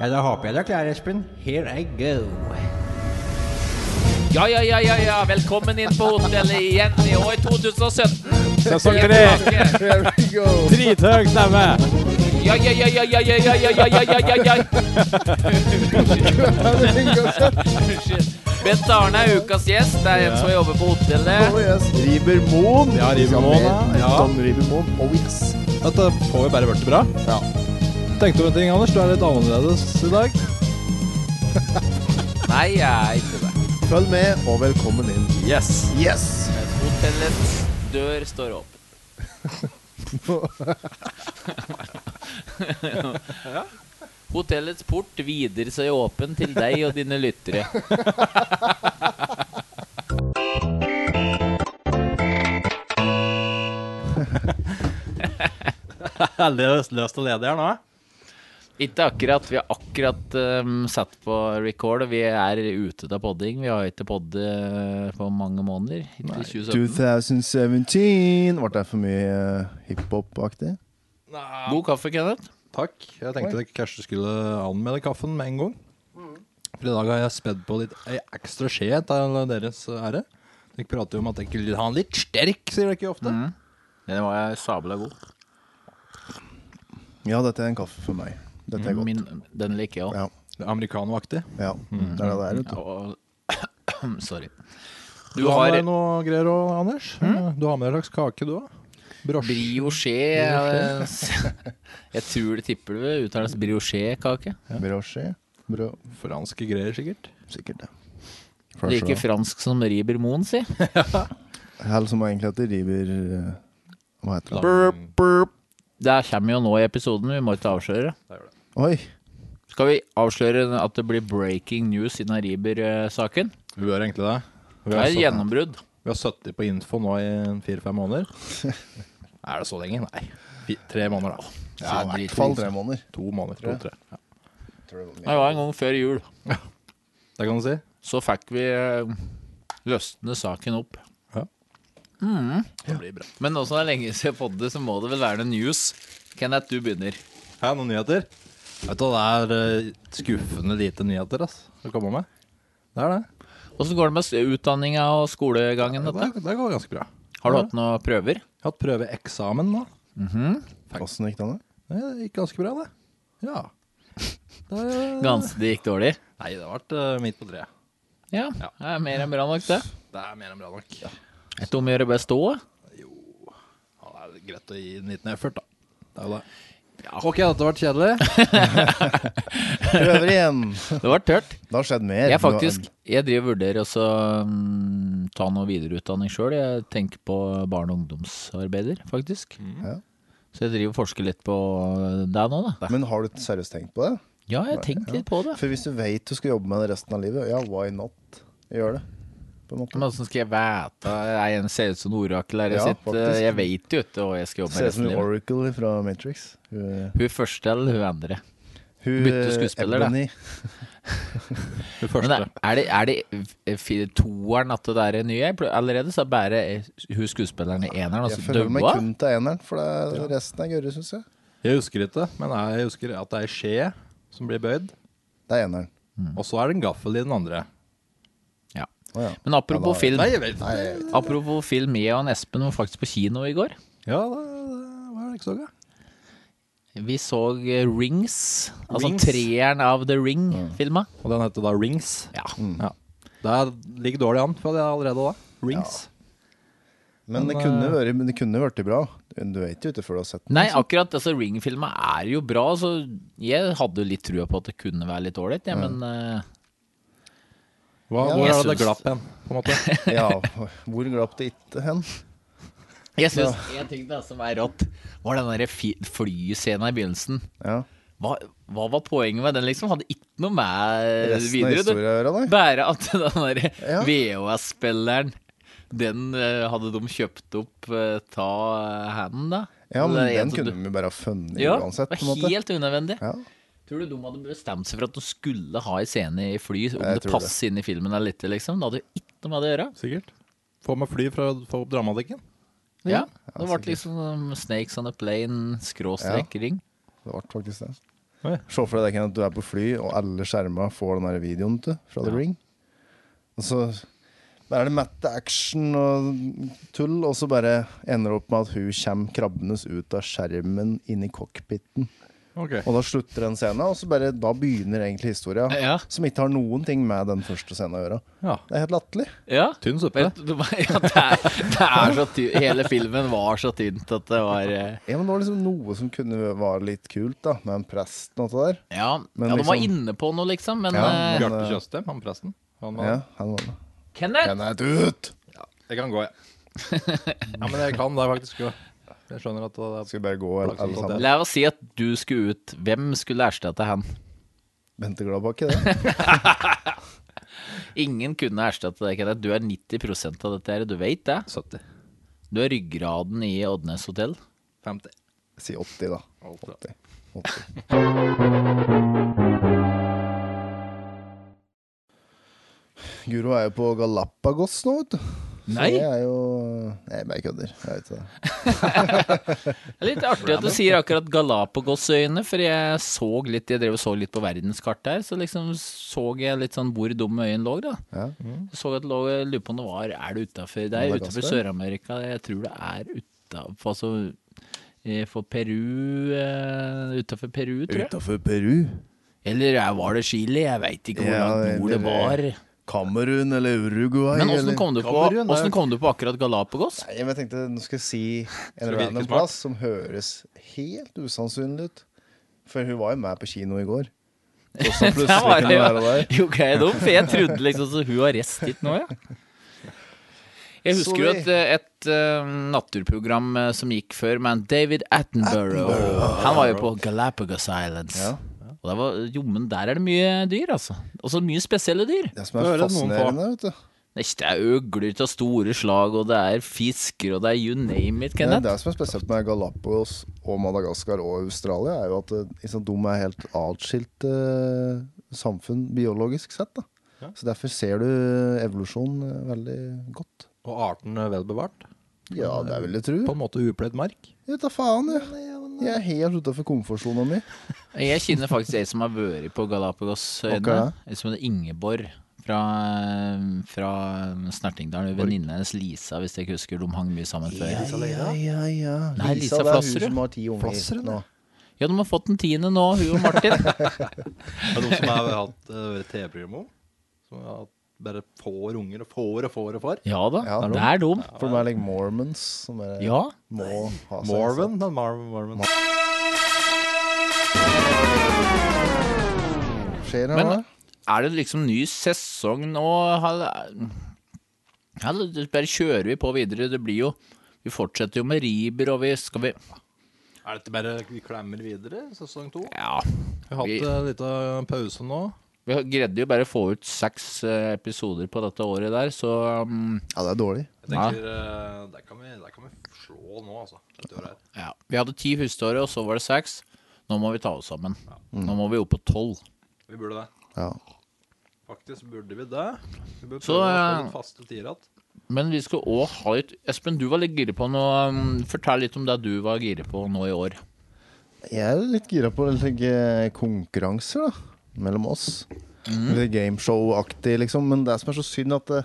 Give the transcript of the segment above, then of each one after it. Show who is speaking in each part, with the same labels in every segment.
Speaker 1: Ja, da håper jeg du er klar, Espen. Here I go.
Speaker 2: Ja, ja, ja, ja, ja. velkommen inn på hotellet igjen i år 2017.
Speaker 3: Sesong
Speaker 2: Vi er
Speaker 3: tre.
Speaker 2: tilbake.
Speaker 4: Here we go.
Speaker 3: Drithøy stemme.
Speaker 2: Ja, ja, ja, ja, ja, ja, ja, ja, ja, ja, ja, ja, ja. Unnskyld. Bent Arne er ukas gjest. Det er en som jobber på hotellet.
Speaker 4: Oh, yes. River Moen.
Speaker 3: Ja, River
Speaker 4: Skal
Speaker 3: Moen,
Speaker 4: med
Speaker 3: ja.
Speaker 4: Tom River Moen. Oh, yes.
Speaker 3: Dette får jo bare blitt bra.
Speaker 4: Ja.
Speaker 3: Tenkte over en ting, Anders. Du er litt annerledes i dag.
Speaker 2: Nei, jeg er ikke det.
Speaker 4: Følg med, og velkommen inn.
Speaker 3: Yes.
Speaker 4: Yes!
Speaker 2: Hotellets dør står åpen. Hotellets port vider seg åpen til deg og dine lyttere.
Speaker 3: Veldig løst og ledig her nå.
Speaker 2: Ikke akkurat. Vi har akkurat um, satt på record, og vi er ute av podding. Vi har ikke poddet på mange måneder. Ikke 2017.
Speaker 4: 2017 Ble det for mye eh, hiphop-aktig?
Speaker 2: God kaffe, Kenneth.
Speaker 3: Takk. Jeg tenkte jeg kanskje skulle anmelde kaffen med en gang. For i dag har jeg spedd på litt ei ekstra skje til deres ære. Dere prater jo om at jeg vil ha den litt sterk, sier dere jo ofte.
Speaker 2: Den var sabla god.
Speaker 4: Ja, dette er en kaffe for meg. Dette er godt.
Speaker 2: Min, den liker jeg òg.
Speaker 4: Ja.
Speaker 3: Det er Americanoaktig.
Speaker 4: ja. Det er det det er, vet du.
Speaker 2: Sorry.
Speaker 3: Du, har Mm. med deg noe greier òg, Anders? Eh, Du har med deg en slags kake, du òg? Brosje.
Speaker 2: Brioche eh, Jeg tror det tipper det uttales brioche-kake.
Speaker 4: Brosje. Bro.
Speaker 3: Franske greier, sikkert.
Speaker 4: Sikkert det.
Speaker 2: Like fransk som Riber Moen, si.
Speaker 4: Hell som egentlig heter River eh, Hva heter det?
Speaker 3: Lang-
Speaker 2: Det kommer jo nå i episoden, vi må ikke avsløre.
Speaker 4: Oi!
Speaker 2: Skal vi avsløre at det blir breaking news innen Riber-saken?
Speaker 3: Vi gjør egentlig det. Vi
Speaker 2: Det er
Speaker 3: har,
Speaker 2: et
Speaker 3: satt,
Speaker 2: gjennombrudd.
Speaker 3: vi har sittet på info nå i fire-fem måneder. er det så lenge? Nei. Fi- Tre måneder, da.
Speaker 4: Ja, I hvert
Speaker 2: dritvis.
Speaker 4: fall tre måneder.
Speaker 3: To måneder. To-tre. Ja.
Speaker 2: Det var en gang før jul.
Speaker 3: Det kan du si.
Speaker 2: Så fikk vi eh, løsne saken opp.
Speaker 3: Det blir bra.
Speaker 2: Men nå som det er lenge siden jeg podde, så må det vel være noe news. Kenneth, du begynner.
Speaker 3: Hæ, noen nyheter? Vet du, hva, Det er eh, skuffende lite nyheter ass, å komme med. Det er det.
Speaker 2: Åssen går det med s- utdanninga og skolegangen?
Speaker 3: Det,
Speaker 2: Dette?
Speaker 3: det går ganske bra.
Speaker 2: Har du hatt noen prøver?
Speaker 3: Jeg har hatt prøveeksamen nå.
Speaker 4: Åssen gikk det an?
Speaker 3: Det gikk ganske bra, det. Ja. Det,
Speaker 2: Ganske det gikk dårlig?
Speaker 3: nei, det ble eh, midt på treet.
Speaker 2: Ja, det er mer enn bra nok, det.
Speaker 3: Det er mer enn bra nok. Ja.
Speaker 2: Et om å gjøre best òg.
Speaker 3: Ja, det er greit å gi en liten effort, da. Det er jo det. Ok, dette ble kjedelig.
Speaker 4: Prøver igjen!
Speaker 2: Det var tørt.
Speaker 4: Det har skjedd mer.
Speaker 2: Jeg faktisk Jeg driver og vurderer også mm, ta noe videreutdanning sjøl. Jeg tenker på barne- og ungdomsarbeider, faktisk.
Speaker 4: Ja.
Speaker 2: Så jeg driver og forsker litt på øh, deg nå, da.
Speaker 4: Men har du seriøst tenkt på det?
Speaker 2: Ja, jeg tenker litt på det.
Speaker 4: For hvis du vet du skal jobbe med det resten av livet, ja, why not? Gjør det. På en måte.
Speaker 2: Men åssen skal jeg vite Jeg en ser ut som orakel her. Jeg,
Speaker 4: Ja,
Speaker 2: sitter,
Speaker 4: faktisk.
Speaker 2: jeg vet jo ikke hva jeg skal jobbe med
Speaker 4: Ser ut som
Speaker 2: resten av livet.
Speaker 4: Oracle fra Matrix. Hun,
Speaker 2: Hun første eller hun andre.
Speaker 4: hun
Speaker 2: Bytte skuespiller, da.
Speaker 4: Ebony.
Speaker 3: Det
Speaker 2: Men
Speaker 3: første.
Speaker 2: er, er det, er det f- f- toeren at det der er nye? Jeg ble- Allerede så er bare eh, hun skuespilleren i eneren.
Speaker 4: Jeg
Speaker 2: Altså,
Speaker 4: føler meg
Speaker 2: døva?
Speaker 4: kun til eneren, for det er resten er gørre, syns jeg.
Speaker 3: Jeg husker ikke, men jeg husker at det er ei skje som blir bøyd,
Speaker 4: Det er eneren.
Speaker 3: og så er det en gaffel i den andre.
Speaker 2: Ja.
Speaker 4: Å ja.
Speaker 2: Men apropos film.
Speaker 3: Nei, jeg vet ikke.
Speaker 2: Apropos film, jeg og han Espen var faktisk på kino i går.
Speaker 3: Ja, det, det var det ikke så gøy.
Speaker 2: Vi så eh, Rings, altså
Speaker 3: Rings? Mm.
Speaker 2: treeren av The Ring-filma.
Speaker 3: Og den heter da Rings.
Speaker 2: Ja.
Speaker 3: Ja. Det er, ligger dårlig an for det allerede da. Rings.
Speaker 4: Men det
Speaker 2: eh,
Speaker 4: kunne vært, men det kunne vært bra. Du vet jo ikke før du har sett den.
Speaker 2: Nei, akkurat altså, Ring-filma er jo bra, så jeg hadde jo litt trua på at det kunne være litt ålreit, ja, men eh,
Speaker 3: Hva,
Speaker 4: Ja,
Speaker 3: hvor
Speaker 2: jeg
Speaker 3: er det det
Speaker 2: syns-
Speaker 3: glapp hen, på en måte?
Speaker 4: Ja, hvor glapp det ikke hen?
Speaker 2: jeg syns en ting da, som er rått, var den der fi- flyscenen i begynnelsen.
Speaker 4: Ja.
Speaker 2: Hva, hva var poenget med den, liksom? Hadde ikke noe med
Speaker 4: Resten av
Speaker 2: Eh, videre. du.
Speaker 4: historia å gjøre, nei.
Speaker 2: Bare at den der
Speaker 4: Ja.
Speaker 2: VHS-spilleren den eh, hadde de kjøpt opp eh, ta eh, handen, da.
Speaker 4: Ja,
Speaker 2: Det
Speaker 4: men
Speaker 2: er en
Speaker 4: den
Speaker 2: som
Speaker 4: kunne
Speaker 2: du-
Speaker 4: vi bare ha funnet
Speaker 2: ja,
Speaker 4: uansett, på en
Speaker 2: Det var
Speaker 4: måte.
Speaker 2: helt unødvendig.
Speaker 4: Ja.
Speaker 2: Tror du de hadde bestemt seg for at de skulle ha en scene i fly, om
Speaker 4: Jeg
Speaker 2: det
Speaker 4: tror
Speaker 2: passer inn i filmen eller ikke, liksom? Det hadde jo ikke noe med det å gjøre.
Speaker 3: Sikkert. Få med fly for å få opp dramatikken.
Speaker 2: Ja, Det ble liksom um, Snakes on a plane, skråstrek ring.
Speaker 4: Det ble faktisk det.
Speaker 3: Oi.
Speaker 4: Se for deg Ken, at du er på fly, og alle skjermer får den her videoen til fra The Ring. Og så er det mette action og tull, og så bare ender det opp med at hun kommer krabbende ut av skjermen inn i cockpiten.
Speaker 3: Ok.
Speaker 4: Og da slutter den scenen, og så bare, da begynner egentlig historien.
Speaker 2: Ja.
Speaker 4: Som ikke har noen ting med den første scenen å gjøre.
Speaker 3: Ja.
Speaker 4: Det er helt latterlig.
Speaker 2: Ja.
Speaker 3: Tynn suppe.
Speaker 2: Vet du hva? Ja, det er, det er så ty Hele filmen var så tynt at det var eh,
Speaker 4: Ja, men det var liksom noe som kunne være litt kult, da, med en prest og alt det der.
Speaker 2: Ja,
Speaker 4: Men
Speaker 2: ja de var
Speaker 4: liksom-
Speaker 2: inne på noe, liksom, men
Speaker 4: Ja,
Speaker 2: eh,
Speaker 3: Bjarte Tjøstheim, han presten. Han var,
Speaker 4: Ja, han var det.
Speaker 2: Kenneth!
Speaker 4: Den er død!
Speaker 3: Jeg kan gå, jeg. ja, men jeg kan det faktisk jo. Jeg skjønner at det er
Speaker 4: Skal vi bare gå, alle alle sammen?
Speaker 2: La oss si at du skulle ut. Hvem skulle erstatte han?
Speaker 4: Bente Gladbakke, det.
Speaker 2: Ingen kunne erstatte deg, Kenneth. Du er 90 av dette her, du vet det?
Speaker 3: 70.
Speaker 2: Du er ryggraden i Oddnes hotell.
Speaker 3: 50.
Speaker 4: Si 80, da.
Speaker 3: 80.
Speaker 4: 80. 80. Guro er jo på Galapagos nå, vet du. Så
Speaker 2: Nei.
Speaker 4: Det er jo Nei, jeg bare kødder. Jeg vet ikke det.
Speaker 2: Det er litt artig at du sier akkurat Galapagosøyene, for jeg så litt Jeg drev og så litt på verdenskartet her, så liksom så jeg litt sånn hvor dum øyen lå, da.
Speaker 4: Ja. mm.
Speaker 2: Så at det lå, jeg lurer på om det var Er det utafor Det er
Speaker 4: Madagaskar?
Speaker 2: utafor Sør-Amerika. Jeg tror det er utafor Altså eh, for Peru eh, Utafor Peru, tror jeg.
Speaker 4: Utafor Peru.
Speaker 2: Eller eh, var det Chile? Jeg veit ikke hvor
Speaker 4: Ja,
Speaker 2: langt nord det var.
Speaker 4: eller- Kamerun eller Uruguay
Speaker 2: Men
Speaker 4: eller-
Speaker 2: åssen kom, du på-
Speaker 3: Kamerun, det er-
Speaker 2: hvordan kom du på akkurat Galapagos?
Speaker 4: Nei, Jeg tenkte nå skal jeg si en
Speaker 3: det virker
Speaker 4: random
Speaker 3: smart.
Speaker 4: plass som høres helt usannsynlig ut. For hun var jo med på kino i går. Og så
Speaker 2: Der
Speaker 4: plutselig
Speaker 2: var
Speaker 4: kunne
Speaker 2: det
Speaker 4: være
Speaker 2: jo,
Speaker 4: der.
Speaker 2: jo grei dum, for jeg trodde liksom så hun har reist dit nå, ja. Jeg husker jo
Speaker 4: Sorry.
Speaker 2: et, et eh, naturprogram eh, som gikk før med en David Attenborough. Han var jo på Galapagos Islands.
Speaker 4: Ja.
Speaker 2: Og der var, jo, men der er det mye dyr, altså. Også mye spesielle dyr.
Speaker 4: Det som
Speaker 3: Da hører
Speaker 4: er
Speaker 3: noen
Speaker 4: fascinerende, vet du.
Speaker 2: Det er- det er øgler av store slag, og det er fisker, og det er you name it,
Speaker 4: Det er
Speaker 2: Kenneth.
Speaker 4: det som er spesielt med Galapagos og Madagaskar og Australia, er jo at eh, liksom, de er helt atskilte eh, samfunn biologisk sett. da. Så derfor ser du evolusjon eh, veldig godt.
Speaker 3: Og arten er velbevart.
Speaker 4: Ja, det vil jeg tro.
Speaker 3: På en måte upløyd mark.
Speaker 4: Jeg tar faen, jeg. Jeg er helt utafor komfortsona mi.
Speaker 2: Jeg kjenner faktisk ei som har vært på Galapagosøyene.
Speaker 4: Ok.
Speaker 2: Okay. Som heter Ingeborg fra, fra Snertingdalen. Venninna hennes Lisa, hvis jeg ikke husker. De hang mye sammen før. Ja,
Speaker 4: Ja, ja, ja.
Speaker 2: Nei, Lisa
Speaker 4: det er
Speaker 2: Flasserud.
Speaker 4: hun som har ti unger
Speaker 3: Flasserud,
Speaker 4: nå.
Speaker 2: de har fått den tiende nå, hun og Martin.
Speaker 3: Det er noen som har hatt eh, TV-program òg. Som har hatt bare får unger og får og får og får.
Speaker 2: Ja da,
Speaker 4: Ja,
Speaker 2: det er dem.
Speaker 4: For meg er like Mormons som er,
Speaker 2: Ja.
Speaker 4: må ha seg.
Speaker 3: Marvin, den Marvin, Marvin.
Speaker 4: Skjer det
Speaker 2: Men
Speaker 4: noe?
Speaker 2: er det liksom ny sesong nå? Hal- Ja, det- det bare kjører vi på videre. Det blir jo Vi fortsetter jo med Riber, og vi skal vi
Speaker 3: Er dette bare vi klemmer videre, sesong to?
Speaker 2: Ja.
Speaker 3: Vi har hatt eh, en liten pause nå.
Speaker 2: Vi greide jo bare å få ut seks eh, episoder på dette året der, så um,
Speaker 4: Ja, det er dårlig.
Speaker 3: Jeg tenker, eh, der, kan vi, der kan vi slå nå, altså. Dette året her.
Speaker 2: Ja. Vi hadde ti første året, og så var det seks. Nå må vi ta oss sammen. Nå må vi opp på tolv.
Speaker 3: Vi burde det.
Speaker 4: Ja.
Speaker 3: Faktisk burde vi det. Vi burde
Speaker 2: Så,
Speaker 3: prøve å få
Speaker 2: eh,
Speaker 3: litt faste tider igjen.
Speaker 2: Men vi skal òg ha litt Espen, du var litt gira på noe. um, Fortell litt om det du var gira på nå i år.
Speaker 4: Jeg er litt gira på å legge konkurranser da, mellom oss.
Speaker 3: Mm.
Speaker 4: Litt gameshow-aktig, liksom. Men det som er så synd, at det,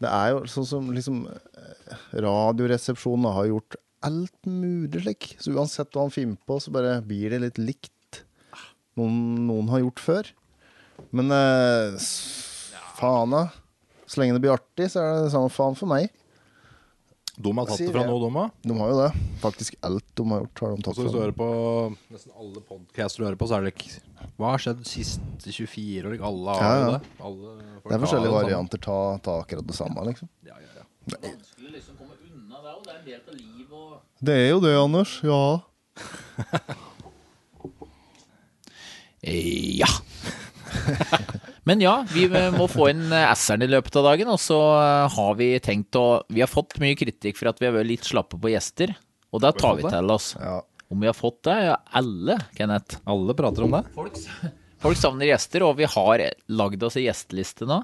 Speaker 4: det er jo sånn som liksom eh, Radioresepsjonen har gjort alt mulig slik. Så uansett hva han finner på, så bare blir det litt likt noen, noen har gjort før. Men eh, s- faen, da. Så lenge det blir artig, så er det samme faen for meg.
Speaker 3: De har tatt det
Speaker 4: Sier
Speaker 3: fra
Speaker 4: jeg.
Speaker 3: noe, de òg.
Speaker 4: De har jo det. Faktisk alt de har gjort, har de
Speaker 3: Og
Speaker 4: tatt
Speaker 3: så hvis du
Speaker 4: fra.
Speaker 3: hører på nesten alle podcaster du hører på, så er det ikke Hva har skjedd de siste 24 år? Ikke alle har
Speaker 4: Ja,
Speaker 3: jo
Speaker 4: ja.
Speaker 3: det. Alle folk
Speaker 4: Det er
Speaker 3: har
Speaker 4: forskjellige
Speaker 3: det samme.
Speaker 4: varianter. Ta, ta akkurat det samme, liksom.
Speaker 3: Ja, ja, ja.
Speaker 2: Vanskelig liksom komme unna det òg. Det er en del av livet og
Speaker 4: Det er jo det, Anders. Ja.
Speaker 2: Eh, Ja. Men ja, vi eh, må få inn S-eren i løpet av dagen. Og så eh, har vi tenkt å Vi har fått mye kritikk for at vi har vært litt slappe på gjester. Og det tar vi til oss.
Speaker 4: Ja.
Speaker 2: Om vi har fått det? Ja, alle, Kenneth.
Speaker 3: Alle prater om det.
Speaker 2: Folk, folk savner gjester, og vi har lagd oss en gjesteliste nå.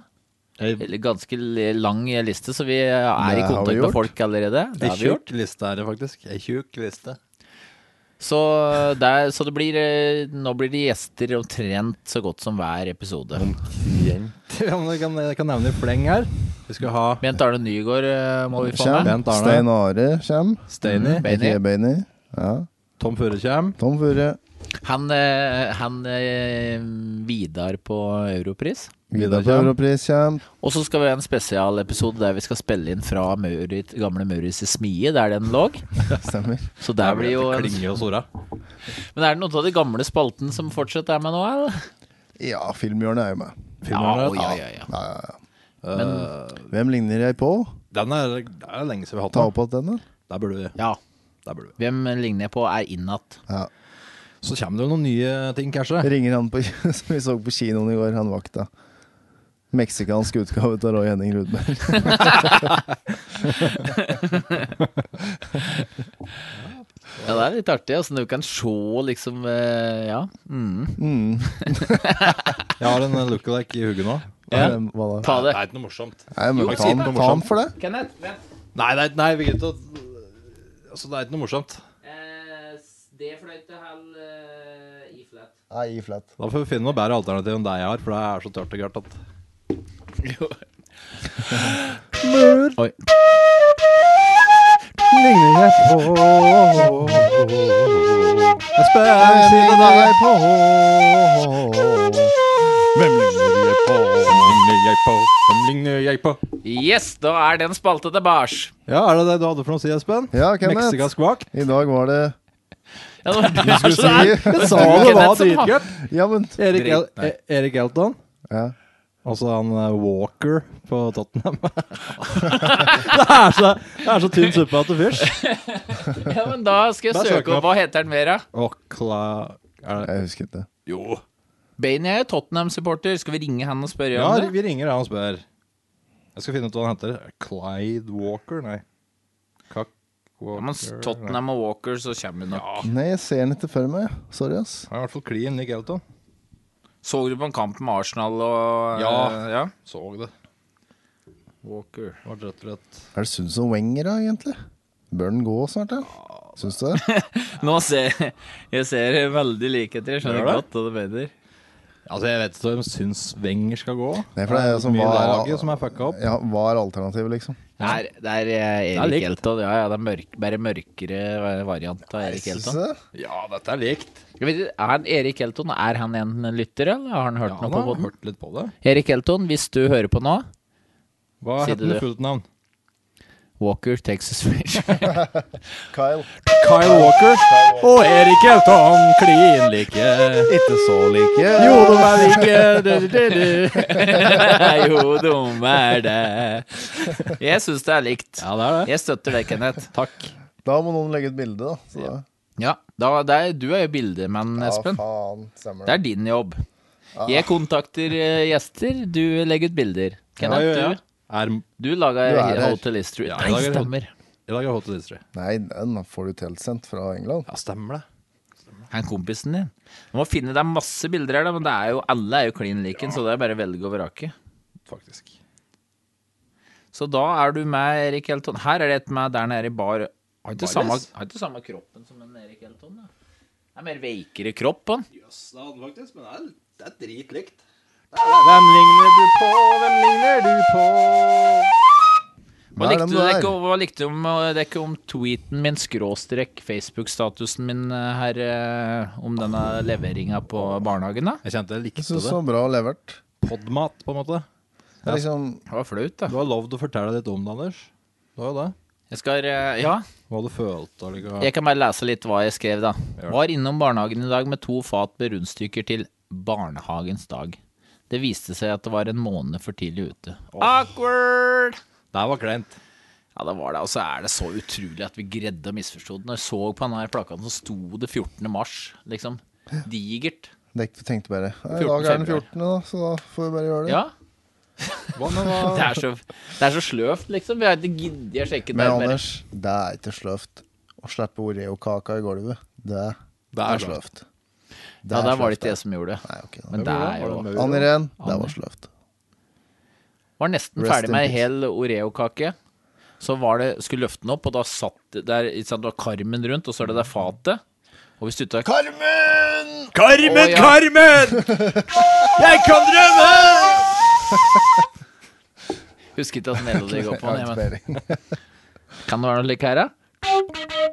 Speaker 2: Eller Ganske l- lang liste, så vi er i
Speaker 4: Det har vi
Speaker 2: kontakt med
Speaker 4: gjort.
Speaker 2: folk allerede. Det
Speaker 3: Ei
Speaker 2: har vi gjort.
Speaker 3: tjukk liste er det faktisk. Ei tjukk liste.
Speaker 2: Så, der, så det blir eh, Nå blir det gjester omtrent så godt som hver episode.
Speaker 3: Om Jeg kan, jeg kan nevne i fleng her. Vi skal ha
Speaker 2: Bent Arne Nygaard eh, må vi få med.
Speaker 3: Bent Arne.
Speaker 4: Kjem. Stein Are kjem.
Speaker 3: Steini,
Speaker 2: Mm, Benny.
Speaker 4: Benny. Ja.
Speaker 3: Tom Furekjem,
Speaker 4: Tom Furre.
Speaker 2: Han, eh, han eh, Vidar på Europris.
Speaker 3: Vidar
Speaker 4: Vidar på
Speaker 3: kjem.
Speaker 4: Europris kjem.
Speaker 2: Og så skal vi ha en spesialepisode der vi skal spille inn fra Maurit, gamle Maurits smie, der den lå.
Speaker 4: Stemmer.
Speaker 2: Så der blir jo en
Speaker 3: Klinge og Sora.
Speaker 2: Men er det noen av de gamle spaltene som fortsatt er med nå, eller?
Speaker 4: Ja, Filmhjørnet er jo med.
Speaker 2: Ja,
Speaker 3: Filmhjørnet.
Speaker 2: ja, ja, ja.
Speaker 4: Ja, ja, ja. Hvem ligner jeg på?
Speaker 3: Eh, Den er, det er lenge siden vi har hatt
Speaker 4: Ta
Speaker 3: den.
Speaker 4: opp igjen den, da.
Speaker 3: Der burde vi.
Speaker 2: ja.
Speaker 3: Der burde vi.
Speaker 2: Hvem ligner jeg på, er innatt.
Speaker 4: Ja.
Speaker 3: Så kommer det jo noen nye ting, kanskje.
Speaker 4: Ringer han på, som vi så på kinoen i går, han vakta. Meksikansk utgave av Roy Henning Rudberg.
Speaker 2: Ja, det er litt artig. Altså, du kan se liksom eh, Ja. Mm.
Speaker 4: Mm.
Speaker 3: Jeg har en eh, lookalike i hugget nå.
Speaker 2: Ja.
Speaker 4: Hvem- Hva da?
Speaker 2: Ta det.
Speaker 3: Det er ikke noe morsomt.
Speaker 4: Nei, men
Speaker 3: Jo,
Speaker 4: ta han,
Speaker 3: si det.
Speaker 4: ta han for det.
Speaker 2: Kenneth, vent.
Speaker 3: Nei, det er, nei, vi gidder ikke å Altså, det er ikke noe morsomt.
Speaker 2: Eh, D-fløyte hell eh, i-flat.
Speaker 4: Nei, i flat.
Speaker 3: Da får vi finne noe bedre alternativ enn deg jeg har, for det er så tørt og gørt at
Speaker 2: Oi.
Speaker 4: Ligner jeg på
Speaker 3: Espen, si det
Speaker 4: Ligner
Speaker 3: da!
Speaker 4: jeg på
Speaker 3: Hvem ligner jeg på? Hvem ligner jeg på? Hvem ligner jeg på?
Speaker 2: Yes, da er den spalta tilbake.
Speaker 3: Ja, er det det du hadde for noe å si, Espen?
Speaker 4: Ja, Kenneth.
Speaker 3: Meksikansk vakt?
Speaker 4: I dag var det
Speaker 2: Ja, nå- du er så
Speaker 4: si-
Speaker 2: nær.
Speaker 3: Jeg sa det var
Speaker 2: Kenneth som har-
Speaker 3: dritgørt!
Speaker 4: Ja, men
Speaker 3: Erik, El
Speaker 2: Drit- nei.
Speaker 3: E- Erik Elton.
Speaker 4: ja.
Speaker 3: Altså han eh, Walker på Tottenham. det, er så, det er så tynn suppe at det fysj.
Speaker 2: Ja, men da skal jeg
Speaker 3: Da søker
Speaker 2: søke
Speaker 3: jeg
Speaker 2: opp Hva heter den mer, da?
Speaker 3: Okla... Er det?
Speaker 4: Jeg husker ikke.
Speaker 3: Jo.
Speaker 2: Bainey er jo Tottenham-supporter. Skal vi ringe han og spørre
Speaker 3: Ja,
Speaker 2: om det?
Speaker 3: vi ringer han og spør. Jeg skal finne ut hva han heter. Clyde Walker? Nei. Cock
Speaker 2: Ja,
Speaker 3: Walker
Speaker 2: men
Speaker 3: nei.
Speaker 2: Tottenham og Walker, så kommer hun nok.
Speaker 4: Nei, jeg ser den ikke for meg. Sorry, ass.
Speaker 3: Han er i hvert fall clean, Nick Elton.
Speaker 2: Så du på en kamp med Arsenal og
Speaker 3: Ja.
Speaker 2: eh, ja?
Speaker 3: Så det.
Speaker 2: Walker.
Speaker 3: Det Var rett og slett
Speaker 4: Er det Sunds og Wenger, da, egentlig? Bør den gå snart, da? Syns du det?
Speaker 2: Nå ser jeg ser veldig likheter. Jeg skjønner
Speaker 3: Gjør det?
Speaker 2: godt hva du mener.
Speaker 3: Altså, jeg vet ikke om jeg syns Wenger skal gå.
Speaker 4: Nei, for det er jo som
Speaker 3: mye
Speaker 4: var-
Speaker 3: laget som er fucka opp.
Speaker 4: Ja, hva er alternativet, liksom?
Speaker 2: Det er, det er eh,
Speaker 3: Det er
Speaker 2: Erik
Speaker 3: likt.
Speaker 2: Elton. Ja, ja, det er mørk, bare mørkere variant av Erik
Speaker 4: Syns du
Speaker 2: Elton.
Speaker 4: det?
Speaker 3: Ja, dette er likt.
Speaker 2: Jeg vet ikke, Er han Erik Elton er han en lytter, eller har han hørt
Speaker 3: Ja,
Speaker 2: noe
Speaker 3: han
Speaker 2: på
Speaker 3: har
Speaker 2: podden?
Speaker 3: hørt litt på det.
Speaker 2: Erik Elton, hvis du hører på nå
Speaker 3: Hva
Speaker 2: Si det,
Speaker 3: heter han i
Speaker 2: du.
Speaker 3: fullt navn?
Speaker 2: Walker, Texas Rangers.
Speaker 4: Kyle.
Speaker 3: Kyle Walker og Erik Elton klin like.
Speaker 4: Ikke så like.
Speaker 3: Jo, de er like.
Speaker 2: jo, dum er det. Jeg syns det er likt.
Speaker 3: Ja, det er det.
Speaker 2: Jeg støtter det, Kenneth. Takk.
Speaker 4: Da må noen legge ut bilde, da. Så da.
Speaker 2: Ja, da, det er, du er jo bildemann, Espen.
Speaker 4: Ja, faen, stemmer
Speaker 2: Det
Speaker 4: det.
Speaker 2: er din jobb. Jeg kontakter eh, gjester, du legger ut bilder. Kenneth,
Speaker 3: Ja, ja, ja.
Speaker 2: du,
Speaker 3: Er,
Speaker 2: du lager
Speaker 4: Du er her.
Speaker 2: Hotel History.
Speaker 3: Ja, jeg
Speaker 2: Nei,
Speaker 3: lager-
Speaker 2: stemmer.
Speaker 3: I dag er Hot History.
Speaker 4: Nei, den får du tilsendt fra England.
Speaker 3: Ja, stemmer det.
Speaker 2: Han kompisen din. Du må finne deg masse bilder her, da, men det er jo, alle er jo klin liken, så det er bare å velge og vrake.
Speaker 3: Faktisk.
Speaker 2: Så da er du med Erik Helton. Her er det et med der nede i bar. Har ikke, samme, har ikke samme kroppen som en Erik Helton, da. Det er mer veikere kropp, han.
Speaker 3: Jøss, det hadde faktisk, men det er, det er dritlikt. Hvem ligner du på, hvem ligner du på?
Speaker 2: Hva
Speaker 4: Nei,
Speaker 2: likte,
Speaker 4: den
Speaker 2: du
Speaker 4: der.
Speaker 2: ikke, hva likte du om, eh, det ikke om tweeten min, skråstrek, Facebook-statusen min eh, her eh, om denne leveringa på barnehagen, da?
Speaker 3: Jeg kjente jeg
Speaker 4: Jeg
Speaker 3: likte
Speaker 4: syns det
Speaker 3: det.
Speaker 4: var bra levert.
Speaker 3: Podmat, på en måte.
Speaker 4: Det er liksom
Speaker 2: Det var flaut, da.
Speaker 3: Du har lovd å fortelle litt om det, Anders. Du har jo det.
Speaker 2: Jeg skal eh, Ja,
Speaker 3: Hva du følte og
Speaker 2: jeg kan bare lese litt hva jeg skrev, da. Var innom barnehagen i dag med to fat med rundstykker til barnehagens dag. Det viste seg at det var en måned for tidlig ute. Awkward!
Speaker 3: Det her var kleint.
Speaker 2: Ja, det var det. Og så er det så utrolig at vi greide å misforstå det. Når jeg så på den her plakaten, så sto det 14. mars, liksom. Digert.
Speaker 4: dek- tenkte bare «Nei, I
Speaker 2: 14.
Speaker 4: dag er den
Speaker 2: februar.
Speaker 4: 14., da, så da får vi bare gjøre det.
Speaker 2: Ja.
Speaker 3: Hva med hva?
Speaker 2: Det er så, det er så sløvt, liksom. Vi har ikke giddet å sjekke det.
Speaker 4: Men
Speaker 2: mer.
Speaker 4: Anders, det er ikke sløvt å slippe Oreo-kaka i gulvet. Det,
Speaker 3: Det er
Speaker 4: er sløvt. Det
Speaker 2: ja, der var
Speaker 4: er
Speaker 2: det
Speaker 4: sløvt,
Speaker 2: ikke jeg som gjorde det.
Speaker 4: Nei, ok. da.
Speaker 2: Men det er jo
Speaker 3: Var det
Speaker 4: Ann
Speaker 3: med-
Speaker 4: Irén, det
Speaker 2: Anne.
Speaker 4: var sløvt.
Speaker 2: Var nesten
Speaker 4: Rest
Speaker 2: ferdig
Speaker 4: in
Speaker 2: med ei
Speaker 4: peace.
Speaker 2: hel Oreo-kake. Så var det, skulle løfte den opp, og da satt det der ikke sant, Det var karmen rundt, og så er det der fatet. Og hvis du tar
Speaker 4: Carmen!
Speaker 3: Carmen,
Speaker 2: Å, ja.
Speaker 3: Carmen! Jeg kan drømme!
Speaker 2: Husker ikke at melodi går på. den,
Speaker 4: Jeg har
Speaker 2: jeg,
Speaker 4: ikke peiling.
Speaker 2: men Kan det være noe like her, da?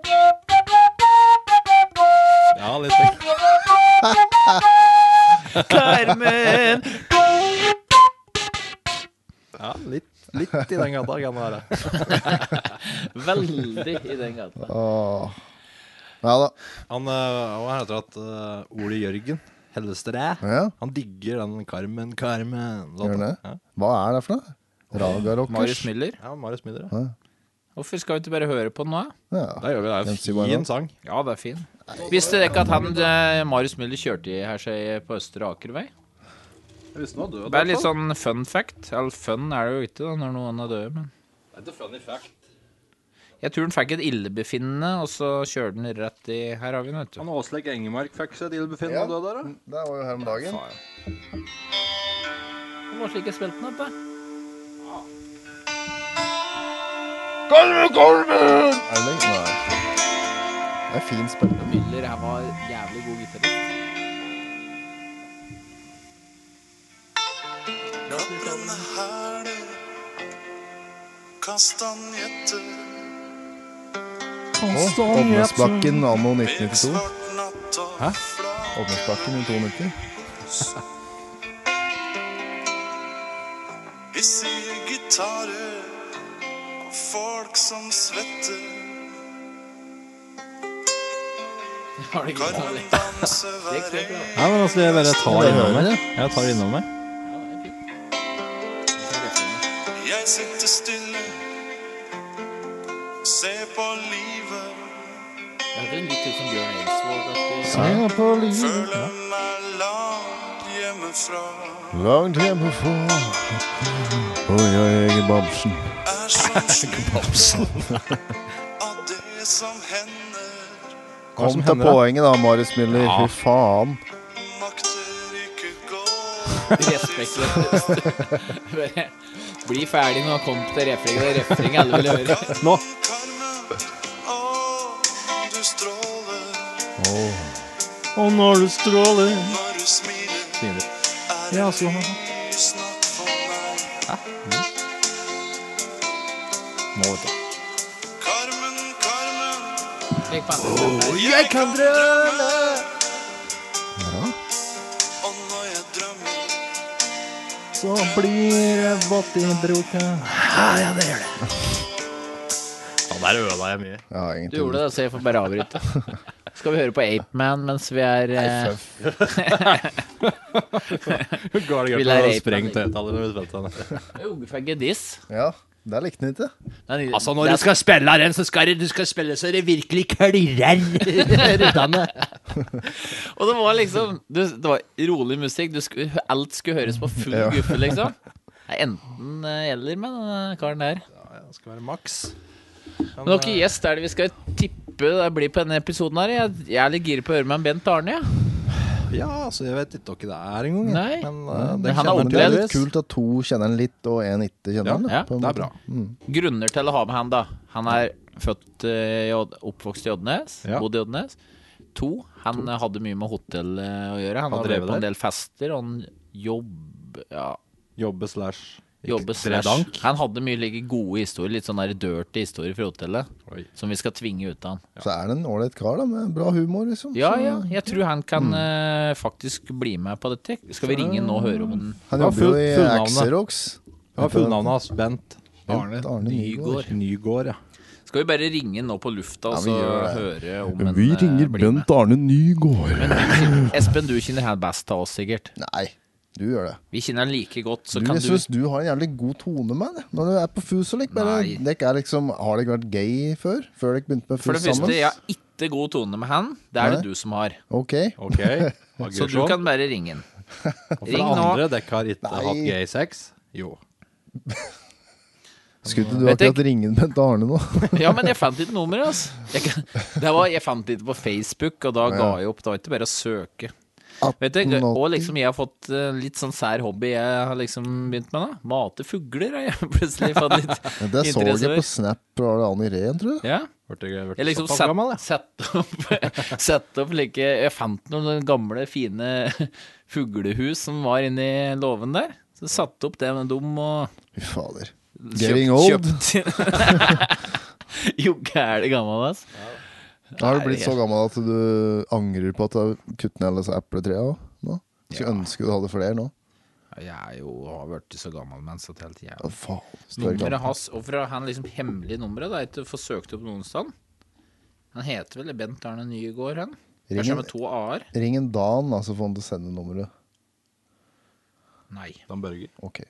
Speaker 3: Ja, litt slik.
Speaker 2: Carmen!
Speaker 3: Ja, litt, litt i den gata kan det være.
Speaker 2: Veldig i den gata.
Speaker 4: Åh. Ja da.
Speaker 3: Han, eh, hva heter det, at, eh, Ole Jørgen Hellestræ,
Speaker 4: Ja.
Speaker 3: han digger den Carmen, Carmen. Sånn.
Speaker 4: Gjør han det?
Speaker 3: Ja,
Speaker 4: Hva er det for noe? Ragarockers?
Speaker 2: Marius Müller.
Speaker 3: ja Marius Midler.
Speaker 4: Ja.
Speaker 2: Hvorfor skal vi ikke bare høre på den nå? da?
Speaker 4: Ja.
Speaker 3: Da gjør vi det.
Speaker 4: Den
Speaker 3: det.
Speaker 4: sier
Speaker 3: er
Speaker 4: bare
Speaker 3: en Fin sang.
Speaker 2: Ja, det er fin. Visste dere ikke at han, eh, Marius Müller kjørte i her seg på Østre Akervei?
Speaker 3: Jeg visste han var død.
Speaker 2: Det er litt sånn fun fact. Eller fun er det jo ikke da, når noen er døde, men
Speaker 3: sånn-
Speaker 2: Jeg tror han fikk et illebefinnende, og så kjørte han rett i Her har vi den, vet du.
Speaker 3: Han Åsleik Engemark fikk seg til befinnende
Speaker 4: Ja.
Speaker 3: og døde der, da.
Speaker 4: Det var jo her om dagen.
Speaker 2: Han var slik jeg spilte den opp, da.
Speaker 4: Carmen, Carmen! Er det lenge? Nei. Det er fin spill.
Speaker 2: Müller her var jævlig god gitarist.
Speaker 5: Denne hæler, kastanjetter,
Speaker 4: Å, Ådnesbakken anno
Speaker 5: i
Speaker 4: 1992.
Speaker 5: svart natt og
Speaker 3: Hæ?
Speaker 5: flam.
Speaker 4: Ådnesbakken i 92.
Speaker 5: Vi ser gitarer og folk som svetter.
Speaker 2: Har du ikke
Speaker 5: Karmen danser hver
Speaker 2: Det er klart,
Speaker 5: eneste
Speaker 3: Nei, men altså, jeg bare tar
Speaker 4: det
Speaker 3: innom
Speaker 4: hører
Speaker 3: meg. Jeg tar innom meg.
Speaker 5: Jeg sitter stille, ser på livet,
Speaker 2: Det er litt ut som Bjørn Eidsvåg. at du-
Speaker 4: Senga på livet.
Speaker 5: føler meg langt hjemmefra.
Speaker 4: Langt hjemmefra. Og jeg er Babsen.
Speaker 5: er som slutt
Speaker 3: sånn.
Speaker 5: av det som hender.
Speaker 3: Hva som
Speaker 4: Kom til
Speaker 3: hender, da?
Speaker 4: poenget da, Marius Müller.
Speaker 3: Ja.
Speaker 4: Fy faen.
Speaker 5: Makter ikke gå
Speaker 2: Respektløst. Bare Bli ferdig når han kommer til refrenget. Det er refrenget alle vil høre.
Speaker 3: Nå!
Speaker 5: Karmen, å, du stråler
Speaker 3: Og når du stråler
Speaker 5: når du smiler.
Speaker 3: Smiler.
Speaker 5: Er
Speaker 3: Ja,
Speaker 5: det
Speaker 3: så han.
Speaker 5: lys natt for meg?
Speaker 3: Nå, vet du.
Speaker 5: Karmen, Karmen,
Speaker 2: Tenk på andre.
Speaker 3: Jeg kan drømme!
Speaker 5: og når jeg drømmer,
Speaker 3: Så blir det vått i broka. Ja, det gjør det. Ja, der ødela jeg mye.
Speaker 4: Ja,
Speaker 2: Du
Speaker 4: egentlig.
Speaker 2: gjorde det, så jeg får bare avbryte. Skal vi høre på Apeman mens vi er eh,
Speaker 3: Ga det
Speaker 2: Vi
Speaker 3: gøy
Speaker 2: lærer
Speaker 3: på
Speaker 2: ape
Speaker 3: sprengt
Speaker 2: planning.
Speaker 3: høyttaler når vi spilte den.
Speaker 2: Ungefagge diss?
Speaker 4: Ja, der likte han ikke.
Speaker 2: Den-
Speaker 3: Altså, når du skal spille den, så skal du, skal spille så det virkelig klirrer ruddene.
Speaker 2: Og det var liksom du, Det var rolig musikk. Du skulle, alt skulle høres på full
Speaker 4: Ja.
Speaker 2: guffe, liksom. Det er Enten eh, eller med den karen der.
Speaker 3: Det skal være maks.
Speaker 2: Men dere gjest er det vi skal tippe det blir på denne episoden her. Jeg, jeg er litt gira på å høre med en Bent Arne, jeg.
Speaker 3: Ja, altså, jeg vet ikke hva det er engang. jeg.
Speaker 2: Nei.
Speaker 3: Men eh,
Speaker 2: Men
Speaker 3: det
Speaker 2: han er
Speaker 3: kjenner
Speaker 4: Men det er
Speaker 2: opplevd.
Speaker 4: litt kult at to kjenner han litt, og én ikke kjenner
Speaker 3: Ja,
Speaker 4: han. da,
Speaker 2: ja,
Speaker 4: på en
Speaker 3: det er
Speaker 4: måte.
Speaker 3: bra.
Speaker 2: Grunner til å ha med han, da. Han er født eh, i Odd- oppvokst i Oddnes.
Speaker 3: Ja.
Speaker 2: Bodd i Oddnes. To, han eh, hadde mye med hotell eh, å gjøre. Han,
Speaker 3: Han
Speaker 2: har
Speaker 3: drev
Speaker 2: vært på en
Speaker 3: der.
Speaker 2: del fester, og han jobb... Ja,
Speaker 3: Jobbe slash
Speaker 2: jobbe slash.
Speaker 3: Tredank.
Speaker 2: Han hadde mye like gode historier, litt sånn der dirty historier fra hotellet,
Speaker 3: Oi.
Speaker 2: som vi skal tvinge ut av han.
Speaker 4: Så er det en ålreit kar, da, med bra humor, liksom.
Speaker 2: Ja,
Speaker 4: Så-
Speaker 2: ja, jeg tror han
Speaker 4: Mm.
Speaker 2: kan eh, faktisk bli med på dette. Skal vi ringe han nå og høre om han
Speaker 4: Han
Speaker 3: Ja,
Speaker 4: jobber
Speaker 3: full-
Speaker 4: jo i
Speaker 3: fullnavnet.
Speaker 4: Axerox.
Speaker 3: Hva var fullnavnet hans? Bent
Speaker 4: Arne, Arne Nygaard.
Speaker 3: Nygård, ja.
Speaker 2: Skal vi bare ringe han nå på lufta og
Speaker 4: Ja, vi
Speaker 2: så
Speaker 4: gjør
Speaker 2: høre om han
Speaker 4: Vi
Speaker 2: eh,
Speaker 4: ringer
Speaker 2: blir med?
Speaker 4: Bent Arne Nygård.
Speaker 2: Men du kjenner- Espen, du kjenner han best av oss, sikkert.
Speaker 4: Nei, du gjør det.
Speaker 2: Vi kjenner han like godt, så
Speaker 4: Du,
Speaker 2: kan
Speaker 4: jeg
Speaker 2: du
Speaker 4: syns du har en jævlig god tone med det når du er på Fusolik. Bare,
Speaker 2: Nei.
Speaker 4: dere er liksom, har dere vært gay før? Før dere begynte med
Speaker 2: For det
Speaker 4: Fus sammen?
Speaker 2: første, jeg har ikke god tone med han. Det er det
Speaker 4: Nei. sånn.
Speaker 2: du som har.
Speaker 4: Ok.
Speaker 3: Ok.
Speaker 2: Så du kan bare ringe han.
Speaker 3: For det
Speaker 2: Ring nå.
Speaker 3: andre, dere har ikke
Speaker 4: Nei.
Speaker 3: hatt gay sex? Jo.
Speaker 4: Skulle ikke du
Speaker 2: Vet jeg-
Speaker 4: akkurat ringe en Bent Arne nå?
Speaker 2: Ja, men jeg fant ikke nummeret, altså. Jeg, kan- det var, jeg fant det ikke på Facebook, og da ga jeg opp. Det var ikke bare å søke. Vet du, og liksom jeg har fått eh, litt sånn sær hobby jeg har liksom begynt med, da. Mate fugler har jeg plutselig fått litt
Speaker 4: Det så
Speaker 2: interesse
Speaker 4: jeg på
Speaker 2: for.
Speaker 4: Snap fra Arne Irén, tror jeg.
Speaker 2: Ja.
Speaker 3: Ble jeg, ble
Speaker 2: Jeg liksom
Speaker 3: såpass
Speaker 2: sett,
Speaker 3: gammel, jeg.
Speaker 2: sett opp, sett opp like, Jeg fant noen gamle, fine fuglehus som var inni låven der. Så satte opp det med dem og
Speaker 4: Fy fader.
Speaker 2: kjøpt-
Speaker 4: Getting old.
Speaker 2: kjøpt- jo, gæren gammel, ass.
Speaker 4: Har du blitt så gammel at du angrer på at du har kuttet ned alle disse epletrea nå? Skulle ønske du hadde flere nå.
Speaker 2: Jeg er jo har blitt så gammel mens at helt
Speaker 4: Å,
Speaker 2: jævlig.
Speaker 4: faen. Større
Speaker 2: Nummeret
Speaker 4: kamp.
Speaker 2: hans, hvorfor har han liksom hemmelig nummeret? Det er ikke for søkt opp noen sted. Han heter vel Bent Arne Nygaard, han? Kanskje
Speaker 4: Ringen-
Speaker 2: med to a-er?
Speaker 4: Ring en Dan, da, så får han til å sende nummeret.
Speaker 2: Nei.
Speaker 3: Dan Børge.
Speaker 4: Ok.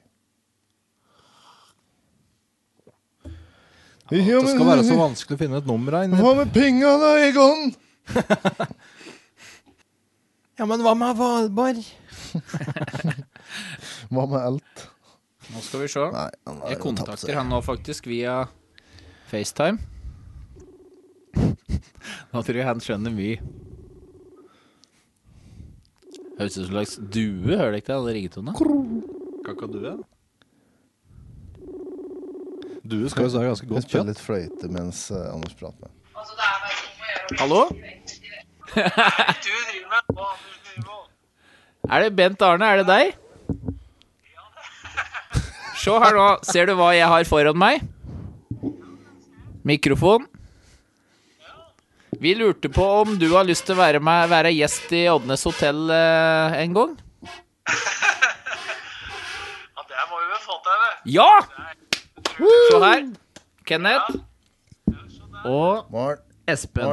Speaker 3: Det skal være så vanskelig å finne et nummer her inne.
Speaker 4: Hva med penga da, Egon?
Speaker 3: Ja, men hva med Valborg?
Speaker 4: Hva med alt?
Speaker 2: Nå skal vi se.
Speaker 4: Nei, han har
Speaker 2: Jeg
Speaker 4: jo tapt
Speaker 2: kontakter
Speaker 4: seg.
Speaker 2: han nå faktisk via FaceTime. Nå tror jeg han skjønner mye. Høres ut som en slags due, hører du ikke det? Alle ringetone.
Speaker 3: Kakadue? Due skal jo så ha ganske
Speaker 4: Vi
Speaker 3: godt
Speaker 4: spiller
Speaker 3: kjøtt.
Speaker 4: litt fløyte mens eh, Anders prater med han.
Speaker 2: Hallo? Er det Bent Arne, er det deg? Se her nå, ser du hva jeg har foran meg? Mikrofon. Vi lurte på om du har lyst til å være, med, være gjest i Oddnes hotell eh, en gang?
Speaker 6: Ja, det må vi vel få til, det.
Speaker 2: Ja! Se her. Kenneth. Og
Speaker 4: Morn.
Speaker 2: Espen.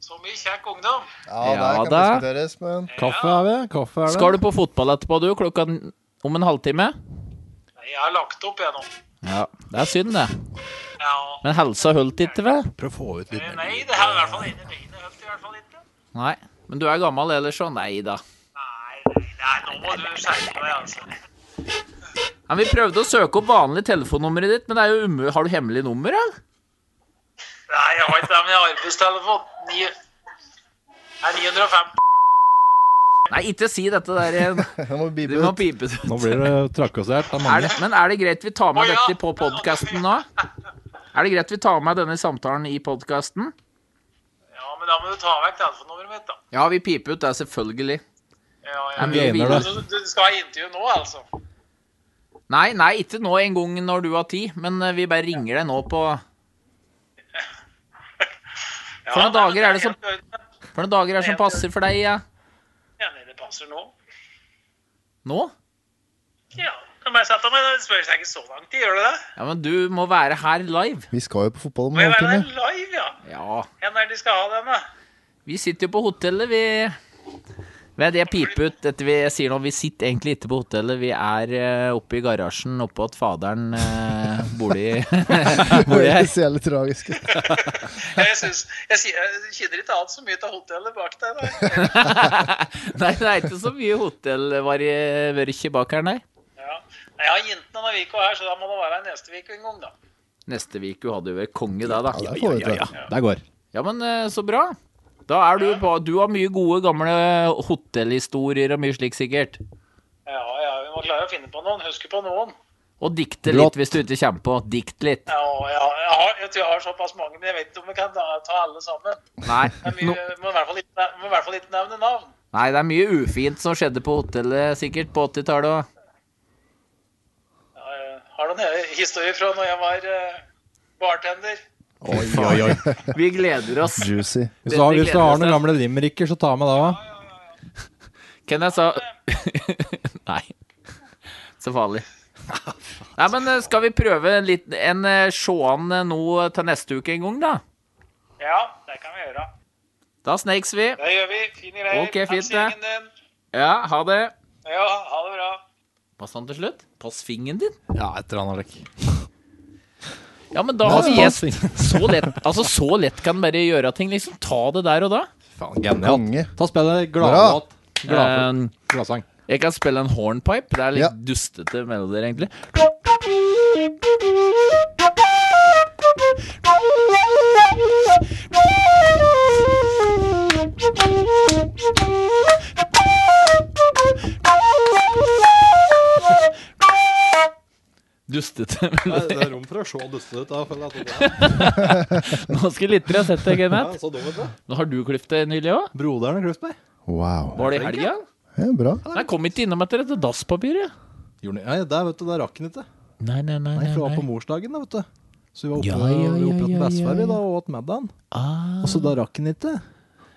Speaker 6: Så mye kjekk ungdom.
Speaker 4: Ja,
Speaker 2: Ja
Speaker 4: det kan
Speaker 2: da.
Speaker 4: diskuteres, men
Speaker 3: Kaffe er vi. Kaffe er det.
Speaker 2: Skal du på fotball etterpå, du? Klokka n- om en halvtime?
Speaker 6: Jeg har lagt opp igjennom.
Speaker 2: Ja. Det er synd, det.
Speaker 6: Ja. Eh,
Speaker 2: Men helsa holdt ikke, vel?
Speaker 3: Prøv å få ut litt mer.
Speaker 6: Nei, det her er i hvert fall inne i mine høft, i hvert fall ikke.
Speaker 2: Nei. Men du er gammel ellers, så nei da.
Speaker 6: Nei, nei, nei, nå må du skjerpe deg, altså.
Speaker 2: Men vi prøvde å søke opp vanlig telefonnummeret ditt, men det er jo umu... Har du hemmelig nummer, eller?
Speaker 6: Nei, jeg har ikke det med arbeidstelefon. Ni... Nei, 905.
Speaker 2: Nei, ikke si dette der igjen.
Speaker 4: jeg må
Speaker 2: Du
Speaker 4: bipe
Speaker 2: må
Speaker 4: ut.
Speaker 2: pipe det ut.
Speaker 3: Nå blir det trakassert av
Speaker 2: Er
Speaker 3: mange.
Speaker 2: det, men er det greit vi tar med
Speaker 6: Å, ja.
Speaker 2: dette på podkasten nå? Er det greit vi tar med denne samtalen i podkasten?
Speaker 6: Ja, men da må du ta vekk telefonnummeret mitt, da.
Speaker 2: Ja, vi piper ut det, selvfølgelig.
Speaker 6: Ja,
Speaker 2: Er
Speaker 6: ja.
Speaker 2: vi
Speaker 3: gainer
Speaker 2: videre?
Speaker 3: det.
Speaker 6: Du, du skal ha intervju nå, altså?
Speaker 2: Nei, nei, ikke nå en gang når du har tid, men eh, vi bare ringer deg nå på
Speaker 6: Ja,
Speaker 2: For noen
Speaker 6: nei, men
Speaker 2: dager er det
Speaker 6: jeg
Speaker 2: som- For noen dager er som passer for deg, ja.
Speaker 6: helt Enig, det passer nå.
Speaker 2: Nå?
Speaker 6: Ja, kan bare sette meg, det spør seg ikke så langt, gjør det det?
Speaker 2: Ja, men du må være her live.
Speaker 4: Vi skal jo på fotball om
Speaker 6: Må
Speaker 4: en
Speaker 6: jeg være der
Speaker 4: halvtime.
Speaker 6: live, ja?
Speaker 2: Ja.
Speaker 6: Hvem er det de skal ha den, da?
Speaker 2: Vi sitter jo på hotellet, vi Vet jeg piper ut dette vi jeg sier nå. Vi sitter egentlig ikke på hotellet. Vi er eh, oppe i garasjen oppe at faderen eh, bor i bor i
Speaker 4: Det
Speaker 2: her.
Speaker 4: ser jævlig tragisk ut.
Speaker 6: Jeg, synes, jeg, sier- jeg kjenner ikke annet så mye til hotellet bak der. da.
Speaker 2: Nei, det er ikke så mye hotellvarievirke bak her, nei.
Speaker 6: Ja. Nei, Jeg har jentene denne uka her, så da må det være neste uke en gang, da.
Speaker 2: Neste uke hadde du vel konge, det, da.
Speaker 4: Ja, det får vi til.
Speaker 3: Der går.
Speaker 2: Ja, men eh, så bra. Da er du på Du har mye gode, gamle hotellhistorier og mye slik, sikkert.
Speaker 6: Ja, ja, vi må klare å finne på noen. Huske på noen.
Speaker 2: Og dikte litt hvis du ikke kommer på. Dikt litt.
Speaker 6: Ja, ja, jeg, har, jeg tror jeg har såpass mange, men jeg vet ikke om vi kan ta, ta alle sammen.
Speaker 2: Nei.
Speaker 6: Men vi
Speaker 2: No.
Speaker 6: må i hvert fall ikke, må i hvert fall ikke nevne navn.
Speaker 2: Nei, det er mye ufint som skjedde på hotellet sikkert på 80-tallet. og-
Speaker 6: Ja, jeg har noen historier fra når jeg var eh, bartender.
Speaker 4: Oi, oi, oi.
Speaker 2: Vi gleder oss.
Speaker 4: Juicy.
Speaker 3: Hvis du har lyst til å ha noen gamle limericker, så ta med det òg.
Speaker 2: Kan jeg sa Nei. Så farlig. Nei, men eh, skal vi prøve en litt, en eh, sjåan eh, nå til neste uke en gang, da?
Speaker 6: Ja, det kan vi gjøre.
Speaker 2: Da snakes vi.
Speaker 6: Det gjør vi. Fine greier.
Speaker 2: Ok, fint,
Speaker 6: Pass gjengen din.
Speaker 2: Ja, ha det.
Speaker 6: Ja, ha det bra.
Speaker 2: Pass han til slutt. Pass fingeren din.
Speaker 3: Ja, et eller annet. like.
Speaker 2: Ja, men da har vi
Speaker 3: pass
Speaker 2: gjest. Så lett, altså, så lett kan bare gjøre ting, liksom. Ta det der og da.
Speaker 3: Faen, genialt.
Speaker 4: Konge.
Speaker 3: Ta og spill en gladlåt. Glad-
Speaker 2: Eh,
Speaker 3: Gladsang.
Speaker 2: Jeg kan spille en hornpipe. Det er litt
Speaker 4: Ja.
Speaker 2: dustete melodier, egentlig. Dustete. men
Speaker 3: Nei, det er rom for å se dusten ut. da, føler jeg at det er.
Speaker 2: Nå skulle litt ha sett det,
Speaker 3: Ja,
Speaker 2: Kenneth.
Speaker 3: så dum ut, da.
Speaker 2: Nå har du klippet det nylig òg?
Speaker 3: Broderen har klippet meg.
Speaker 4: Wow.
Speaker 2: Var det i helga?
Speaker 4: Ja, bra.
Speaker 2: Nei, kom ikke innom etter dette dasspapiret.
Speaker 3: Gjorde den- Nei, der, vet du, der rakk den ikke.
Speaker 2: Nei, nei, nei.
Speaker 3: Nei,
Speaker 2: nei,
Speaker 3: for det var på
Speaker 2: nei.
Speaker 3: morsdagen, da, vet du. Så vi var oppe
Speaker 2: Ja, ja,
Speaker 3: vi var oppe
Speaker 2: ja,
Speaker 3: hos
Speaker 2: ja,
Speaker 3: bestefar vi
Speaker 2: ja,
Speaker 3: da, og åt middagen.
Speaker 2: Ah,
Speaker 3: Og så da rakk han ikke.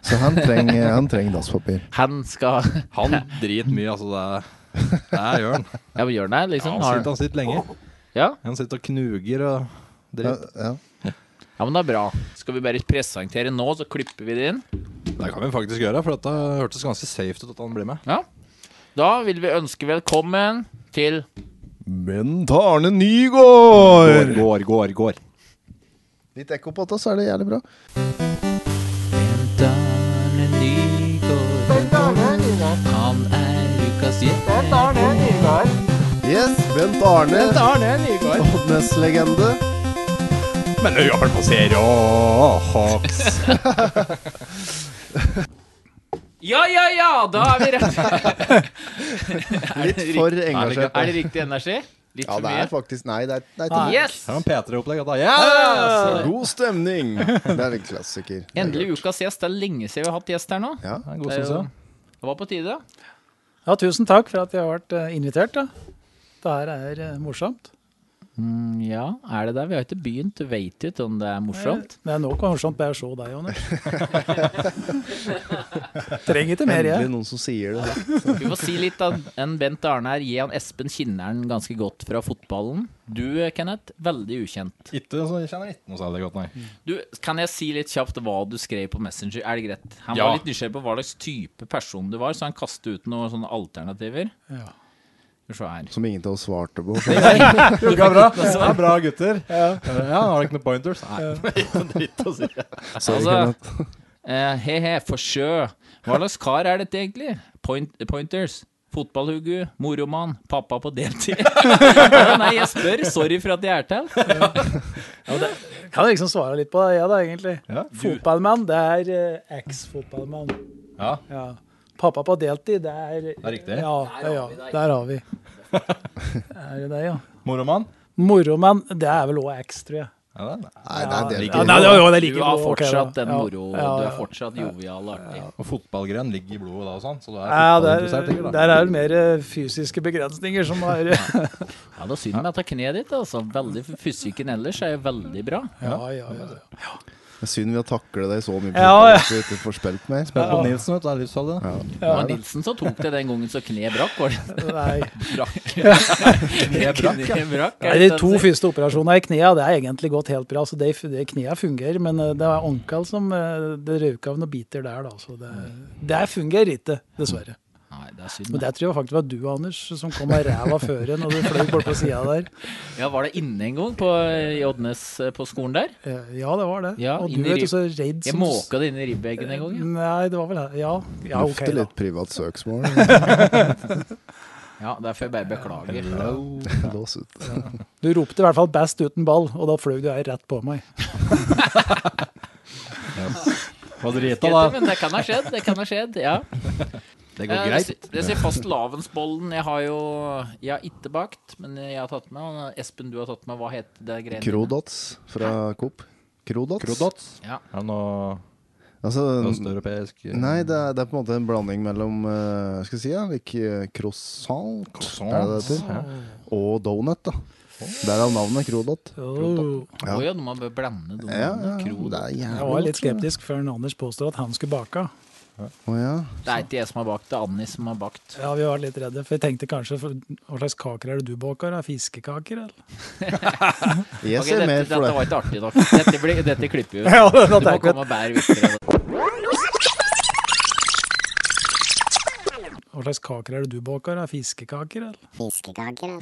Speaker 4: Så han trenger, han trenger dasspapir.
Speaker 2: han skal
Speaker 3: Han driter mye, altså. Det er, det er gjør han.
Speaker 2: Ja, men gjør han det, liksom?
Speaker 3: Han
Speaker 2: Har han-
Speaker 3: sitter, han sitter lenge.
Speaker 2: Ja?
Speaker 3: Han sitter og knuger og
Speaker 4: Ja,
Speaker 3: driter.
Speaker 4: ja.
Speaker 2: ja, men det er bra. Skal vi bare presentere nå, så klipper vi det inn?
Speaker 3: Det kan vi faktisk gjøre, for dette hørtes ganske safe ut at han blir med.
Speaker 2: Ja. Da vil vi ønske velkommen til
Speaker 4: Bent Arne Nygård!
Speaker 3: går, går, går.
Speaker 4: Litt ekko på dette, så er det jævlig bra.
Speaker 2: Arne Nygaard. Han er Lukas Jette.
Speaker 4: Yes, Bent Arne. Bent Arne Nygård. Oddnes-legende.
Speaker 3: Men det gjør han på serie Hawks.
Speaker 2: Ja, ja, ja! Da er vi rett.
Speaker 4: Litt for engasjert.
Speaker 2: Er det riktig energi? Litt
Speaker 4: Ja,
Speaker 2: for
Speaker 4: det
Speaker 2: mye?
Speaker 4: er faktisk Nei, det er, det er ikke-
Speaker 2: Yes!
Speaker 3: Det var en P3-opplegg. dette. Yes!
Speaker 4: God stemning! Det er en klassiker. Det er
Speaker 2: Endelig
Speaker 4: gøy.
Speaker 2: ukas gjest. Det er lenge siden vi har hatt gjest her nå.
Speaker 4: Ja.
Speaker 3: Det er en god
Speaker 2: Det er
Speaker 3: stund
Speaker 2: jo-
Speaker 3: siden.
Speaker 2: Det var på tide.
Speaker 7: Ja, tusen takk for at jeg har vært eh, invitert. Da. Det her er eh, morsomt.
Speaker 2: Mm, ja, er det der? Vi har ikke begynt. Du veit ikke om det er morsomt.
Speaker 7: Men det er nok morsomt bare å se deg, Jonas. Trenger ikke mer,
Speaker 4: Endelig
Speaker 7: jeg.
Speaker 4: noen som sier det.
Speaker 2: Vi må si litt av en Bent Arne her. Gi han Espen Kinneren ganske godt fra fotballen. Du, Kenneth, veldig ukjent.
Speaker 3: Ikke, så jeg kjenner ikke noe særlig godt, nei.
Speaker 2: Du, Kan jeg si litt kjapt hva du skrev på Messenger? Er det greit? Han
Speaker 3: Ja.
Speaker 2: var litt nysgjerrig på hva slags type person du var, så han kastet ut noen sånne alternativer.
Speaker 7: Ja.
Speaker 2: Skal vi se her.
Speaker 4: Som ingen av oss svarte på.
Speaker 3: Funka bra. Det er bra gutter. Ja, Har dere noen pointers? Nei. Dritt å si.
Speaker 4: Sorry,
Speaker 2: Altså-
Speaker 4: Kenneth.
Speaker 2: Eh, He-he, forsjø. Hva slags kar er dette egentlig? Point, pointers. Fotballhugu, moromann, pappa på deltid. Ja, Nei, jeg spør. Sorry for at jeg er til.
Speaker 7: Kan jeg liksom svare litt på det, jeg da, egentlig.
Speaker 3: Ja,
Speaker 7: Fotballmann, det er eh, eks-fotballmann.
Speaker 3: Ja.
Speaker 7: Ja. Pappa på deltid, det er Det
Speaker 3: er riktig.
Speaker 7: Ja, det, ja. Der har vi. Er det det, ja.
Speaker 3: Moromann?
Speaker 7: Moromann, det er vel òg eks, tror jeg.
Speaker 3: Ja, det er det.
Speaker 4: Nei, det er det.
Speaker 7: Ja, nei, det er jo- det er like
Speaker 2: Du har
Speaker 7: bra, ok, da.
Speaker 2: fortsatt den
Speaker 7: Ja,
Speaker 2: moro.
Speaker 7: ja,
Speaker 2: Du er
Speaker 7: ja.
Speaker 2: fortsatt jovial og artig.
Speaker 3: Og fotballgren ligger i blodet da og sånn, så du er
Speaker 7: Ja, der,
Speaker 3: fotballinteressert, ikke
Speaker 7: der er vel mer eh, fysiske begrensninger som har
Speaker 2: Ja, det er synd med dette kneet ditt. altså. Veldig, Fysikken ellers er jo veldig bra.
Speaker 7: Ja, ja, ja.
Speaker 4: Det er Synd vi har taklet deg så mye på
Speaker 7: Ja, ja.
Speaker 4: at du ikke får spilt mer.
Speaker 3: da? På Nilsen, vet du, det er livsfarlig. det.
Speaker 2: Det var Nilsen som tok det den gangen så kneet brakk. Var det
Speaker 7: Nei.
Speaker 2: brakk? Kneet brakk, ja.
Speaker 7: Nei, de to første operasjonene i knærne det er egentlig gått helt bra. så de, de Knærne fungerer, men eh, det er ankelen som eh, det røk av noen biter der. da, så Det, det fungerer ikke, dessverre.
Speaker 2: Nei, det er synd.
Speaker 7: Men
Speaker 2: da.
Speaker 7: det tror jeg faktisk var du, Anders, som kom med ræva føre når du fløy bort på sida der.
Speaker 2: Ja, Var det inne en gang på i Oddnes eh, på skolen der?
Speaker 7: Eh, Ja, det var det.
Speaker 2: Ja,
Speaker 7: Og
Speaker 2: inn
Speaker 7: du
Speaker 2: i
Speaker 7: er
Speaker 2: riv-
Speaker 7: jo så redd
Speaker 2: Jeg
Speaker 7: som
Speaker 2: måka det inn i ribbeggen en gang. ja.
Speaker 7: Nei, det var vel det. Ja, ja OK,
Speaker 4: Lufte
Speaker 7: da.
Speaker 4: litt privat søksmål.
Speaker 2: Ja, derfor jeg bare beklager.
Speaker 4: Lås ut.
Speaker 7: Du ropte i hvert fall 'best uten ball', og da fløy du her rett på meg.
Speaker 3: Hva drita
Speaker 2: Greit,
Speaker 3: da?
Speaker 2: men det kan ha skjedd. Det kan ha skjedd, ja.
Speaker 3: Det
Speaker 2: Eh,
Speaker 3: går greit.
Speaker 2: Det sier fastelavnsbollen. Jeg har jo Jeg har ikke bakt, men jeg har tatt med og Espen, du har tatt med. Hva het det greiene?
Speaker 4: Krodots fra Coop. Krodots?
Speaker 3: Krodots.
Speaker 2: Ja.
Speaker 3: Er det noe
Speaker 4: Altså,
Speaker 3: østeuropeisk
Speaker 4: nei, det er, det er på en måte en blanding mellom eh, Skal jeg si ja, like eh, croissant,
Speaker 3: Croissant.
Speaker 4: Er det det heter? og donut. da Derav navnet Krodot.
Speaker 7: Oh.
Speaker 4: Ja.
Speaker 2: Å ja, du må bare blande dem.
Speaker 4: Ja, ja,
Speaker 2: Kro-
Speaker 4: det er jævlig
Speaker 7: Jeg var litt
Speaker 4: godt, tror jeg.
Speaker 7: skeptisk før Anders påstod at han skulle bake.
Speaker 4: Å, ja.
Speaker 2: Det er ikke jeg som har bakt, det er Anni som har bakt.
Speaker 7: Ja, vi var litt redde, for jeg tenkte kanskje for, Hva slags kaker er det du baker? da? Fiskekaker, eller?
Speaker 4: Jeg
Speaker 2: Ok,
Speaker 4: ser
Speaker 2: dette,
Speaker 4: mer
Speaker 2: dette
Speaker 4: for det.
Speaker 2: var ikke artig nok. Dette, blir, dette klipper vi ut.
Speaker 7: Ja, det-
Speaker 2: du må
Speaker 7: det er ikke-
Speaker 2: komme og bære videre.
Speaker 7: Hva slags kaker er det du baker? da? Fiskekaker, eller?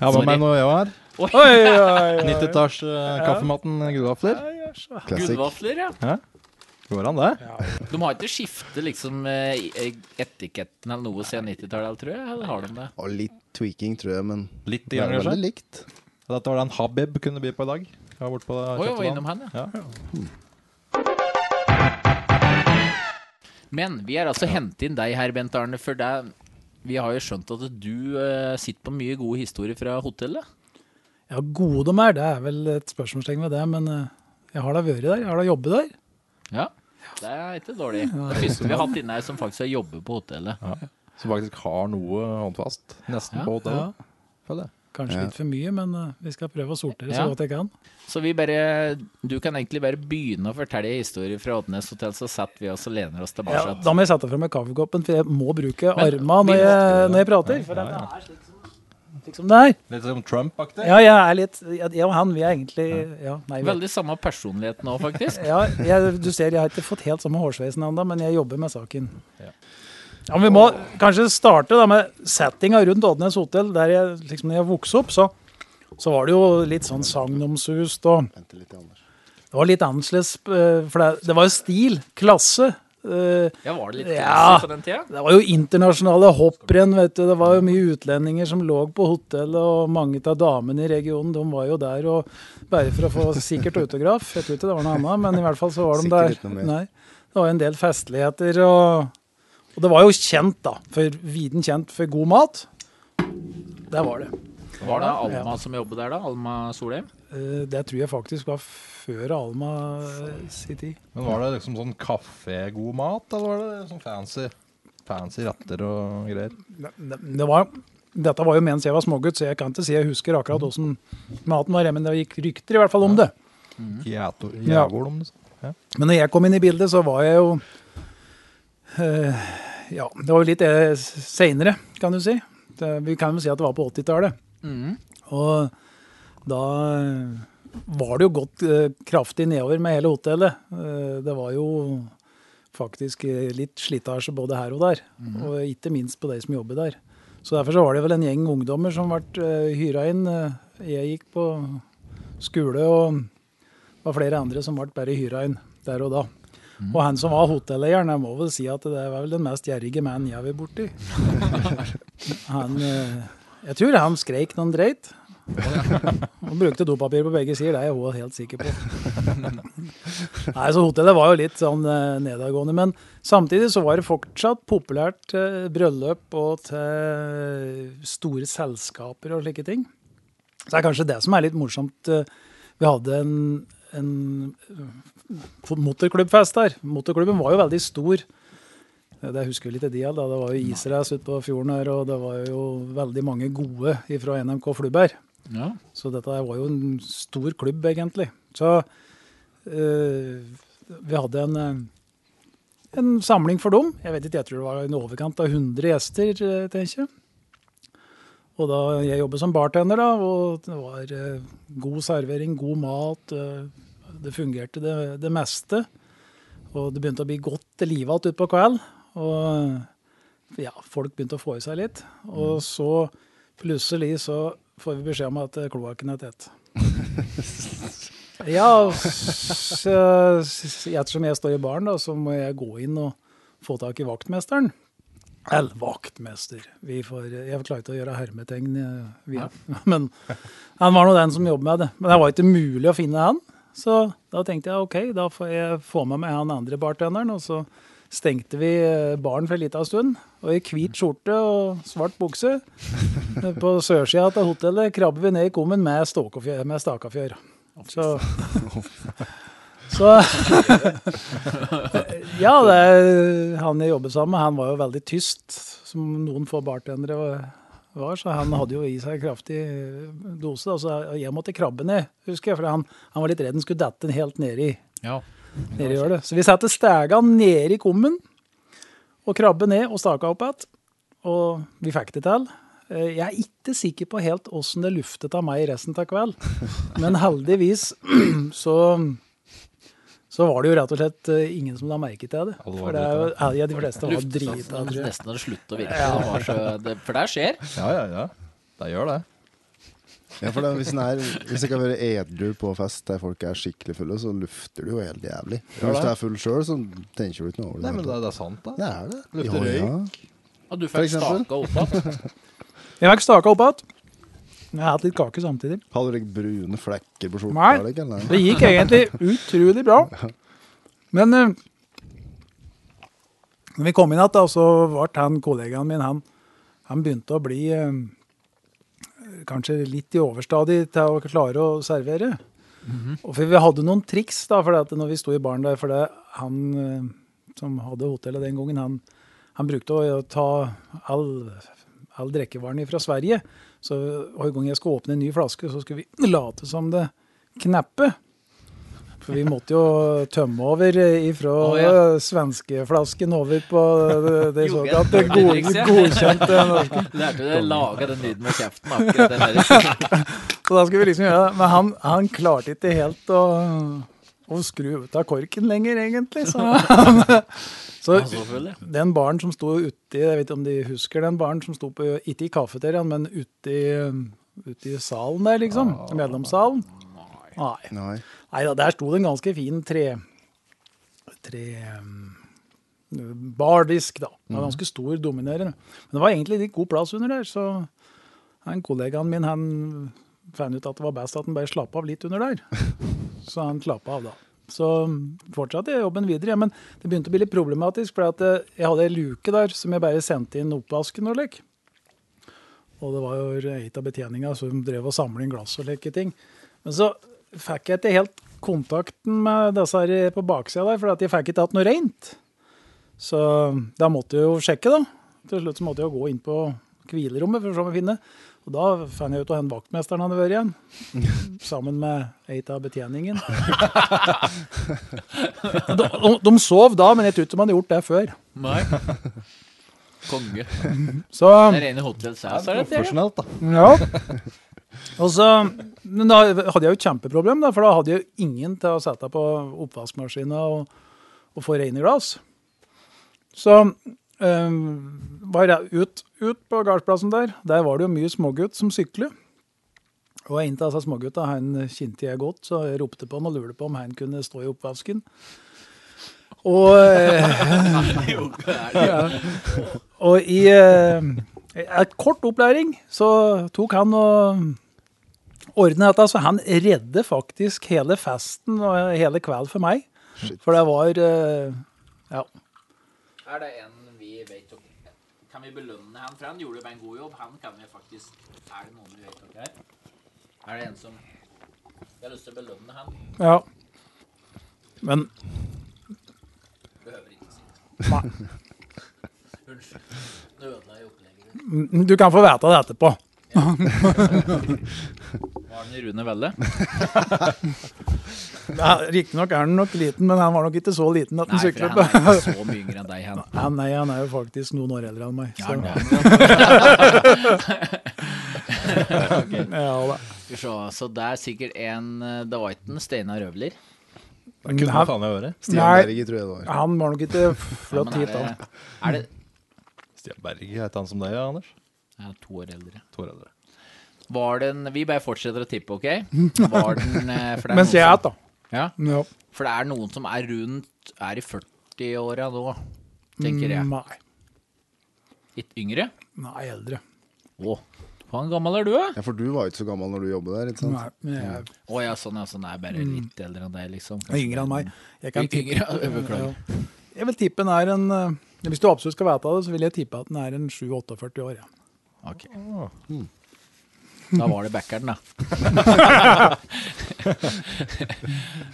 Speaker 3: Ja, hva med
Speaker 2: Sorry.
Speaker 3: noe jeg har?
Speaker 7: Oi, oi, oi.
Speaker 3: 90-talls eh, kaffematen gullvafler.
Speaker 4: Classic.
Speaker 2: Gudvafler, ja.
Speaker 3: Går an, det?
Speaker 2: De har ikke skiftet liksom eh, i- etiketten eller noe siden 90-tallet, tror jeg. Eller har de det?
Speaker 4: Og litt tweaking, tror jeg, men
Speaker 3: Litt
Speaker 4: det
Speaker 3: grann,
Speaker 4: er veldig
Speaker 3: kanskje.
Speaker 4: likt.
Speaker 3: Dette var den Habib kunne by på i dag. Jeg var borte på det
Speaker 2: Oi, jeg
Speaker 3: kjøpte
Speaker 2: var
Speaker 3: den.
Speaker 2: innom han, ja.
Speaker 3: Ja.
Speaker 2: Men vi har altså hentet inn deg her, Bent Arne, for det vi har jo skjønt at du eh, sitter på mye gode historier fra hotellet.
Speaker 7: Ja, gode de er, det er vel et spørsmålstegn ved det, men eh, jeg har da vært der, jeg har da jobbet der.
Speaker 2: Ja. Det er ikke dårlig. Det er første vi har hatt inne her som faktisk har jobbet på hotellet.
Speaker 3: Som faktisk har noe håndfast. Nesten
Speaker 2: Ja,
Speaker 3: på hotellet.
Speaker 7: Ja,
Speaker 3: Føler jeg.
Speaker 7: kanskje litt for mye, men eh, vi skal prøve å sortere så
Speaker 2: Ja.
Speaker 7: godt jeg kan.
Speaker 2: Så vi bare, du kan egentlig bare begynne å fortelle historier fra Oddnes hotell, så setter vi oss og lener oss tilbake.
Speaker 7: Ja, da må jeg sette fra meg kaffekoppen, for jeg må bruke armene
Speaker 2: vi-
Speaker 7: når, jeg- når jeg prater. For det er slik som- slik som det er.
Speaker 3: Litt som Trump-aktig.
Speaker 7: Ja, jeg er litt Jeg jeg og han, vi er egentlig ja, nei, vi,
Speaker 2: Veldig samme personlighet nå, faktisk.
Speaker 7: ja, jeg, Du ser, jeg har ikke fått helt samme hårsveisen ennå, men jeg jobber med saken. Ja, men Vi må kanskje starte da med settinga rundt Oddnes hotell. Der jeg, liksom, når jeg vokste opp, så, så var det jo litt sånn sagnomsust og
Speaker 4: Vent litt, Anders.
Speaker 7: Det var litt annerledes, eh, for det, det var jo stil, klasse. eh,
Speaker 2: Ja, var det litt
Speaker 7: Ja.
Speaker 2: klasse på den tida?
Speaker 7: Det var jo internasjonale hopprenn, vet du. Det var jo mye utlendinger som lå på hotellet, og mange av damene i regionen de var jo der og bare for å få sikkert autograf. Jeg tror ikke det var noe annet, men i hvert fall så var de
Speaker 4: Sikkert
Speaker 7: der.
Speaker 4: ikke noe mer.
Speaker 7: Nei, det var jo en del festligheter, og, og det var jo kjent, da. For viden kjent for god mat. Der var det.
Speaker 2: Var det Alma som jobbet der da? Alma Solheim?
Speaker 7: Eh, Det tror jeg faktisk var før Alma eh, sin tid.
Speaker 3: Men var det liksom sånn kaffe-god mat, eller var det sånn fancy? Fancy retter og greier.
Speaker 7: det, det var, dette var jo mens jeg var smågutt, så jeg kan ikke si jeg husker akkurat hvordan maten var, men det gikk rykter i hvert fall om det.
Speaker 3: Jæto-
Speaker 7: Ja.
Speaker 3: Jævol, om det så. Ja.
Speaker 7: Men når jeg kom inn i bildet, så var jeg jo eh, Ja, det var jo litt eh, seinere, kan du si. Det, vi kan jo si at det var på 80-tallet. Og da eh, var det jo gått eh, kraftig nedover med hele hotellet. Eh, det var jo faktisk eh, litt slitasje både her og der, og ikke minst på de som jobber der. Så derfor så var det vel en gjeng ungdommer som ble uh, hyra inn. Eh, jeg gikk på skole, og det var flere andre som ble bare hyra inn der og da. Og han som var hotelleieren, jeg må vel si at det var vel den mest gjerrige mannen jeg har vært borti. han, eh, jeg tror han skreik når han dreit. Og brukte dopapir på begge sider, det er jeg også helt sikker på. Nei, så Hotellet var jo litt sånn eh, nedadgående, men samtidig så var det fortsatt populært til bryllup og til store selskaper og slike ting. Så det er kanskje det som er litt morsomt. eh, Vi hadde en, en eh, motorklubbfest der. Motorklubben var jo veldig stor. Eh, Det husker vi litt i de, da. Det var jo israce ute på fjorden her, og det var jo veldig mange gode fra NMK Flubber.
Speaker 2: Ja.
Speaker 7: Så dette her var jo en stor klubb, egentlig. Så eh, vi hadde en, eh, en samling for dem. Jeg vet ikke, jeg tror det var i overkant av 100 gjester, eh, tenker jeg. Og da jeg jobbet som bartender, da, og det var eh, god servering, god mat. eh, det fungerte det, det meste. Og det begynte å bli godt liv igjen utpå kvelden. Og ja, folk begynte å få i seg litt. Og så Plutselig så får vi beskjed om at eh, kloakken er tett. Ja, så, så- ettersom jeg står i baren, da, så må jeg gå inn og få tak i vaktmesteren. Eller vaktmester. Vi får, jeg klarer ikke å gjøre hermetegn, eh, vi, men han var nå den som jobbet med det. Men det var ikke mulig å finne han, så da tenkte jeg OK, da får jeg få med meg han andre bartenderen. Og så stengte vi eh, baren for en liten stund. Og i hvit skjorte og svart bukse på sørsida til hotellet krabber vi ned i kummen med, Ståkefjør, med Stakafjør. Så, så Ja, det er, han jeg jobbet sammen med, han var jo veldig tyst, som noen få bartendere var. Så han hadde jo i seg kraftig eh, dose. Da, så jeg måtte krabbe ned, husker jeg. For han, han var litt redd han skulle dette helt nedi
Speaker 2: ja.
Speaker 7: nedi hjørnet. Så vi satte stega ned i kummen, og krabbe ned og staka opp igjen. Og vi fikk det til. Eh, Jeg er ikke sikker på helt åssen det luftet av meg resten av kvelden, men heldigvis så så var det jo rett og slett eh, ingen som la merke til det.
Speaker 3: Alle var
Speaker 7: For det er jo, ja, de fleste var drita,
Speaker 2: Luftesatsen
Speaker 7: tror jeg.
Speaker 2: sånn nesten hadde sluttet å virke. Det var så, det, for det skjer.
Speaker 3: ja, ja, ja. Det gjør det.
Speaker 4: Ja, for det, hvis, den er, hvis jeg kan være edru på fest der folk er skikkelig fulle, så lufter du jo helt jævlig. Men hvis du er full sjøl, så tenker du ikke noe over
Speaker 3: Nei, men
Speaker 4: det.
Speaker 3: det, det er sant, da.
Speaker 4: Det er det.
Speaker 3: Lukter
Speaker 2: Og du
Speaker 4: For
Speaker 2: fikk
Speaker 4: eksempel?
Speaker 2: staka opp igjen.
Speaker 7: Jeg fikk staka opp igjen. Jeg har hatt litt kake samtidig.
Speaker 4: Hadde du ikke brune flekker på skjorta?
Speaker 7: Nei.
Speaker 4: eller ikke, eller?
Speaker 7: Det gikk egentlig utrolig bra. Men eh, når vi kom inn igjen, da, så ble han kollegaen min han, han begynte å bli eh, kanskje litt i overstadig til å klare å servere. Og for vi hadde noen triks da, for at når vi sto i baren der, for det, han eh, som hadde hotellet den gangen, han, han brukte å eh, ta all, all drikkevaren fra Sverige. Så hver gang jeg skulle åpne en ny flaske, så skulle vi late som det kneppe. For vi måtte jo tømme over eh, ifra
Speaker 2: Å, ja.
Speaker 7: eh, svenskeflasken over på det,
Speaker 2: Gjorde
Speaker 7: det
Speaker 2: jeg
Speaker 7: såkalte
Speaker 2: et
Speaker 7: god,
Speaker 2: triks, ja.
Speaker 7: godkjente norske.
Speaker 2: Lærte du å lage den lyden med kjeften? akkurat den der.
Speaker 7: Så da skulle vi liksom gjøre det. Men han, han klarte ikke helt å, å skru ut av korken lenger, egentlig. Så, så
Speaker 2: Så full, ja.
Speaker 7: den baren som sto uti, jeg vet ikke om de husker den baren som sto på, ikke i kafeteriaen, men uti, uti salen der, liksom. Medlemssalen. Nei.
Speaker 4: Nei.
Speaker 7: Nei da, der sto det en ganske fin tre... tre um, bardisk, da. Den var ganske stor, dominerende. Men det var egentlig litt god plass under der, så han kollegaen min han fant ut at det var best at han bare slapp av litt under der. Så han slapp av, da. Så fortsatte jeg jobben videre, ja, men det begynte å bli litt problematisk, for at eh, jeg hadde ei luke der som jeg bare sendte inn oppvasken og lek. Og det var jo ei av betjeninga som drev og samla inn glass og like ting. Men så fikk jeg ikke helt kontakten med disse her på baksida der, for at jeg fikk ikke hatt noe rent. Så da måtte jeg jo sjekke, da. Til slutt så måtte jeg jo gå inn på hvilerommet for å se om jeg finner. Og da fant jeg ut hvor han vaktmesteren hadde vært igjen. Sammen med ei av betjeningen. de, de, de sov da, men jeg tror ikke de hadde gjort det før.
Speaker 2: Nei. Konge.
Speaker 7: Så
Speaker 2: Det er rene Hotel Cæsar, dette. her, ja.
Speaker 4: Profesjonelt, da.
Speaker 7: Ja. Og så, men da hadde jeg jo et kjempeproblem, da, for da hadde jeg jo ingen til å sette på oppvaskmaskina og, og få rene glass. Så eh, var jeg ut, ut på gardsplassen der. Der var det jo mye smågutt som sykler. Og en av disse smågutta han kjente jeg godt, så jeg ropte på han og lurte på om han kunne stå i oppvasken. Og eh, og i eh, et kort opplæring så tok han og ordnet dette. Så han redde faktisk hele festen og hele kvelden for meg. For det var eh, Ja.
Speaker 2: Er det en vi vet om? Kan vi belønne han, for han gjorde jo en god jobb. Han kan vi faktisk Er det noen vi vet om her? Er det en som Jeg har lyst til å belønne han.
Speaker 7: ja. Men
Speaker 2: Behøver ikke si det.
Speaker 7: nei,
Speaker 2: Unnskyld. Nå ødela jeg opplegget ditt.
Speaker 7: m- du kan få vite det etterpå.
Speaker 2: Var den Rune Velle?
Speaker 7: Riktignok er han nok liten, men han var nok ikke så liten at han
Speaker 2: Nei, for
Speaker 7: sykla
Speaker 2: han
Speaker 7: på.
Speaker 2: er ikke så mye yngre enn deg, han.
Speaker 7: Ja, Nei, han er jo faktisk noen år eldre enn meg. Så.
Speaker 2: Ja,
Speaker 7: Ja, da.
Speaker 2: Skal vi se, så altså. det er sikkert en eh, Det var ikke en Steinar Røvler.
Speaker 3: Det kunne
Speaker 7: Nei.
Speaker 3: faen meg være.
Speaker 4: Stian
Speaker 7: Nei.
Speaker 4: Berge, tror jeg det var.
Speaker 7: Han var nok ikke
Speaker 2: Ja,
Speaker 7: flott
Speaker 2: men
Speaker 7: hit,
Speaker 2: er
Speaker 7: da.
Speaker 2: det, er det
Speaker 3: Stian Berge heter han som deg, ja, Anders?
Speaker 2: ja, to år eldre.
Speaker 3: To år eldre.
Speaker 2: Var den Vi bare fortsetter å tippe, OK? Var den eh, for det er
Speaker 7: Mens jeg
Speaker 2: noen
Speaker 7: er,
Speaker 2: som-
Speaker 7: da.
Speaker 2: Ja,
Speaker 7: Ja.
Speaker 2: For det er noen som er rundt Er i 40-åra nå, tenker jeg.
Speaker 7: Nei.
Speaker 2: Litt yngre?
Speaker 7: Nei, eldre.
Speaker 2: Å, hvor gammel er du, da?
Speaker 4: Ja, for du var jo ikke så gammel når du jobbet der, ikke sant?
Speaker 7: Nei, men jeg
Speaker 2: Å ja, sånn, ja, sånn er bare litt eldre enn deg, liksom.
Speaker 7: er Mm. yngre enn meg. Jeg, kan tippe,
Speaker 2: Yngre, ja, beklager.
Speaker 7: Ja. jeg vil tippe den er en eh, Hvis du absolutt skal vite det, så vil jeg tippe at den er en 7-48 år. Ja.
Speaker 2: Ok. Da var det backeren, da.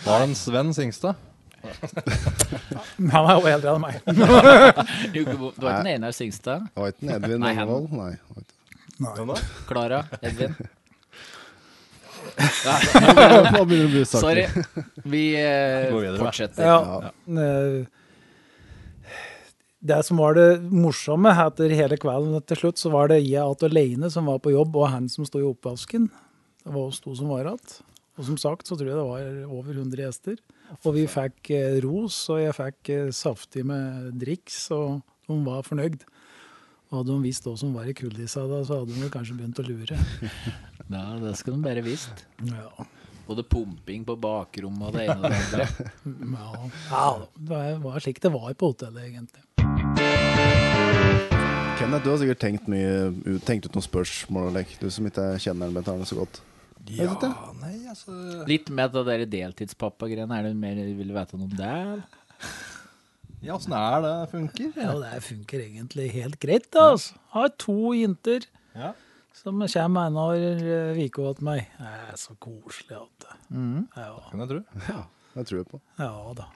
Speaker 3: Var det en Sven Singstad?
Speaker 7: Men Han er jo eldre enn meg.
Speaker 2: Du, du var ikke den ene her, Singstad?
Speaker 4: Det var ikke en Edvin
Speaker 2: Nei, han-
Speaker 4: Engevold? Nei. det var ikke-
Speaker 2: Klara? Edvin?
Speaker 4: Nå begynner det å bli saker.
Speaker 2: Sorry. Vi eh,
Speaker 3: Gå videre, da.
Speaker 2: fortsetter.
Speaker 7: Ja. Eh, Det som var det morsomme etter hele kvelden til slutt, så var det jeg at alene som var på jobb, og han som sto i oppvasken. Det var oss to som var igjen. Og som sagt så tror jeg det var over 100 gjester. Og vi fikk eh, ros, og jeg fikk eh, saftig med driks, og de var fornøyd. Og hadde de visst hva som var i kulissa da, så hadde de vel kanskje begynt å lure.
Speaker 2: Ja, det skulle de bare visst.
Speaker 7: Ja,
Speaker 2: Både pumping på bakrommet og det ene og det andre.
Speaker 7: ja. ja det var slik det var på hotellet, egentlig.
Speaker 4: Kenneth, du har sikkert tenkt, mye, ut- tenkt ut noen spørsmål, Lek. du som ikke kjenner veteranene så godt.
Speaker 3: Ja, nei, altså
Speaker 2: Litt med det der deltidspappa-greiene. Er det mer vil du vite noe om det?
Speaker 3: Ja, åssen er det funker?
Speaker 7: Ja, det funker egentlig helt greit, da. Altså. Har to jenter
Speaker 3: Ja.
Speaker 7: som kommer eh, annenhver uke til meg. Det er så koselig. At det. Ja,
Speaker 3: Kan jeg tro.
Speaker 4: Det tror jeg på.
Speaker 7: ja da.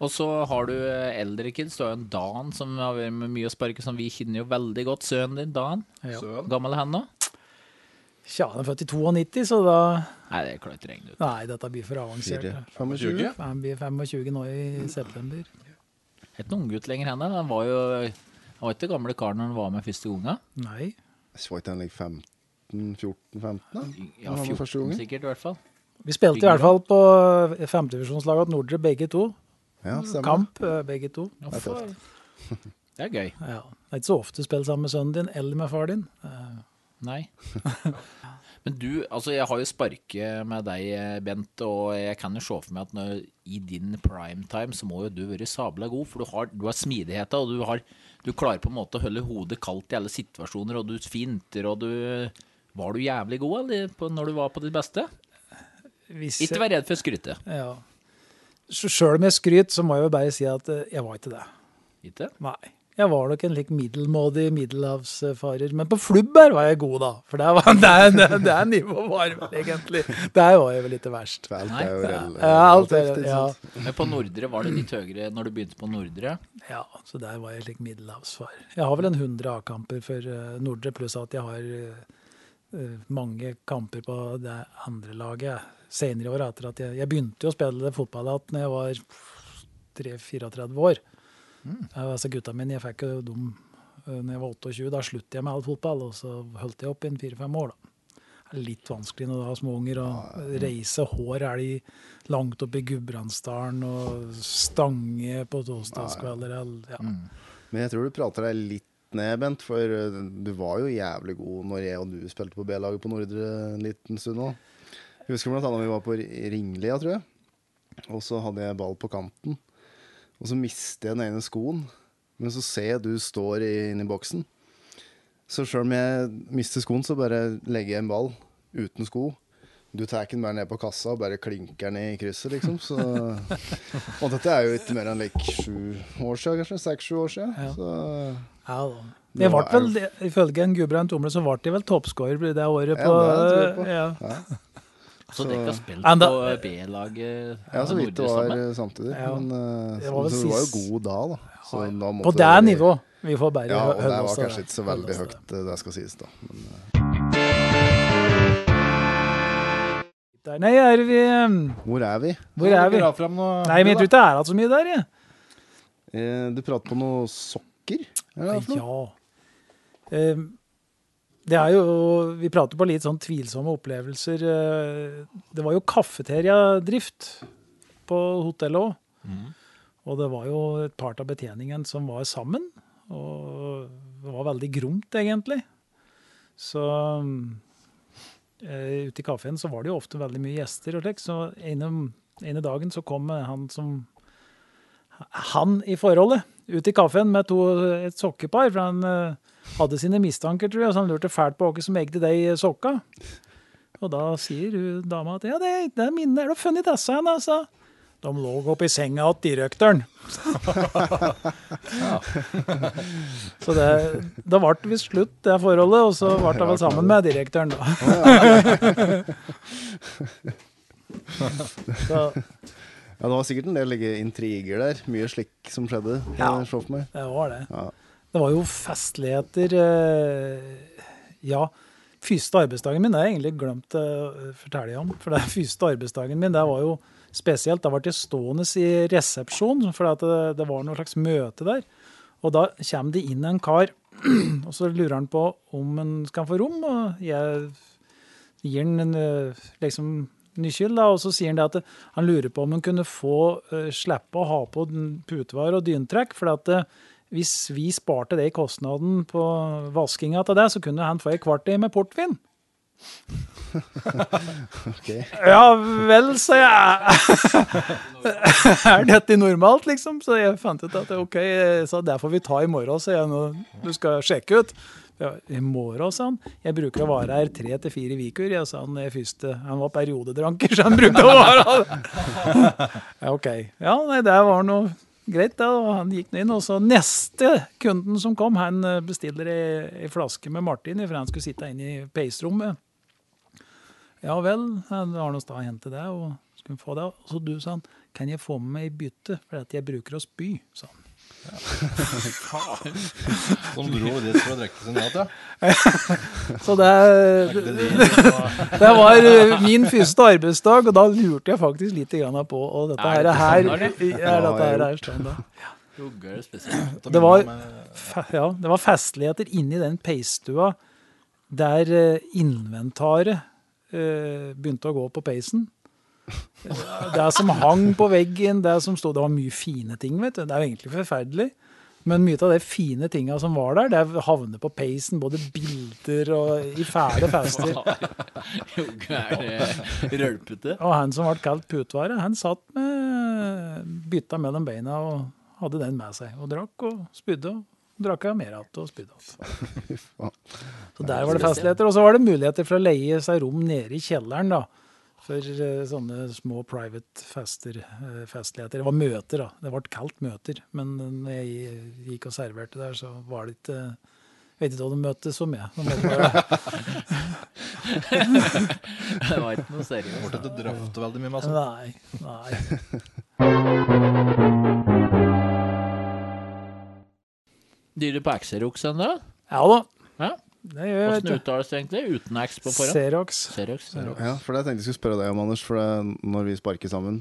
Speaker 2: Og så har du eh, eldre kids. Du har jo en Dan som har vært med mye å sparke, som vi kjenner jo veldig godt. Sønnen din, Dan.
Speaker 7: Ja.
Speaker 2: Gammel er han nå?
Speaker 7: Tja, den er født i 92, så da
Speaker 2: Nei, det klarer jeg ikke å regne ut.
Speaker 7: Nei, dette blir for avansert.
Speaker 4: Fire,
Speaker 7: da.
Speaker 4: fem og tjue.
Speaker 7: Han blir 25 nå i september.
Speaker 2: Det er ikke noen unggutt lenger, henne. Han var jo han var ikke gamle karen når han var med første gangen.
Speaker 7: Nei.
Speaker 4: Så ikke han like 15-14-15, da?
Speaker 2: Ja,
Speaker 4: Han var
Speaker 2: 14
Speaker 4: første gangen.
Speaker 2: sikkert, i hvert fall.
Speaker 7: Vi spilte i hvert fall på eh, femtedivisjonslaget til Nordre, begge to.
Speaker 4: Ja, stemmer.
Speaker 7: Kamp, eh, begge to.
Speaker 2: Ja, for- Det er gøy.
Speaker 7: Ja. Det er ikke så ofte du spiller sammen med sønnen din eller med far din. Eh,
Speaker 2: Nei. Men du, altså jeg har jo sparket med deg, Bent, og jeg kan jo se for meg at når, i din primetime så må jo du være sabla god, for du har, du har smidigheta, og du, har, du klarer på en måte å holde hodet kaldt i alle situasjoner, og du finter, og du Var du jævlig god, eller, på, når du var på ditt beste?
Speaker 7: hvis jeg-
Speaker 2: Ikke vær redd for å skryte.
Speaker 7: Ja. Så Sjøl med skryt så må jeg jo bare si at eh, jeg var ikke det.
Speaker 2: Ikke?
Speaker 7: Nei. Jeg var nok en litt middelmådig middelhavsfarer. Men på flubber var jeg god, da. For det, var, det, er- det, det er nivået var vel egentlig. Der var jeg vel ikke verst.
Speaker 4: Alt
Speaker 2: Nei,
Speaker 4: er jo rel-
Speaker 7: Ja, eh, alt er,
Speaker 4: relativt, ikke
Speaker 7: ja.
Speaker 4: sant?
Speaker 2: Men på Nordre var det litt høyere når du begynte på Nordre.
Speaker 7: ja, så der var jeg litt middelhavsfarer. Jeg har vel en 100 A-kamper for eh, Nordre, pluss at jeg har eh, eh, mange kamper på det andre laget senere i år. Etter at jeg, jeg begynte jo å spille fotball igjen da jeg var 3-34 år. Jeg, altså Gutta mine, jeg fikk jo dem eh, når jeg var 28. Da sluttet jeg med all fotball, og så holdt jeg opp i en fire-fem år. da. Det er litt vanskelig når du har småunger å reise hår elg langt opp i Gudbrandsdalen og stange på torsdagskvelder. eller- Ja.
Speaker 4: Men jeg tror du prater deg litt ned, Bent, for eh, du var jo jævlig god når jeg og du spilte på B-laget på Nordre en liten stund òg. Jeg husker blant annet vi var på Ri- Ringlia, tror jeg. Og så hadde jeg ball på kanten. Og så mister jeg den ene skoen. Men så ser jeg du står i- inne i boksen. Så sjøl om jeg mister skoen, så bare legger jeg en ball uten sko. Du tar den bare ned på kassa og bare klinker den i krysset, liksom. Så og dette er jo ikke mer enn like sju år siden, kanskje. Seks-sju år siden.
Speaker 7: Ja.
Speaker 4: Så
Speaker 7: Ja, da.
Speaker 4: Det
Speaker 7: Jeg ble
Speaker 4: var-
Speaker 7: vel, det- ifølge en Gudbrand Tomle så ble jeg vel toppskårer det året
Speaker 4: Ja, det tror jeg
Speaker 7: på
Speaker 4: på.
Speaker 7: ja.
Speaker 2: Så, dere har spilt
Speaker 7: Enda-
Speaker 2: på eh, B-laget
Speaker 4: ja, så
Speaker 2: på
Speaker 4: vidt det
Speaker 2: Nordre
Speaker 4: var
Speaker 2: sammen?
Speaker 4: eh, samtidig.
Speaker 7: Ja.
Speaker 4: Men eh,
Speaker 7: Det var vel
Speaker 4: så du var jo
Speaker 7: sist-
Speaker 4: god da, da. Så da måtte
Speaker 7: På det nivået. Vi får bare
Speaker 4: Ja, og det
Speaker 7: holde oss
Speaker 4: var
Speaker 7: til
Speaker 4: kanskje ikke så veldig
Speaker 7: Holde oss
Speaker 4: høyt, eh, det skal sies, da. Men
Speaker 7: til det. Nei, er vi eh,
Speaker 4: hvor er vi?
Speaker 7: Hvor er vi?
Speaker 3: Dra frem noe,
Speaker 7: Nei, men jeg tror ikke det er alt så mye der, jeg.
Speaker 4: Eh, Du prater på noe sokker? Er det for noe?
Speaker 7: Ja. Eh, Det er jo Vi prater på litt sånn tvilsomme opplevelser. Eh, Det var jo kafeteriadrift på hotellet òg.
Speaker 4: Mm.
Speaker 7: Og det var jo et par av betjeningen som var sammen. Og det var veldig gromt, egentlig. Så eh, ute i kafeen så var det jo ofte veldig mye gjester og slik, så ene, ene dagen så kom eh, han som han i forholdet ut i kaffen med to, et sokkepar, for han eh, hadde sine mistanker, tror jeg, så han lurte fælt på hvem som eide de sokka. Og da sier hun dama at ja, det, det er mine, er du funnet disse hen, altså? De lå oppi senga til direktøren. så det, da ble det visst slutt, det forholdet, og så ble det vel sammen med direktøren, da. så
Speaker 4: Ja, det var sikkert en del like, intriger der. Mye slikk som skjedde. eh, kan
Speaker 7: Ja.
Speaker 4: jeg se for meg.
Speaker 7: Det var det.
Speaker 4: Ja.
Speaker 7: Det var jo festligheter. eh, Ja, første arbeidsdagen min det har jeg egentlig glemt eh, å fortelle om. For det første arbeidsdagen min det var jo spesielt. Da ble jeg stående i resepsjon, for at det, det var noe slags møte der. Og da kommer det inn en kar, og så lurer han på om han skal få rom. Og jeg gir han en eh, liksom nøkkel, da, og så sier han det at eh, han lurer på om han kunne få eh, slippe å ha på den- putevar og dyntrekk. For at eh, hvis vi sparte det i kostnaden på vaskinga til det, så kunne han få ei kvart i med portvin.
Speaker 4: Ok.
Speaker 7: Ja vel, sier jeg. er dette normalt, liksom? Så jeg fant ut at OK, så det får vi ta i morgen, sier jeg når du skal sjekke ut. Ja, I morgen, sa han. Jeg bruker å være her tre til fire uker. Jeg sa han er første Han var periodedranker, så han brukte å være her. ja, OK. Ja, nei, det var noe greit, da. Og han gikk nå inn. Og så neste kunden som kom, han eh, bestiller ei, ei flaske med Martin, for han skulle sitte inne i peisrommet. Ja vel, han har nå stad hen til deg, og skulle få det. Og så du, sa han, kan jeg få med meg ei bytte, for at jeg bruker å spy, sa han.
Speaker 3: Som dro dit for å drikke sin mat, ja.
Speaker 7: Så det, det var eh, min første arbeidsdag, og da lurte jeg faktisk litt grann på og dette
Speaker 2: Er
Speaker 7: her,
Speaker 2: det
Speaker 7: her,
Speaker 2: standard, det?
Speaker 7: er dette her er standard.
Speaker 2: Jogger det spesielt.
Speaker 7: Det var, fe- ja, det var festligheter inni den peisstua der eh, inventaret eh, begynte å gå på peisen. Eh, Det som hang på veggen, det som stod, det var mye fine ting, vet du. Det er jo egentlig forferdelig. Men mye av de fine tinga som var der, det havner på peisen. Både bilder og i fæle fester.
Speaker 2: Jogger det rølpete.
Speaker 7: Og han som ble kalt putvare, han satt med bytta mellom beina og hadde den med seg. Og drakk og spydde og drakk av mer igjen og spydde igjen. Så der var det festligheter. Og så var det muligheter for å leie seg rom nede i kjelleren, da. For eh, sånne små private fester, eh, festligheter. Det var møter, da. Det ble kalt møter. Men når jeg gikk og serverte der, så var det ikke jeg vet ikke hva de møtes om, jeg. De måtte bare-
Speaker 2: Det var ikke noe seriøst.
Speaker 3: Borte til drøfte veldig mye masse.
Speaker 7: Altså, Nei. nei.
Speaker 2: Dyrer på Xerox ennå?
Speaker 7: Ja da.
Speaker 2: Ja.
Speaker 7: Det gjør jeg, vet du.
Speaker 2: Åssen uttales det egentlig? Uten X på forhånd?
Speaker 7: Xerox.
Speaker 2: Xerox.
Speaker 4: Ja, for det jeg tenkte jeg skulle spørre deg om, Anders. For det, når vi sparker sammen,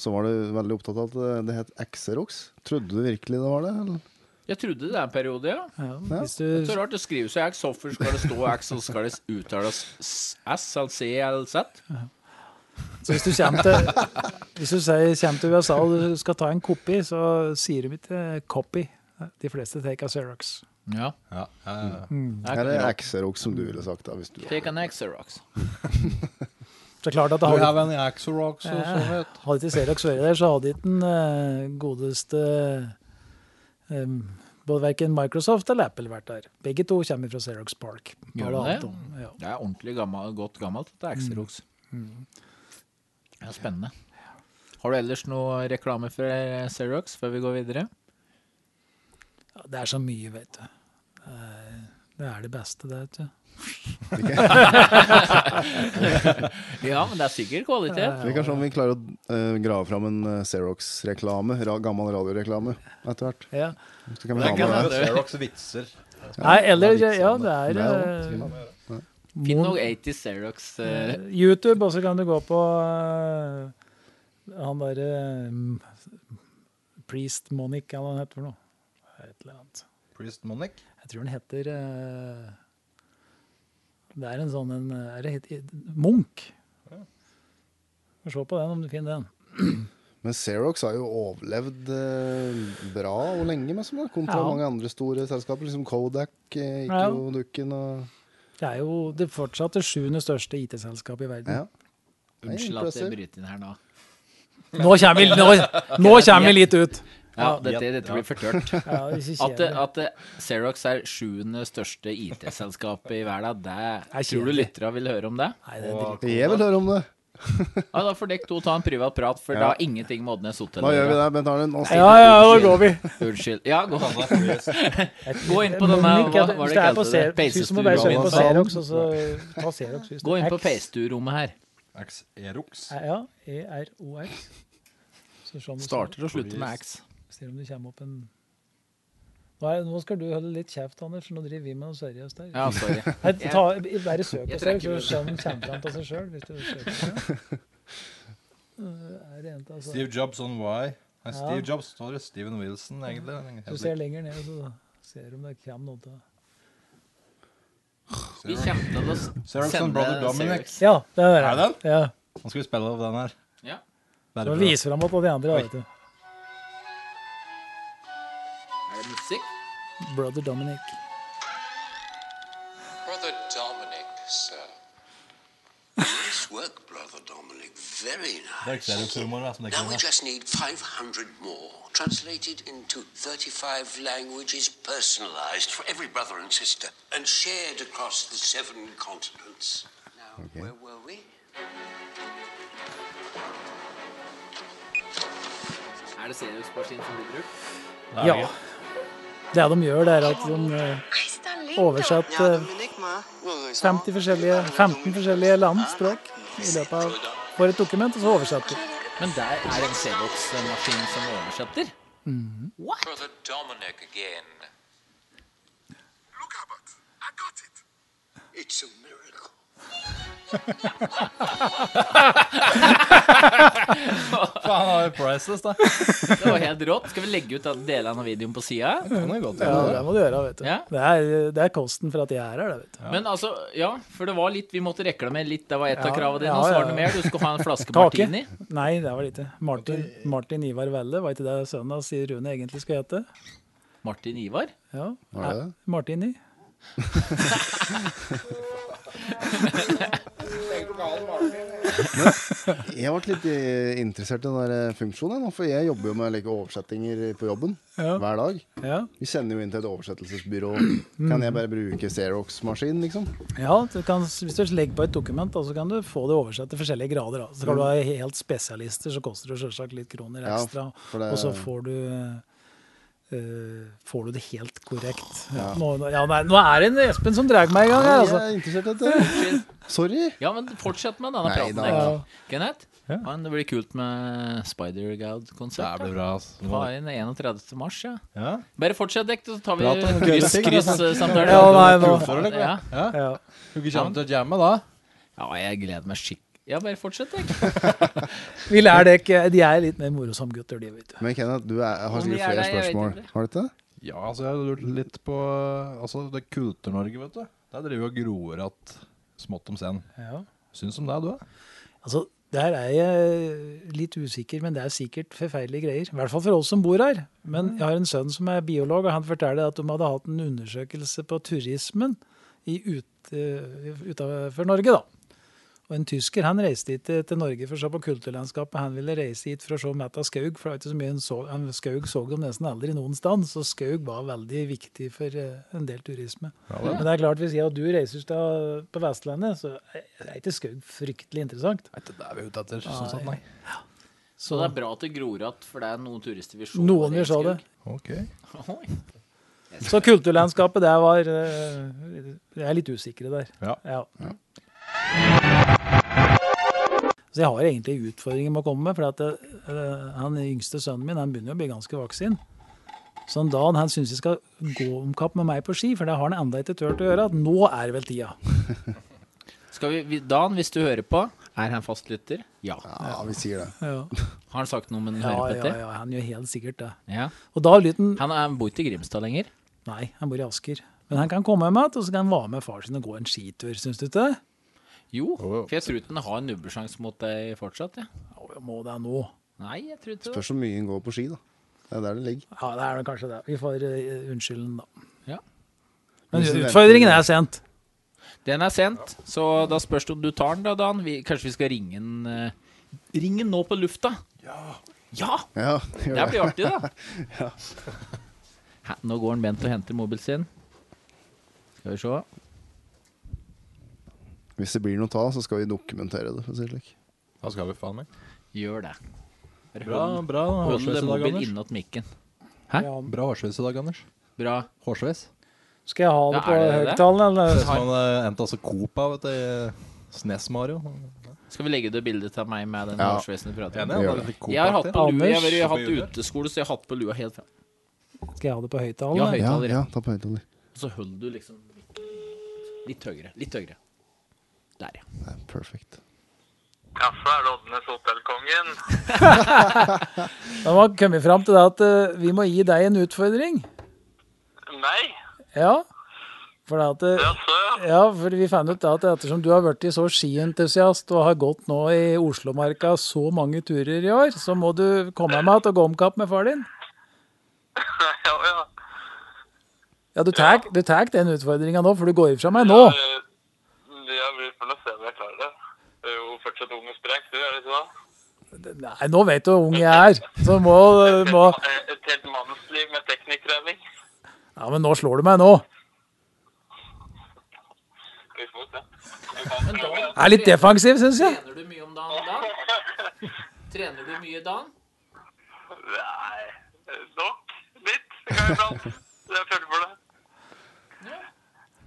Speaker 4: så var du veldig opptatt av at det- det het Xerox. Trodde du virkelig det var det? Eller?
Speaker 2: Jeg trodde det er en periode, ja.
Speaker 7: Ja,
Speaker 4: Ja.
Speaker 7: hvis du,
Speaker 2: Så rart, det skrives jo X, hvorfor skal det stå X, og skal det uttales S, eller C eller Z?
Speaker 7: så hvis du kommer til, hvis du sier, kommer til USA og du skal ta en kopi, så sier de ikke 'copy'. De fleste tar av Xerox.
Speaker 2: Ja.
Speaker 3: Ja, ja, ja.
Speaker 4: Eller Xerox, som du ville sagt. da hvis du...
Speaker 2: Take an Xerox.
Speaker 7: Så det er klart at
Speaker 3: Do you
Speaker 7: hadde,
Speaker 3: have any Axel Rocks og så vet
Speaker 7: hadde ikke Xerox vært der, så hadde ikke den eh, godeste um, både verken Microsoft eller Apple vært der. Begge to kommer fra Xerox Park.
Speaker 2: Gjør
Speaker 7: Bare
Speaker 2: det?
Speaker 7: annet om- Ja.
Speaker 2: Det er ordentlig gammel, godt gammelt, dette
Speaker 4: Mm.
Speaker 2: Xerox. Det er spennende. Har du ellers noe reklame for Xerox før vi går videre?
Speaker 7: Ja, Det er så mye, vet du. Det er- Det er det beste, det, vet du.
Speaker 2: Ja, men det er sikkert kvalitet.
Speaker 4: Vi kan se om vi klarer å eh, grave fram en eh, Xerox-reklame. Ra gammel radioreklame etter hvert.
Speaker 7: Ja.
Speaker 4: Så kan vi ha med det.
Speaker 3: du. Xerox vitser.
Speaker 7: Nei, eller
Speaker 4: det er litt
Speaker 7: Ja,
Speaker 4: sånn,
Speaker 7: det er
Speaker 4: det er jo-
Speaker 7: eh,
Speaker 2: Finn noe 80 Xerox. eh,
Speaker 7: YouTube, og så kan du gå på eh, han derre eh, Priest Monic, eller hva han heter for noe. Et eller annet.
Speaker 3: Priest Monic.
Speaker 7: Jeg tror han heter eh, Det er en sånn en, er det, het- Munch. Få se på den, om du finner den.
Speaker 4: Men Xerox har jo overlevd eh, bra og lenge, med sånn, da, kontra
Speaker 7: Ja.
Speaker 4: mange andre store selskaper. Liksom Kodak eh, gikk
Speaker 7: Ja.
Speaker 4: jo dukken og
Speaker 7: Det er jo det fortsatt det sjuende største IT-selskapet i verden.
Speaker 4: Ja.
Speaker 2: Unnskyld
Speaker 4: Nei,
Speaker 2: at jeg
Speaker 4: impressive.
Speaker 2: bryter inn her nå.
Speaker 7: Nå kommer vi, nå, nå kommer vi litt ut!
Speaker 2: Ja, dette, dette blir for tørt.
Speaker 7: Ja, det er ikke
Speaker 2: At, det-
Speaker 7: kjedelig.
Speaker 2: at det- Xerox er sjuende største IT-selskapet i verden,
Speaker 7: Er
Speaker 2: det tror du
Speaker 7: kjedelig.
Speaker 2: lytterne vil høre om det?
Speaker 7: Nei, det er dritt.
Speaker 4: Jeg vil høre om det!
Speaker 2: Ja, Da får dere to ta en privat prat, for det har ingenting med Oddnes Hotell
Speaker 4: Nå
Speaker 2: å
Speaker 4: gjør vi
Speaker 2: gjøre.
Speaker 4: det, Bent Arne. Nå
Speaker 7: Ja, ja, da går vi.
Speaker 2: Unnskyld. Ja, gå, gå inn på den der,
Speaker 7: Monique, ja,
Speaker 2: hva var
Speaker 7: hvis
Speaker 2: det
Speaker 7: det er
Speaker 2: jeg
Speaker 7: på
Speaker 2: kalte det?
Speaker 7: Xerox, så må du bare søke på
Speaker 2: Peisestuerommet.
Speaker 7: Xerox, og så ta Xerox. hvis du-
Speaker 2: Gå inn på
Speaker 7: X.
Speaker 2: peistuerommet her.
Speaker 3: Xerox.
Speaker 7: Ja, E-R-O-X. Så se om du
Speaker 2: Starter og slutter med X.
Speaker 7: ser om det kommer opp en nå, er, nå skal du holde litt kjeft, Anders, for nå driver vi med noe seriøst her.
Speaker 2: Ja, sorry.
Speaker 7: Nei, ta, bare søk på
Speaker 2: Jeg
Speaker 7: Xerox,
Speaker 2: trekker
Speaker 7: så ser om den kommer fram til seg sjøl. Hvis du søker. Uh, Er det en til, altså?
Speaker 3: Steve Jobs on Y. Nei, Steve
Speaker 7: Ja.
Speaker 3: Jobs står det. Steven Wilson, egentlig.
Speaker 7: Du ser lenger ned, så ser du om det kommer noe til
Speaker 2: Vi kommer til å s-
Speaker 3: Xerox and
Speaker 2: sende
Speaker 3: Sånn Brother Dominic.
Speaker 2: Xerox.
Speaker 7: Ja, det er
Speaker 3: Er
Speaker 7: det.
Speaker 3: det
Speaker 7: Ja.
Speaker 3: Nå skal vi spille av den her.
Speaker 2: Ja.
Speaker 3: Bare bra.
Speaker 7: Så vis fram til de andre, da, vet du.
Speaker 2: Er det musikk?
Speaker 7: Brother Dominic.
Speaker 8: Brother Dominic, sir. Nice work, Brother Dominic. Very
Speaker 3: Det er
Speaker 8: nice.
Speaker 3: Xerox-humor da, som det
Speaker 8: Now
Speaker 3: kunne
Speaker 8: we
Speaker 3: vært.
Speaker 8: just need 500 more, translated into 35 languages, personalized for every brother and sister, and shared across the seven continents. Now, where were we?
Speaker 2: Er det seriøsmaskin som blir brukt?
Speaker 7: Ja. Det de gjør, det er at de eh, oversetter eh, 50 forskjellige, 15 forskjellige land, språk, i løpet av for et dokument, og så oversetter de.
Speaker 2: Men der er en Xerox-maskin som oversetter?
Speaker 8: Brother Dominic again. Look, Abbott, I got it. It's a miracle.
Speaker 3: Faen, han er priceless, da.
Speaker 2: Det var helt rått. Skal vi legge ut den delen av videoen på sida?
Speaker 3: Kan det godt
Speaker 7: Ja,
Speaker 3: gjøre.
Speaker 7: det må du gjøre, vet du.
Speaker 2: Ja.
Speaker 7: Det er, det er kosten for at jeg er her, det, vet du.
Speaker 2: Men altså, ja, for det var litt Vi måtte reklamere litt. Det var ett av
Speaker 7: Ja,
Speaker 2: kravene dine.
Speaker 7: ja,
Speaker 2: Og så var
Speaker 7: ja.
Speaker 2: det mer. Du skulle ha en flaske
Speaker 7: Kake?
Speaker 2: martini.
Speaker 7: Nei, det var det ikke. Martin, Martin Ivar Velle, var ikke det sønnen hans sier Rune egentlig skal hete?
Speaker 2: Martin Ivar?
Speaker 7: Ja.
Speaker 9: Var det det?
Speaker 7: Martini.
Speaker 9: Jeg ble litt eh, interessert i den der eh, funksjonen, nå, for jeg jobber jo med like, oversettinger på jobben
Speaker 7: Ja.
Speaker 9: hver dag.
Speaker 7: Ja.
Speaker 9: Vi sender jo inn til et oversettelsesbyrå. Kan jeg bare bruke Xerox-maskin, liksom?
Speaker 7: ja du kan, hvis du legger på et dokument, da, så kan du få det oversett til forskjellige grader. Da. Så skal du ha helt spesialister, så koster det selvsagt litt kroner
Speaker 9: Ja,
Speaker 7: ekstra.
Speaker 9: for det-
Speaker 7: Og så får du eh, får du det helt korrekt. Ja. Nå, ja, nei, nå er det en Espen som drar meg i gang her,
Speaker 9: Jeg
Speaker 7: altså.
Speaker 9: er interessert i dette. Sorry.
Speaker 2: Ja, men fortsett med denne
Speaker 9: Nei,
Speaker 2: praten.
Speaker 9: da.
Speaker 2: der. Kenneth? Men det blir kult med Spider-Goud-konsert.
Speaker 3: Det blir bra, altså.
Speaker 2: Ta inn 31. mars, ja.
Speaker 3: Ja.
Speaker 2: Bare fortsett, dekk, så tar vi
Speaker 3: Prat om
Speaker 2: kryss
Speaker 3: kule ting, da.
Speaker 2: kryss-samtale.
Speaker 7: Ja, nei, nå-
Speaker 2: ja.
Speaker 7: Ja.
Speaker 3: Skal ikke komme til å jamme, da?
Speaker 2: ja, jeg gleder meg skikk... Ja, bare fortsett, dekk.
Speaker 7: Vi lærer det ikke. De er litt mer morsomme gutter, de, vet du.
Speaker 9: Men Kenneth, du er, har
Speaker 2: Om vi
Speaker 9: sikkert
Speaker 2: er
Speaker 9: flere
Speaker 2: der, jeg vet
Speaker 9: spørsmål.
Speaker 2: ikke.
Speaker 9: Har du ikke det?
Speaker 3: Ja, altså, jeg har lurt litt på Altså, det er Kultur-Norge, vet du. Der driver jo og gror at smått om scenen.
Speaker 7: Ja.
Speaker 3: Syns om deg, du, da?
Speaker 7: Altså, der er jeg eh, litt usikker, men det er sikkert forferdelige greier. I hvert fall for oss som bor her. Men jeg har en sønn som er biolog, og han forteller at de hadde hatt en undersøkelse på turismen i ut, eh, utenfor Norge, da. Og en tysker han reiste hit til Norge for å se på kulturlandskapet. Han ville reise hit for å se Metta Skaug, for det var ikke så mye en så, en Skaug så de nesten aldri noen sted. Så Skaug var veldig viktig for eh, en del turisme. Men det er klart, hvis jeg og du reiser til- på Vestlandet, så er ikke Skaug fryktelig interessant.
Speaker 3: Nei, det er vi ute etter. Sånn sett, nei.
Speaker 2: Så det er bra at det gror igjen, for det er noen turister vi så.
Speaker 7: Noen vil se det.
Speaker 3: Ok.
Speaker 7: Så kulturlandskapet, det var eh, Jeg er litt usikre der.
Speaker 3: Ja.
Speaker 7: Ja. Så jeg har egentlig utfordringer med å komme med, for at eh, han yngste sønnen min han begynner jo å bli ganske voksen. Så en dag han syns jeg skal gå om kapp med meg på ski, for det har han enda ikke turt å gjøre. At nå er vel tida.
Speaker 2: Skal vi, vi- Dan, hvis du hører på, er han fastlytter? Ja.
Speaker 9: Ja, vi sier det.
Speaker 7: Ja,
Speaker 2: Har han sagt noe om han
Speaker 7: ja,
Speaker 2: hører på
Speaker 7: ja,
Speaker 2: dette?
Speaker 7: ja han gjør helt sikkert det.
Speaker 2: Ja.
Speaker 7: Og da lyden
Speaker 2: Han er, bor ikke i Grimstad lenger.
Speaker 7: Nei, han bor i Asker. Men han kan komme med igjen, og så kan han være med far sin og gå en skitur, syns du ikke det?
Speaker 2: Jo, for jeg tror ikke han har en nubbesjanse mot deg fortsatt. Ja.
Speaker 7: Å, Må det nå.
Speaker 2: Nei, jeg tror ikke det.
Speaker 9: Spørs hvor mye en går på ski, da. Det er der det ligger.
Speaker 7: Ja, det er vel kanskje det. Vi får eh, unnskylde den, da.
Speaker 2: Ja.
Speaker 7: Men
Speaker 9: Hvis vi
Speaker 7: utfordringen er sendt.
Speaker 2: Den er sendt, så da spørs det om du tar den, da, Dan. Vi, kanskje vi skal ringe den eh, Ring den nå på lufta! Ja!
Speaker 9: Ja,
Speaker 2: ja
Speaker 9: gjør
Speaker 2: det
Speaker 9: det.
Speaker 2: blir artig, da. Hæ, nå går han Bent og henter mobilen sin. Skal vi se.
Speaker 9: Hvis det blir noe ta, så skal vi dokumentere det. For å si det slik.
Speaker 3: Da skal vi faen meg.
Speaker 2: Gjør det. Bare
Speaker 3: Bra,
Speaker 2: hold-
Speaker 3: bra
Speaker 2: Hold
Speaker 3: hårsveis i dag,
Speaker 2: mobilen
Speaker 3: Anders.
Speaker 2: innåt mikken. Hæ?
Speaker 7: Ja,
Speaker 3: Bra hårsveis i dag, Anders.
Speaker 2: Bra.
Speaker 3: Hårsveis.
Speaker 7: skal jeg ha det
Speaker 2: Ja,
Speaker 7: på
Speaker 2: er det det?
Speaker 7: høyttalen, eller?
Speaker 3: Ser ut som han eh, endte altså Coop av, vet du. i Snes-Mario.
Speaker 2: Skal vi legge ut et bilde av meg med den
Speaker 9: Ja.
Speaker 2: hårsveisen du prater om?
Speaker 3: Enig, han
Speaker 9: gjør
Speaker 3: var litt
Speaker 2: Jeg har hatt
Speaker 3: Coop-aktig.
Speaker 2: på lua, jeg har, vært- jeg har
Speaker 3: Anders.
Speaker 2: hatt uteskole, så jeg har hatt på lua helt fram.
Speaker 7: Skal jeg ha det på
Speaker 2: Ja,
Speaker 7: høyttalen? eller?
Speaker 9: Ja,
Speaker 2: høyttaler.
Speaker 9: ja, ta på høyttaler.
Speaker 2: Og så holder du liksom litt høyere. Litt høyere. Der, ja.
Speaker 9: Det er Perfect.
Speaker 6: Kaffe er Lodnes hotellkongen.
Speaker 7: Da må vi komme fram til det at eh, vi må gi deg en utfordring.
Speaker 6: Nei,
Speaker 7: Ja. For det at eh,
Speaker 6: jaså.
Speaker 7: ja, for vi fant ut det at ettersom du har vært så skientusiast og har gått nå i Oslomarka så mange turer i år, så må du komme med at og gå om kapp med far din.
Speaker 6: Ja, ja.
Speaker 7: Ja, du tar du tar den utfordringa nå, for du går ifra meg nå.
Speaker 6: eh, Jeg blir for å se om jeg klarer det. Du er jo fortsatt ung og sprek, du, er det ikke det?
Speaker 7: Nei, nå vet du hvor ung jeg er, så må, må
Speaker 6: Et- Et helt mannsliv med teknikktrening.
Speaker 7: Ja, men nå slår du meg nå.
Speaker 6: Vi får se. Vi kan prøve.
Speaker 7: Jeg er litt defensiv, syns jeg.
Speaker 2: Trener du mye om dagen, Dan? Trener du mye, Dan?
Speaker 6: Nei, nok litt kan iblant. Jeg føler for det.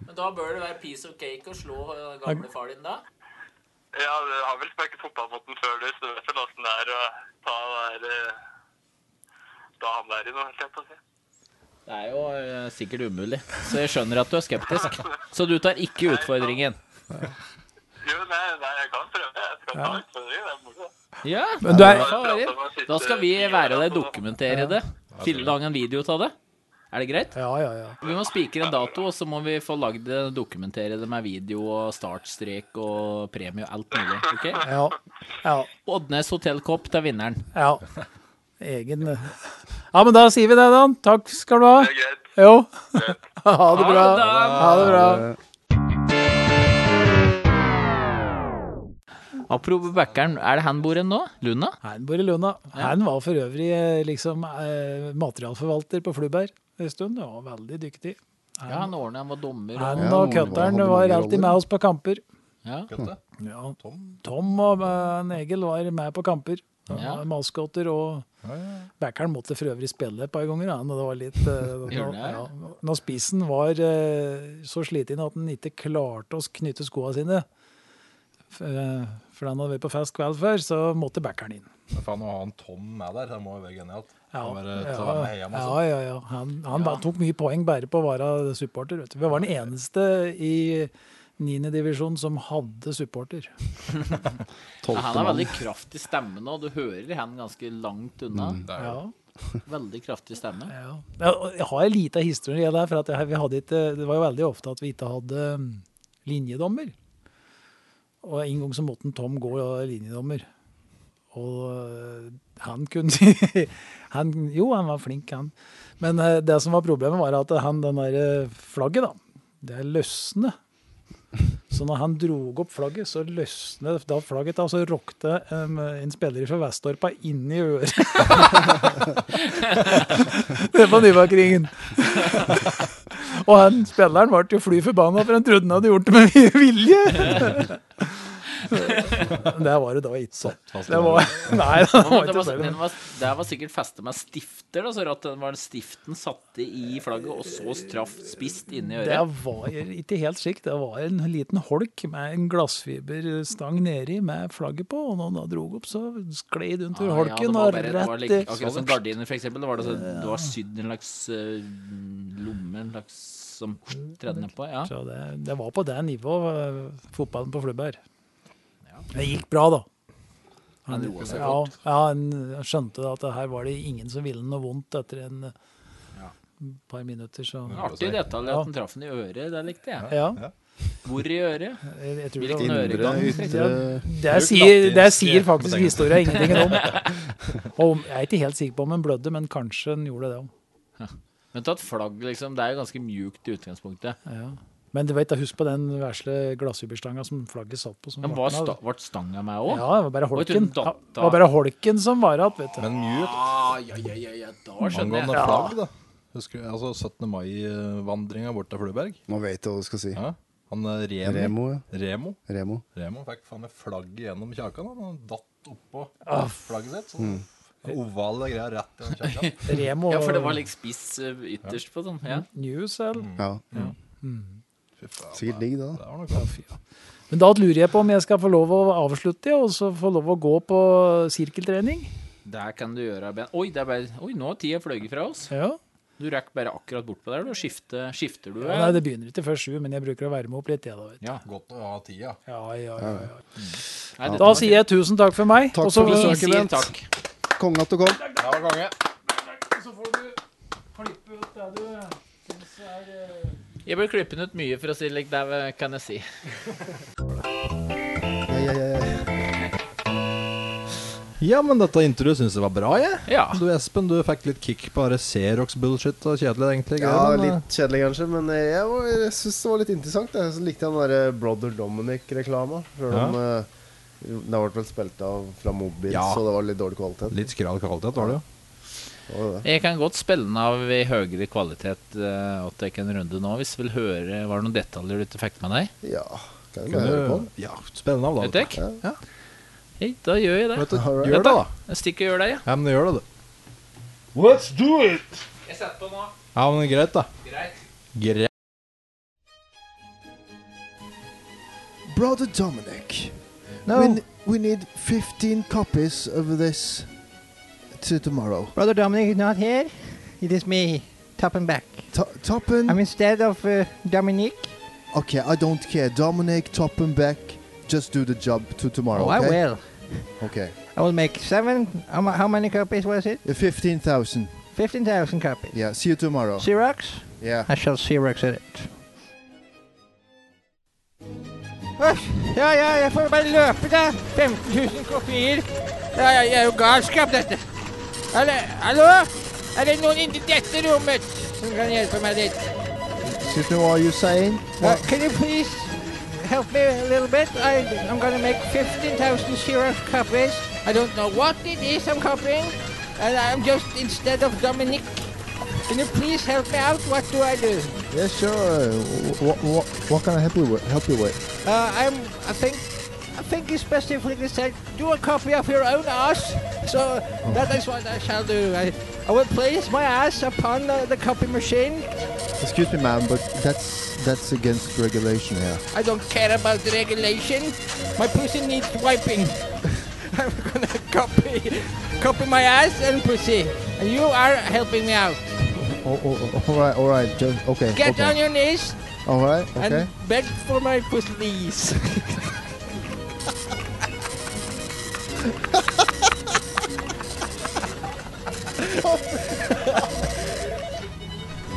Speaker 2: Men da bør det være piece of cake å slå eh, gamle far din, da?
Speaker 6: Jeg har, jeg har vel spilt fotballmåten før, du, så du vet vel åssen det er å ta det der eh, Da han der i noe, helt på å si.
Speaker 2: Det er jo eh, sikkert umulig, så jeg skjønner at du er skeptisk. Så du tar ikke utfordringen?
Speaker 6: Jo, nei, nei, jeg kan prøve. Jeg skal ta utfordringen. Det er moro. da.
Speaker 2: Ja,
Speaker 7: Men du er,
Speaker 2: farer. Da skal vi være der og dokumentere det. Fille lage en video av det. Er det greit?
Speaker 7: ja, ja, ja.
Speaker 2: Vi må spikre en dato, og så må vi få lagd det, dokumentere det med video og startstrek og premie og alt mulig. ok?
Speaker 7: ja, ja,
Speaker 2: Oddnes hotellkopp til vinneren.
Speaker 7: ja. Egen eh. Ja, men da sier vi det, da. Takk skal du ha.
Speaker 6: Det er greit.
Speaker 7: Jo. Ha det bra.
Speaker 2: Ha det da.
Speaker 7: Ha det bra.
Speaker 2: Apropos Bækkeren, er det han bor hen nå? Luna?
Speaker 7: Han bor i Lunda. Han var for øvrig eh, liksom eh, materialforvalter på Flubberg en stund. Han var veldig dyktig.
Speaker 2: Ja, han ordna, han var dommer. og-
Speaker 7: Han
Speaker 9: Ja,
Speaker 7: og
Speaker 9: han
Speaker 7: cutteren
Speaker 9: hadde
Speaker 7: var
Speaker 9: mange
Speaker 7: alltid
Speaker 9: roller.
Speaker 7: med oss på kamper.
Speaker 2: Ja.
Speaker 7: Ja. Tom og eh, Egil var med på kamper. Han
Speaker 2: Ja.
Speaker 7: var Maskoter og Backeren måtte for øvrig spille et par ganger. Han, og det var litt,
Speaker 2: Gjorde
Speaker 7: eh, når,
Speaker 2: det, ja.
Speaker 7: ja, når spissen var eh, så sliten at han ikke klarte å knytte skoene sine, for, eh, for han hadde vært på fest kveld før, så måtte Backeren inn.
Speaker 3: Men faen, å ha en Tom med der, det må jo være genialt.
Speaker 7: Ja,
Speaker 3: Han bare tar
Speaker 7: ja,
Speaker 3: med altså. heia masse.
Speaker 7: ja, ja, ja. Han, han bare tok mye poeng bare på å være supporter. Vet du. Vi var den eneste i niendedivisjon som hadde supporter.
Speaker 2: Ja, Han har veldig kraftig stemme nå. Du hører han ganske langt unna.
Speaker 3: Det er jo-
Speaker 7: Ja.
Speaker 2: Veldig kraftig stemme.
Speaker 7: Ja. Jeg jeg har en liten historie der, for at jeg, vi hadde ikke, det var jo veldig ofte at vi ikke hadde mm, linjedommer. Og en gang så måtte en Tom gå ja, linjedommer. Og øh, han kunne han, Jo, han var flink, han. Men øh, det som var problemet, var at han, den der øh, flagget, da, det løsne. Så når han dro opp flagget, så løsne da flagget. Da, så rokte um, en spiller fra Vestorpa inn i øret. Det var Nybakringen. Og han spilleren ble jo fly forbanna, for han trodde han hadde gjort det med vilje. Men det var det da ikke. Det var, nei, det
Speaker 2: Ja,
Speaker 7: var
Speaker 2: men Det
Speaker 7: ikke
Speaker 2: var,
Speaker 7: sånn.
Speaker 2: den var, det var sikkert festet med stifter, da, så at den var stiften satte i flagget, og så straft spist inni
Speaker 7: Det
Speaker 2: øret.
Speaker 7: var ikke helt slik. Det var en liten holk med en glassfiberstang nedi med flagget på, og når han da dro opp, så sklei det
Speaker 2: Ah, Ja,
Speaker 7: under
Speaker 2: ja, det
Speaker 7: holken
Speaker 2: var
Speaker 7: og
Speaker 2: bare- det var
Speaker 7: rett
Speaker 2: like-
Speaker 7: i
Speaker 2: Akkurat som gardiner, for eksempel. Det var, det, så, det var sydd en slags eh, lomme, en slags som tredde nedpå. Ja.
Speaker 7: Så det, det var på det nivået eh, fotballen på Flubberg. Det gikk bra, da.
Speaker 2: Han roet seg
Speaker 7: Ja,
Speaker 2: fort.
Speaker 7: ja, han skjønte at det her var det ingen som ville noe vondt etter en eh, par minutter, så
Speaker 2: Artig detalj at den traff den i øret. Det likte jeg.
Speaker 7: Ja,
Speaker 2: Hvor i øret?
Speaker 7: jeg, jeg tror det,
Speaker 2: Hvilken
Speaker 7: var-
Speaker 9: Indre,
Speaker 2: øregang?
Speaker 9: ytre
Speaker 7: det, sier, det sier faktisk historia ingenting om. Og om- jeg er ikke helt sikker på om han blødde, men kanskje han gjorde det òg.
Speaker 2: Men ta et flagg, liksom. Det er jo ganske mjukt i utgangspunktet.
Speaker 7: Ja. Men du vet, da, husk på den vesle glassfiberstanga som flagget satt på. Som
Speaker 2: Men var
Speaker 7: Morten hadde.
Speaker 2: sta, ble stanga meg òg?
Speaker 7: ja, det var bare
Speaker 2: Oi, du, den
Speaker 7: holken. Ja,
Speaker 2: datt
Speaker 7: det var bare holken som var igjen, vet du.
Speaker 3: Men mute
Speaker 2: Ah, ja, ja, ja, ja, da skjønner
Speaker 3: angående
Speaker 2: jeg.
Speaker 3: flagg, da. Husker du altså 17. mai-vandringa bort til Fluberg?
Speaker 9: Nå vet jeg hva du skal si.
Speaker 3: Ja. Han eh, Remo,
Speaker 9: Remo, ja.
Speaker 3: Remo.
Speaker 9: Remo.
Speaker 3: Remo fikk faen meg flagget gjennom kjakan. da. Han datt oppå flagget sitt. Sånn.
Speaker 9: Mm.
Speaker 3: Ovale greier rett gjennom kjakan.
Speaker 7: Remo
Speaker 2: Ja, for det var Mm.
Speaker 7: og
Speaker 2: litt spiss eh, ytterst på sånn. Ja.
Speaker 7: News, eller?
Speaker 9: Ja.
Speaker 7: Mm.
Speaker 3: Fy faen,
Speaker 9: Sikkert digg, det.
Speaker 3: det
Speaker 9: da.
Speaker 3: var noe godt.
Speaker 7: Men da lurer jeg på om jeg skal få lov å avslutte, og så få lov å gå på sirkeltrening.
Speaker 2: Der kan du gjøre Ben. Oi, det er bare, oi nå har tida fløyet fra oss.
Speaker 7: Ja.
Speaker 2: Du rakk bare akkurat bort på der, du. Skifter, skifter du?
Speaker 7: Nei, det begynner ikke før sju, men jeg bruker å varme opp litt. Jeg, da, vet du.
Speaker 3: Godt å ha tida.
Speaker 7: Ja, ja, ja, ja.
Speaker 2: Nei, dette
Speaker 7: Da
Speaker 2: var
Speaker 7: sier jeg tusen takk for meg.
Speaker 9: Takk
Speaker 7: og så-
Speaker 9: for
Speaker 2: fint. Vi
Speaker 9: besøket.
Speaker 2: sier takk.
Speaker 9: Konge at du kom.
Speaker 3: Det var konge.
Speaker 2: Jeg ble klippet ut mye, for å si det like, det er- kan jeg si.
Speaker 9: Ja, ja, ja, ja.
Speaker 3: Ja, men dette intervjuet syns jeg var bra, jeg.
Speaker 2: Ja.
Speaker 3: Du Espen, du fikk litt kick på bare Xerox-bullshit og kjedelig, egentlig.
Speaker 9: ja,
Speaker 3: greier, men,
Speaker 9: litt kjedelig kanskje, men eh, jeg, var- jeg syns det var litt interessant. Jeg Så likte jeg den der eh, Brother Dominic-reklama. Selv om eh, det ble vel spilt av fra mobil,
Speaker 3: Ja.
Speaker 9: så det var litt dårlig kvalitet.
Speaker 3: Litt skral kvalitet var det jo.
Speaker 9: Det var jo det.
Speaker 2: Jeg kan godt spille den av i høyere kvalitet uh, at jeg kan runde nå, hvis du vil høre Var det noen detaljer du ikke fikk med deg?
Speaker 9: Ja, kan jeg bare høre på
Speaker 3: Kunne,
Speaker 9: den?
Speaker 3: ja, spennende av
Speaker 2: Vet
Speaker 3: da.
Speaker 2: du ikke? Hei, da gjør jeg det.
Speaker 3: Vet du, gjør det, da.
Speaker 2: Jeg stikker og gjør det, ja.
Speaker 3: Ja, men gjør det, du. Let's do it!
Speaker 2: Jeg setter på nå.
Speaker 3: Ja, men greit, da.
Speaker 2: Greit.
Speaker 3: Greit.
Speaker 4: Brother Dominic, we, n- we need 15 copies of this to tomorrow.
Speaker 1: Brother Dominic is not here. It is me, top and back.
Speaker 4: To- Toppen,
Speaker 1: I'm instead of uh, Dominic.
Speaker 4: okay, I don't care. Dominic, Toppen, Beck, just do the job to tomorrow.
Speaker 1: Oh, I
Speaker 4: okay?
Speaker 1: will.
Speaker 4: Okay.
Speaker 1: I will make seven. How, mu- how many copies was it?
Speaker 4: Uh, 15,000.
Speaker 1: 15,000 copies.
Speaker 4: Yeah, see you tomorrow.
Speaker 1: Xerox?
Speaker 4: yeah.
Speaker 1: I shall Xerox at it. Æsj! Ja, ja, jeg får bare løpe, da. 15 000 kopier. Ja, ja, det er jo galskap, dette. Hallo? Hallo? Er det noen inni dette rommet som kan hjelpe meg litt?
Speaker 4: Excuse me, what are you saying?
Speaker 1: Uh, can you please help me a little bit? I, I'm gonna make 15,000 Xerox copies. I don't know what it is I'm copying, and I'm just instead of Dominic. Can you please help me out? What do I do?
Speaker 4: Yeah, sure. What, what, what can I help you with? Help you with?
Speaker 1: Uh, I'm. I think. I think it's best if we can say, do a copy of your own ass. So that is what I shall do. I, I will place my ass upon the, the copy machine.
Speaker 4: Excuse me, ma'am, but that's that's against regulation here.
Speaker 1: I don't care about the regulation. My pussy needs wiping. I'm gonna copy, copy my ass and pussy. And you are helping me out.
Speaker 4: Oh, oh, all right, all right. Just, okay.
Speaker 1: Get
Speaker 4: okay.
Speaker 1: on your knees
Speaker 4: All right. Okay.
Speaker 1: and beg for my pussies.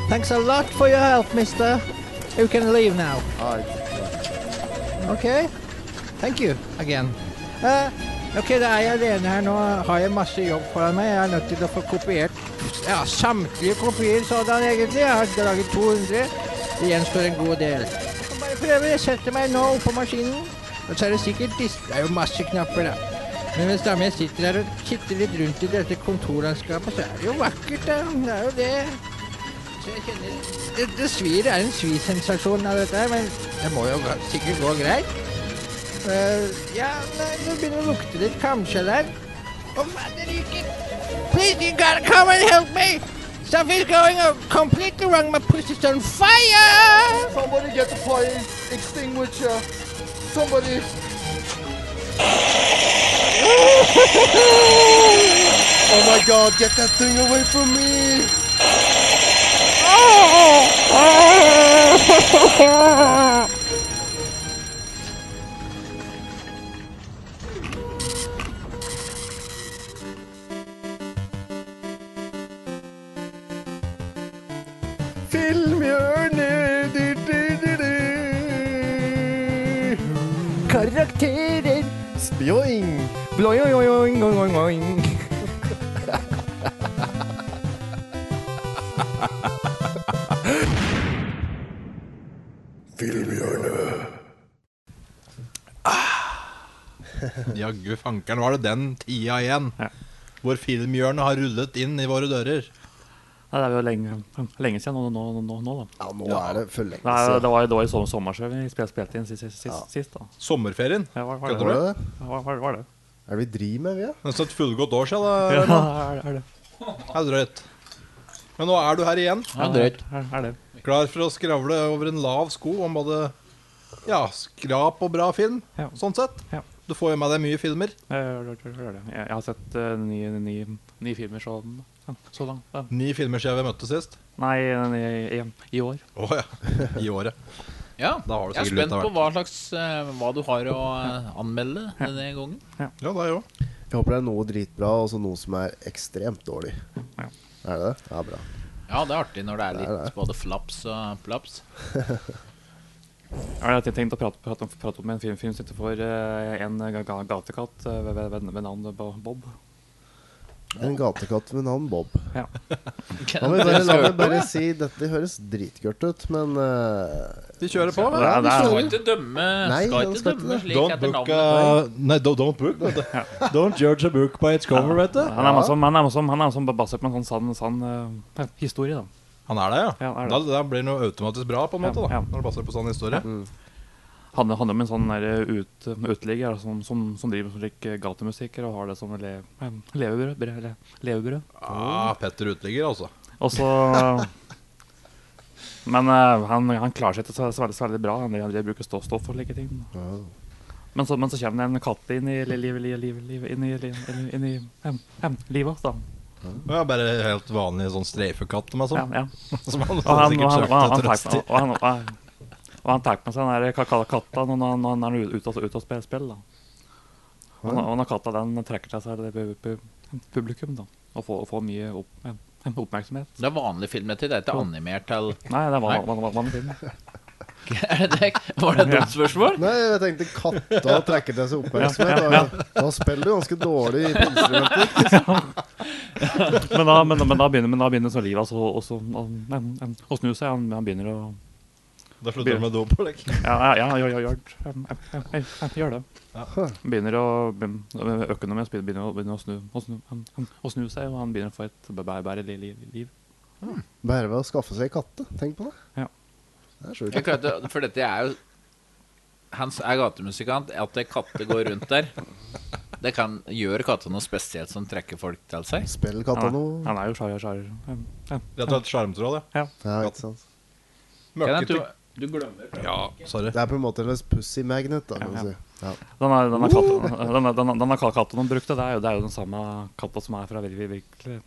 Speaker 1: Thanks a lot for your help, mister. You can leave now.
Speaker 4: all right.
Speaker 1: Ok, thank you again. Eh, ok, da er jeg alene her nå. Har jeg masse jobb foran meg. Jeg er nødt til å få kopiert ja, samtlige kopier sådan egentlig. Jeg har laget 200. Det gjenstår en god del. Jeg bare prøver. Jeg setter meg nå oppå maskinen. Og så er det sikkert dis- Det er jo masse knapper, da. Men mens damen jeg sitter her og kitter litt rundt i dette kontorlandskapet, så er det jo vakkert, da. Det er jo det. Så jeg kjenner det, det svir, det er en svisensasjon av dette her, men det må jo gå- sikkert gå greit. Eh, ja, nei, det begynner å lukte litt kamskje der. Å, faen, det ryker! Please, you gotta come and help me! Stuff is going up completely wrong. My pussy's on fire!
Speaker 4: Somebody get the fire extinguisher. Somebody. oh my God! Get that thing away from me!
Speaker 1: Karakterer!
Speaker 4: Spjoing!
Speaker 1: Bloing-oing-oing-oing-oing.
Speaker 3: Jaggu fankeren var det den tida igjen. Hvor filmhjørnet har rullet inn i våre dører.
Speaker 10: Nei, det er jo lenge, lenge siden nå, nå, nå, nå da.
Speaker 4: Ja, nå er det for lenge
Speaker 10: Nei,
Speaker 4: siden.
Speaker 10: det var, det var i sommer, sommer så vi spilte, spilte inn sist, sist, sist, sist da.
Speaker 3: Sommerferien.
Speaker 10: Ja, var, var det
Speaker 3: Kødder
Speaker 4: Var
Speaker 10: det?
Speaker 3: du?
Speaker 4: det det?
Speaker 10: Ja, Var, var, var det?
Speaker 4: Er det vi driver med, vi? Ja?
Speaker 3: Nesten et fullgodt år siden. Da,
Speaker 10: Ja,
Speaker 3: Raymond.
Speaker 10: er, er det.
Speaker 3: Det er drøyt. Men nå er du her igjen,
Speaker 10: Ja,
Speaker 2: drøyt.
Speaker 10: Er, er det.
Speaker 3: klar for å skravle over en lav sko om både ja, skrap og bra film,
Speaker 10: Ja.
Speaker 3: sånn sett.
Speaker 10: Ja.
Speaker 3: Du får jo med deg mye filmer.
Speaker 10: Ja, ja, ja, ja, ja, ja. Jeg jeg har sett eh, ni, ni, ni filmer så, så langt. da.
Speaker 3: Ni filmer siden vi møttes sist.
Speaker 10: Nei, i, i, i år.
Speaker 3: Å ja. I året.
Speaker 2: Ja,
Speaker 3: Da har du
Speaker 2: jeg er
Speaker 3: sikkert litt
Speaker 2: spent
Speaker 3: av
Speaker 2: på
Speaker 3: hvert.
Speaker 2: hva slags eh, Hva du har å eh, anmelde denne gangen.
Speaker 3: Ja, det er jo.
Speaker 9: Jeg håper det er noe dritbra, og så noe som er ekstremt dårlig.
Speaker 10: Ja.
Speaker 9: Er det det? Ja, bra.
Speaker 2: Ja, det er artig når det er
Speaker 9: Det er
Speaker 2: litt både flaps og plaps.
Speaker 10: Jeg har tenkt å prate, prate, om, prate om en film, film som heter for eh, en ga- ga- gatekatt eh, ved, ved, ved, ved navn Bo- Bob.
Speaker 9: En gatekatt ved navn Bob.
Speaker 10: Ja.
Speaker 9: La meg bare, la meg bare si dette høres dritgørt ut, men eh,
Speaker 3: Vi kjører på, eller?
Speaker 10: Ja, det er-
Speaker 2: Skal ikke dømme,
Speaker 9: Nei,
Speaker 2: skal
Speaker 9: det
Speaker 2: ikke
Speaker 9: skal ikke
Speaker 2: dømme
Speaker 9: det.
Speaker 2: slik
Speaker 3: Don't
Speaker 2: etter
Speaker 3: book uh,
Speaker 2: navnet.
Speaker 3: a, Nei, don't, don't book, vet du. Don't judge a book by its cover, vet du.
Speaker 10: Han er også, han er også, han er også basert på en sånn sann, sann eh, historie, da.
Speaker 3: Han er det, ja.
Speaker 10: Ja, han er
Speaker 3: Da,
Speaker 10: det.
Speaker 3: da blir det jo automatisk bra, på en måte,
Speaker 10: Ja,
Speaker 3: da.
Speaker 10: ja.
Speaker 11: Mm.
Speaker 3: Når det passer på sånn historie.
Speaker 10: Ja,
Speaker 11: handler, handler om en sånn der ut, uteligger da, som, som, som driver med sånn slik gatemusikker og har det som le, eh, levebrød. bre- le- levebrød.
Speaker 3: Ah, Petter uteligger, altså.
Speaker 11: Og så Men eh, han, han klarer seg ikke så, så, veldig, så veldig bra. Han, han bruker ståstoff og slike ting. Men så, men så kommer det en katt inn i li- livet, livet, livet, livet inn i, li- inn i, inn i em, em, livet også, da.
Speaker 3: Ja, bare helt vanlig sånn streifekatt med sånn.
Speaker 11: Ja, ja.
Speaker 3: Som han,
Speaker 11: Og han, og
Speaker 3: sikkert
Speaker 11: han, og han,
Speaker 3: søkte
Speaker 11: han,
Speaker 3: etter
Speaker 11: tar-
Speaker 3: oss til.
Speaker 11: og han, og han, og han tar med seg den der ka- ka- katta når han, når han er ute og, ute og spiller spill. da. Og, når- og når katta den trekker til seg det pu- pu- publikum da, og får, og får mye opp, em, em, oppmerksomhet.
Speaker 2: Det er vanlig film dette, det er ikke animert til
Speaker 11: Nei, det var vanlig film.
Speaker 2: Er det det? Var det et dumt spørsmål?
Speaker 4: Nei, jeg tenkte katta trekker til seg oppmerksomhet. Da, da spiller du ganske dårlig på instrumenter.
Speaker 11: Men da, men, men da begynner, men da begynner så livet altså, å- å- å- em, em, å snu seg. Han, han begynner å
Speaker 3: Da slutter han med dopålegg.
Speaker 11: Ja, ja, ja, ja, ja, gjør, em, em, em, em, em, gjør det. Begynner å, økonomien begynner å, begynner å, snu, å, snu, em, em, å snu seg, og han begynner å få et bæ- bæ- bedre li- li- liv.
Speaker 4: Bare ved å skaffe seg katte. Tenk på det.
Speaker 11: Ja.
Speaker 4: Det er sjukt.
Speaker 2: Jeg klarte, for dette er jo Han er gatemusikant. At det katter går rundt der, det kan gjør katter noe spesielt som trekker folk til seg.
Speaker 4: Spill
Speaker 11: Han
Speaker 4: katta
Speaker 11: er,
Speaker 4: noe.
Speaker 11: han er jo sjarer, sjarer. em, em.
Speaker 3: Rett og slett skjermtråd, ja.
Speaker 4: Ja, ikke sant.
Speaker 2: Kan jeg
Speaker 3: Mørkete.
Speaker 2: tro- du glemmer
Speaker 3: Ja, sorry.
Speaker 4: Det er på en måte en slags pussy magnet, da, kan
Speaker 11: Ja,
Speaker 4: du si. Ja.
Speaker 11: Denne, denne, katten, denne, denne, denne ka- katten han brukte, det er, jo, det er jo den samme katta som er fra vir- vir- virkelig,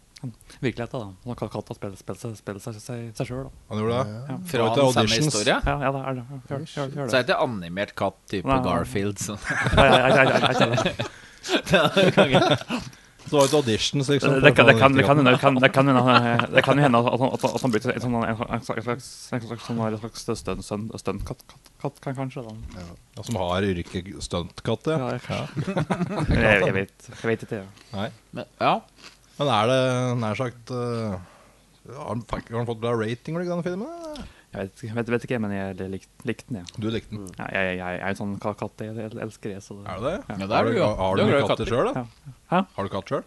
Speaker 11: virkeligheten. Da. Denne ka- katta spiller, spiller, seg- spiller seg- seg seg sjøl, da.
Speaker 3: Han gjorde det.
Speaker 2: fra
Speaker 3: Var det
Speaker 2: den samme
Speaker 3: auditions?
Speaker 2: historia.
Speaker 11: Ja, ja, det er det. Ja, Gjør, det, gjør, det,
Speaker 2: Så er
Speaker 11: gjør det.
Speaker 2: det ikke animert katt type
Speaker 11: Nei.
Speaker 2: Garfield. Så.
Speaker 11: Nei, jeg- jeg- jeg- jeg- jeg kjenner det.
Speaker 3: Så det var et auditions, liksom.
Speaker 11: Det- det kan- det kan- det kan hende- det kan- det kan hende- det kan jo hende at han, at han- at han brukte en sånn en slags- en slags- en slags- sånn- en slags stunt- stunt- stuntkatt, katt- katt, kan- kanskje. Da.
Speaker 3: Ja, Som har yrket stuntkatt, ja.
Speaker 11: Ja, kanskje. Jeg, jeg, vet, jeg vet ikke, jeg.
Speaker 3: Nei.
Speaker 2: Men, ja.
Speaker 3: Men er det nær sagt eh, har, han, fikk- har han fått bra rating i den filmen?
Speaker 11: Jeg vet, ikke- vet, vet ikke, men jeg likte, likte den, jeg.
Speaker 3: Du likte den.
Speaker 11: Ja, jeg, jeg, jeg er en sånn ka- katt, jeg, jeg elsker det, så det.
Speaker 3: Er det det?
Speaker 2: Ja, det er
Speaker 3: har
Speaker 2: du
Speaker 3: du,
Speaker 2: jo.
Speaker 3: har
Speaker 2: Du
Speaker 3: du
Speaker 2: er glad i
Speaker 3: mye katter sjøl, da?
Speaker 11: Ja. Hæ?
Speaker 3: Har du katt sjøl?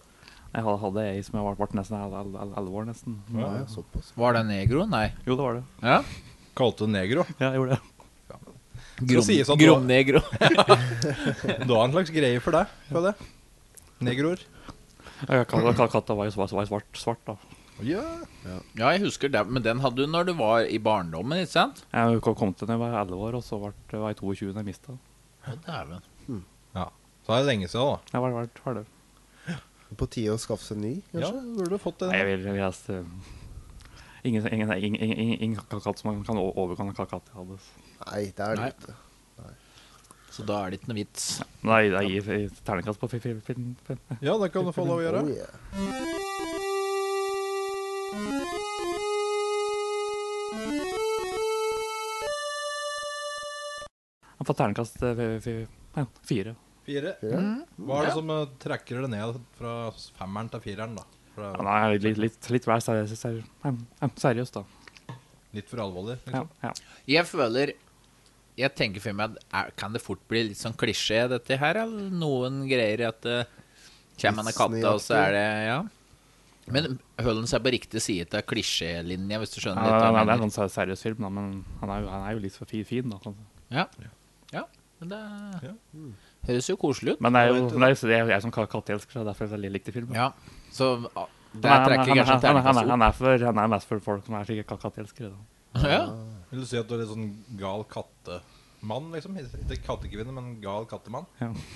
Speaker 11: Jeg hadde, hadde ei som jeg ble, ble nesten el- el- el- elleve år, nesten.
Speaker 4: Ja, såpass.
Speaker 2: Var det negro? Nei.
Speaker 11: Jo, det var det.
Speaker 2: Ja.
Speaker 3: Kalte du negro?
Speaker 11: Ja, jeg gjorde det.
Speaker 3: Grom, sies at du, har-
Speaker 2: Gromnegro.
Speaker 3: du har en slags greie for deg, føler jeg. Negroer.
Speaker 11: Ja, katta, katta, katta var jo var, var jo svart, svart, da.
Speaker 3: Ja.
Speaker 2: Ja, jeg husker det. Men den hadde du når du var i barndommen, ikke sant?
Speaker 11: Jeg kom- kom til den jeg var elleve år, og så ble- var jeg 22 da jeg mista den.
Speaker 2: Å, Dæven.
Speaker 3: Så er det lenge siden, da.
Speaker 11: Jeg var, var, var det.
Speaker 4: På tide å skaffe seg ny,
Speaker 3: Ja,
Speaker 4: kanskje?
Speaker 3: burde du fått
Speaker 11: Nei, jeg
Speaker 3: det.
Speaker 11: vil, jeg vil helst eh, Ingen, ingen, ingen, ingen, ingen, ingen katt som kan o- overgå den katt jeg hadde. altså.
Speaker 4: Nei, det er det
Speaker 2: Nei.
Speaker 4: ikke.
Speaker 2: Så da er det ikke noe vits.
Speaker 11: Nei, jeg gir jeg- terningkast på fi- fi- fi- fi-
Speaker 3: Ja, det kan du få lov å gjøre.
Speaker 4: Oh, yeah.
Speaker 11: Jeg får terningkast eh, fi- fi- ja, fire.
Speaker 3: Fire.
Speaker 4: Fire?
Speaker 3: Hva er det som eh, trekker det ned fra femmeren til fireren, da? For
Speaker 11: Ja,
Speaker 3: det
Speaker 11: Nei, litt, litt, litt vær ser, ser, ja, ja, seriøst, da.
Speaker 3: er litt for alvorlig.
Speaker 11: Ja,
Speaker 3: Liksom.
Speaker 11: ja.
Speaker 2: Jeg føler Jeg tenker for meg at er- Kan det fort bli litt sånn klisjé, dette her? Eller noen greier at det kommer en katt, og så er det Ja. Men holder den seg på riktig side til klisjélinja, hvis du skjønner
Speaker 11: Ja,
Speaker 2: litt? hva jeg
Speaker 11: nei, det er
Speaker 2: mener.
Speaker 11: en sånn seriøs film, da, men han er jo, han er jo litt for fi- fin. Da.
Speaker 2: Ja. ja. Men det høres jo koselig ut.
Speaker 11: Men det er jo det er, jo- det er jo jeg som ka- katteelsker, så derfor jeg likte filmen.
Speaker 2: Ja. Så ah,
Speaker 11: Han
Speaker 2: der
Speaker 11: er- han
Speaker 2: trekker kanskje
Speaker 11: er- han er- han er-
Speaker 2: terningkast
Speaker 11: han er for- han er mest for folk som er slike ka- katteelskere. Da.
Speaker 2: opp. Ja.
Speaker 3: Vil du si at du er litt sånn gal kattemann, liksom? Ikke kattekvinne, men gal kattemann?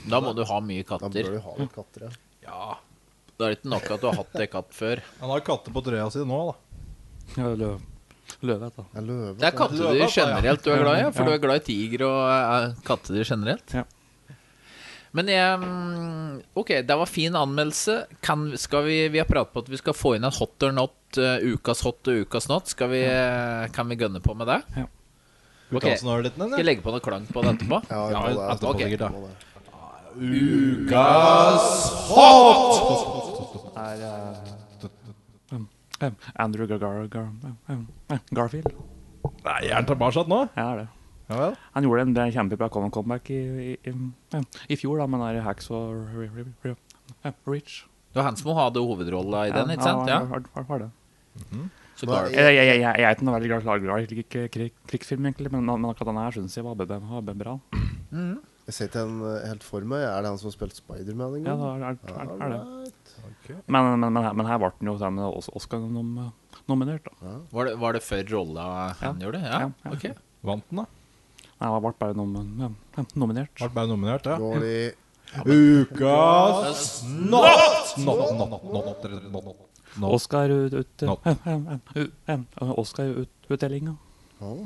Speaker 2: Da må du ha mye
Speaker 4: Da bør
Speaker 2: katter.
Speaker 4: du ha litt katter, ja.
Speaker 3: Ja.
Speaker 2: Da er det ikke nok at du har hatt ei katt før.
Speaker 3: Han har katter på trøya si nå, da.
Speaker 11: Ja, løv. Løvet, da.
Speaker 4: Det er løve.
Speaker 2: Det er kattedyr generelt du er glad i, ja, for du er glad i tiger og eh, kattedyr generelt.
Speaker 11: Ja.
Speaker 2: Men jeg mm, Ok, det var fin anmeldelse. Kan, skal vi, vi har pratet på at vi skal få inn en hot or not, eh, ukas hot og ukas not. Skal vi, eh, kan vi gønne på med det?
Speaker 11: Ja.
Speaker 3: Skal vi
Speaker 2: Ok,
Speaker 3: ta oss en øl litt,
Speaker 2: Skal jeg
Speaker 3: eller?
Speaker 2: legge på noe klang på det etterpå?
Speaker 4: Ja,
Speaker 3: Ja,
Speaker 4: det er-
Speaker 3: etterpå
Speaker 2: ok.
Speaker 3: sikkert, da.
Speaker 4: må det.
Speaker 11: Er, eh, um, um, Andrew Gar Gar Gar um, um, Garfield.
Speaker 3: Nei, er han tilbake nå?
Speaker 11: Ja, det er det.
Speaker 3: Ja vel.
Speaker 11: Han gjorde en en kjempebra come- comeback i, i, i, um, i fjor, da, med den der Hacks og Re- Re- Re- um, Rich.
Speaker 2: Det var han som hadde hovedrolla i den, ikke sant?
Speaker 11: Ja,
Speaker 2: Ja.
Speaker 11: var, var, var det.
Speaker 2: Så
Speaker 12: Hva-
Speaker 2: Garfield-
Speaker 11: Jeg, jeg, jeg, jeg er ikke noe veldig glad, glad, glad i krig, krig, krigsfilm, egentlig, men, men akkurat denne her syns jeg var be- be- be- bra.
Speaker 4: Jeg ser ikke den eh, helt for meg. Er det han som har spilt Spiderman en
Speaker 11: Ja,
Speaker 4: gang?
Speaker 11: det er, er, er, er det.
Speaker 4: Alright.
Speaker 11: Men, men, men, her, men her ble den jo sammen med Os- Oscar-nominert. da.
Speaker 2: Var det, var det før rolla han gjorde? Ja,
Speaker 11: Ja, ja.
Speaker 2: ok.
Speaker 3: Vant den, da?
Speaker 11: Nei, den ble bare nom- ja, ja, nominert.
Speaker 3: Ble bare nominert, ja.
Speaker 4: Går de
Speaker 3: Ukas not! Not, not, not, not, not, not, not, not. Nå.
Speaker 11: Oscar-utdelinga.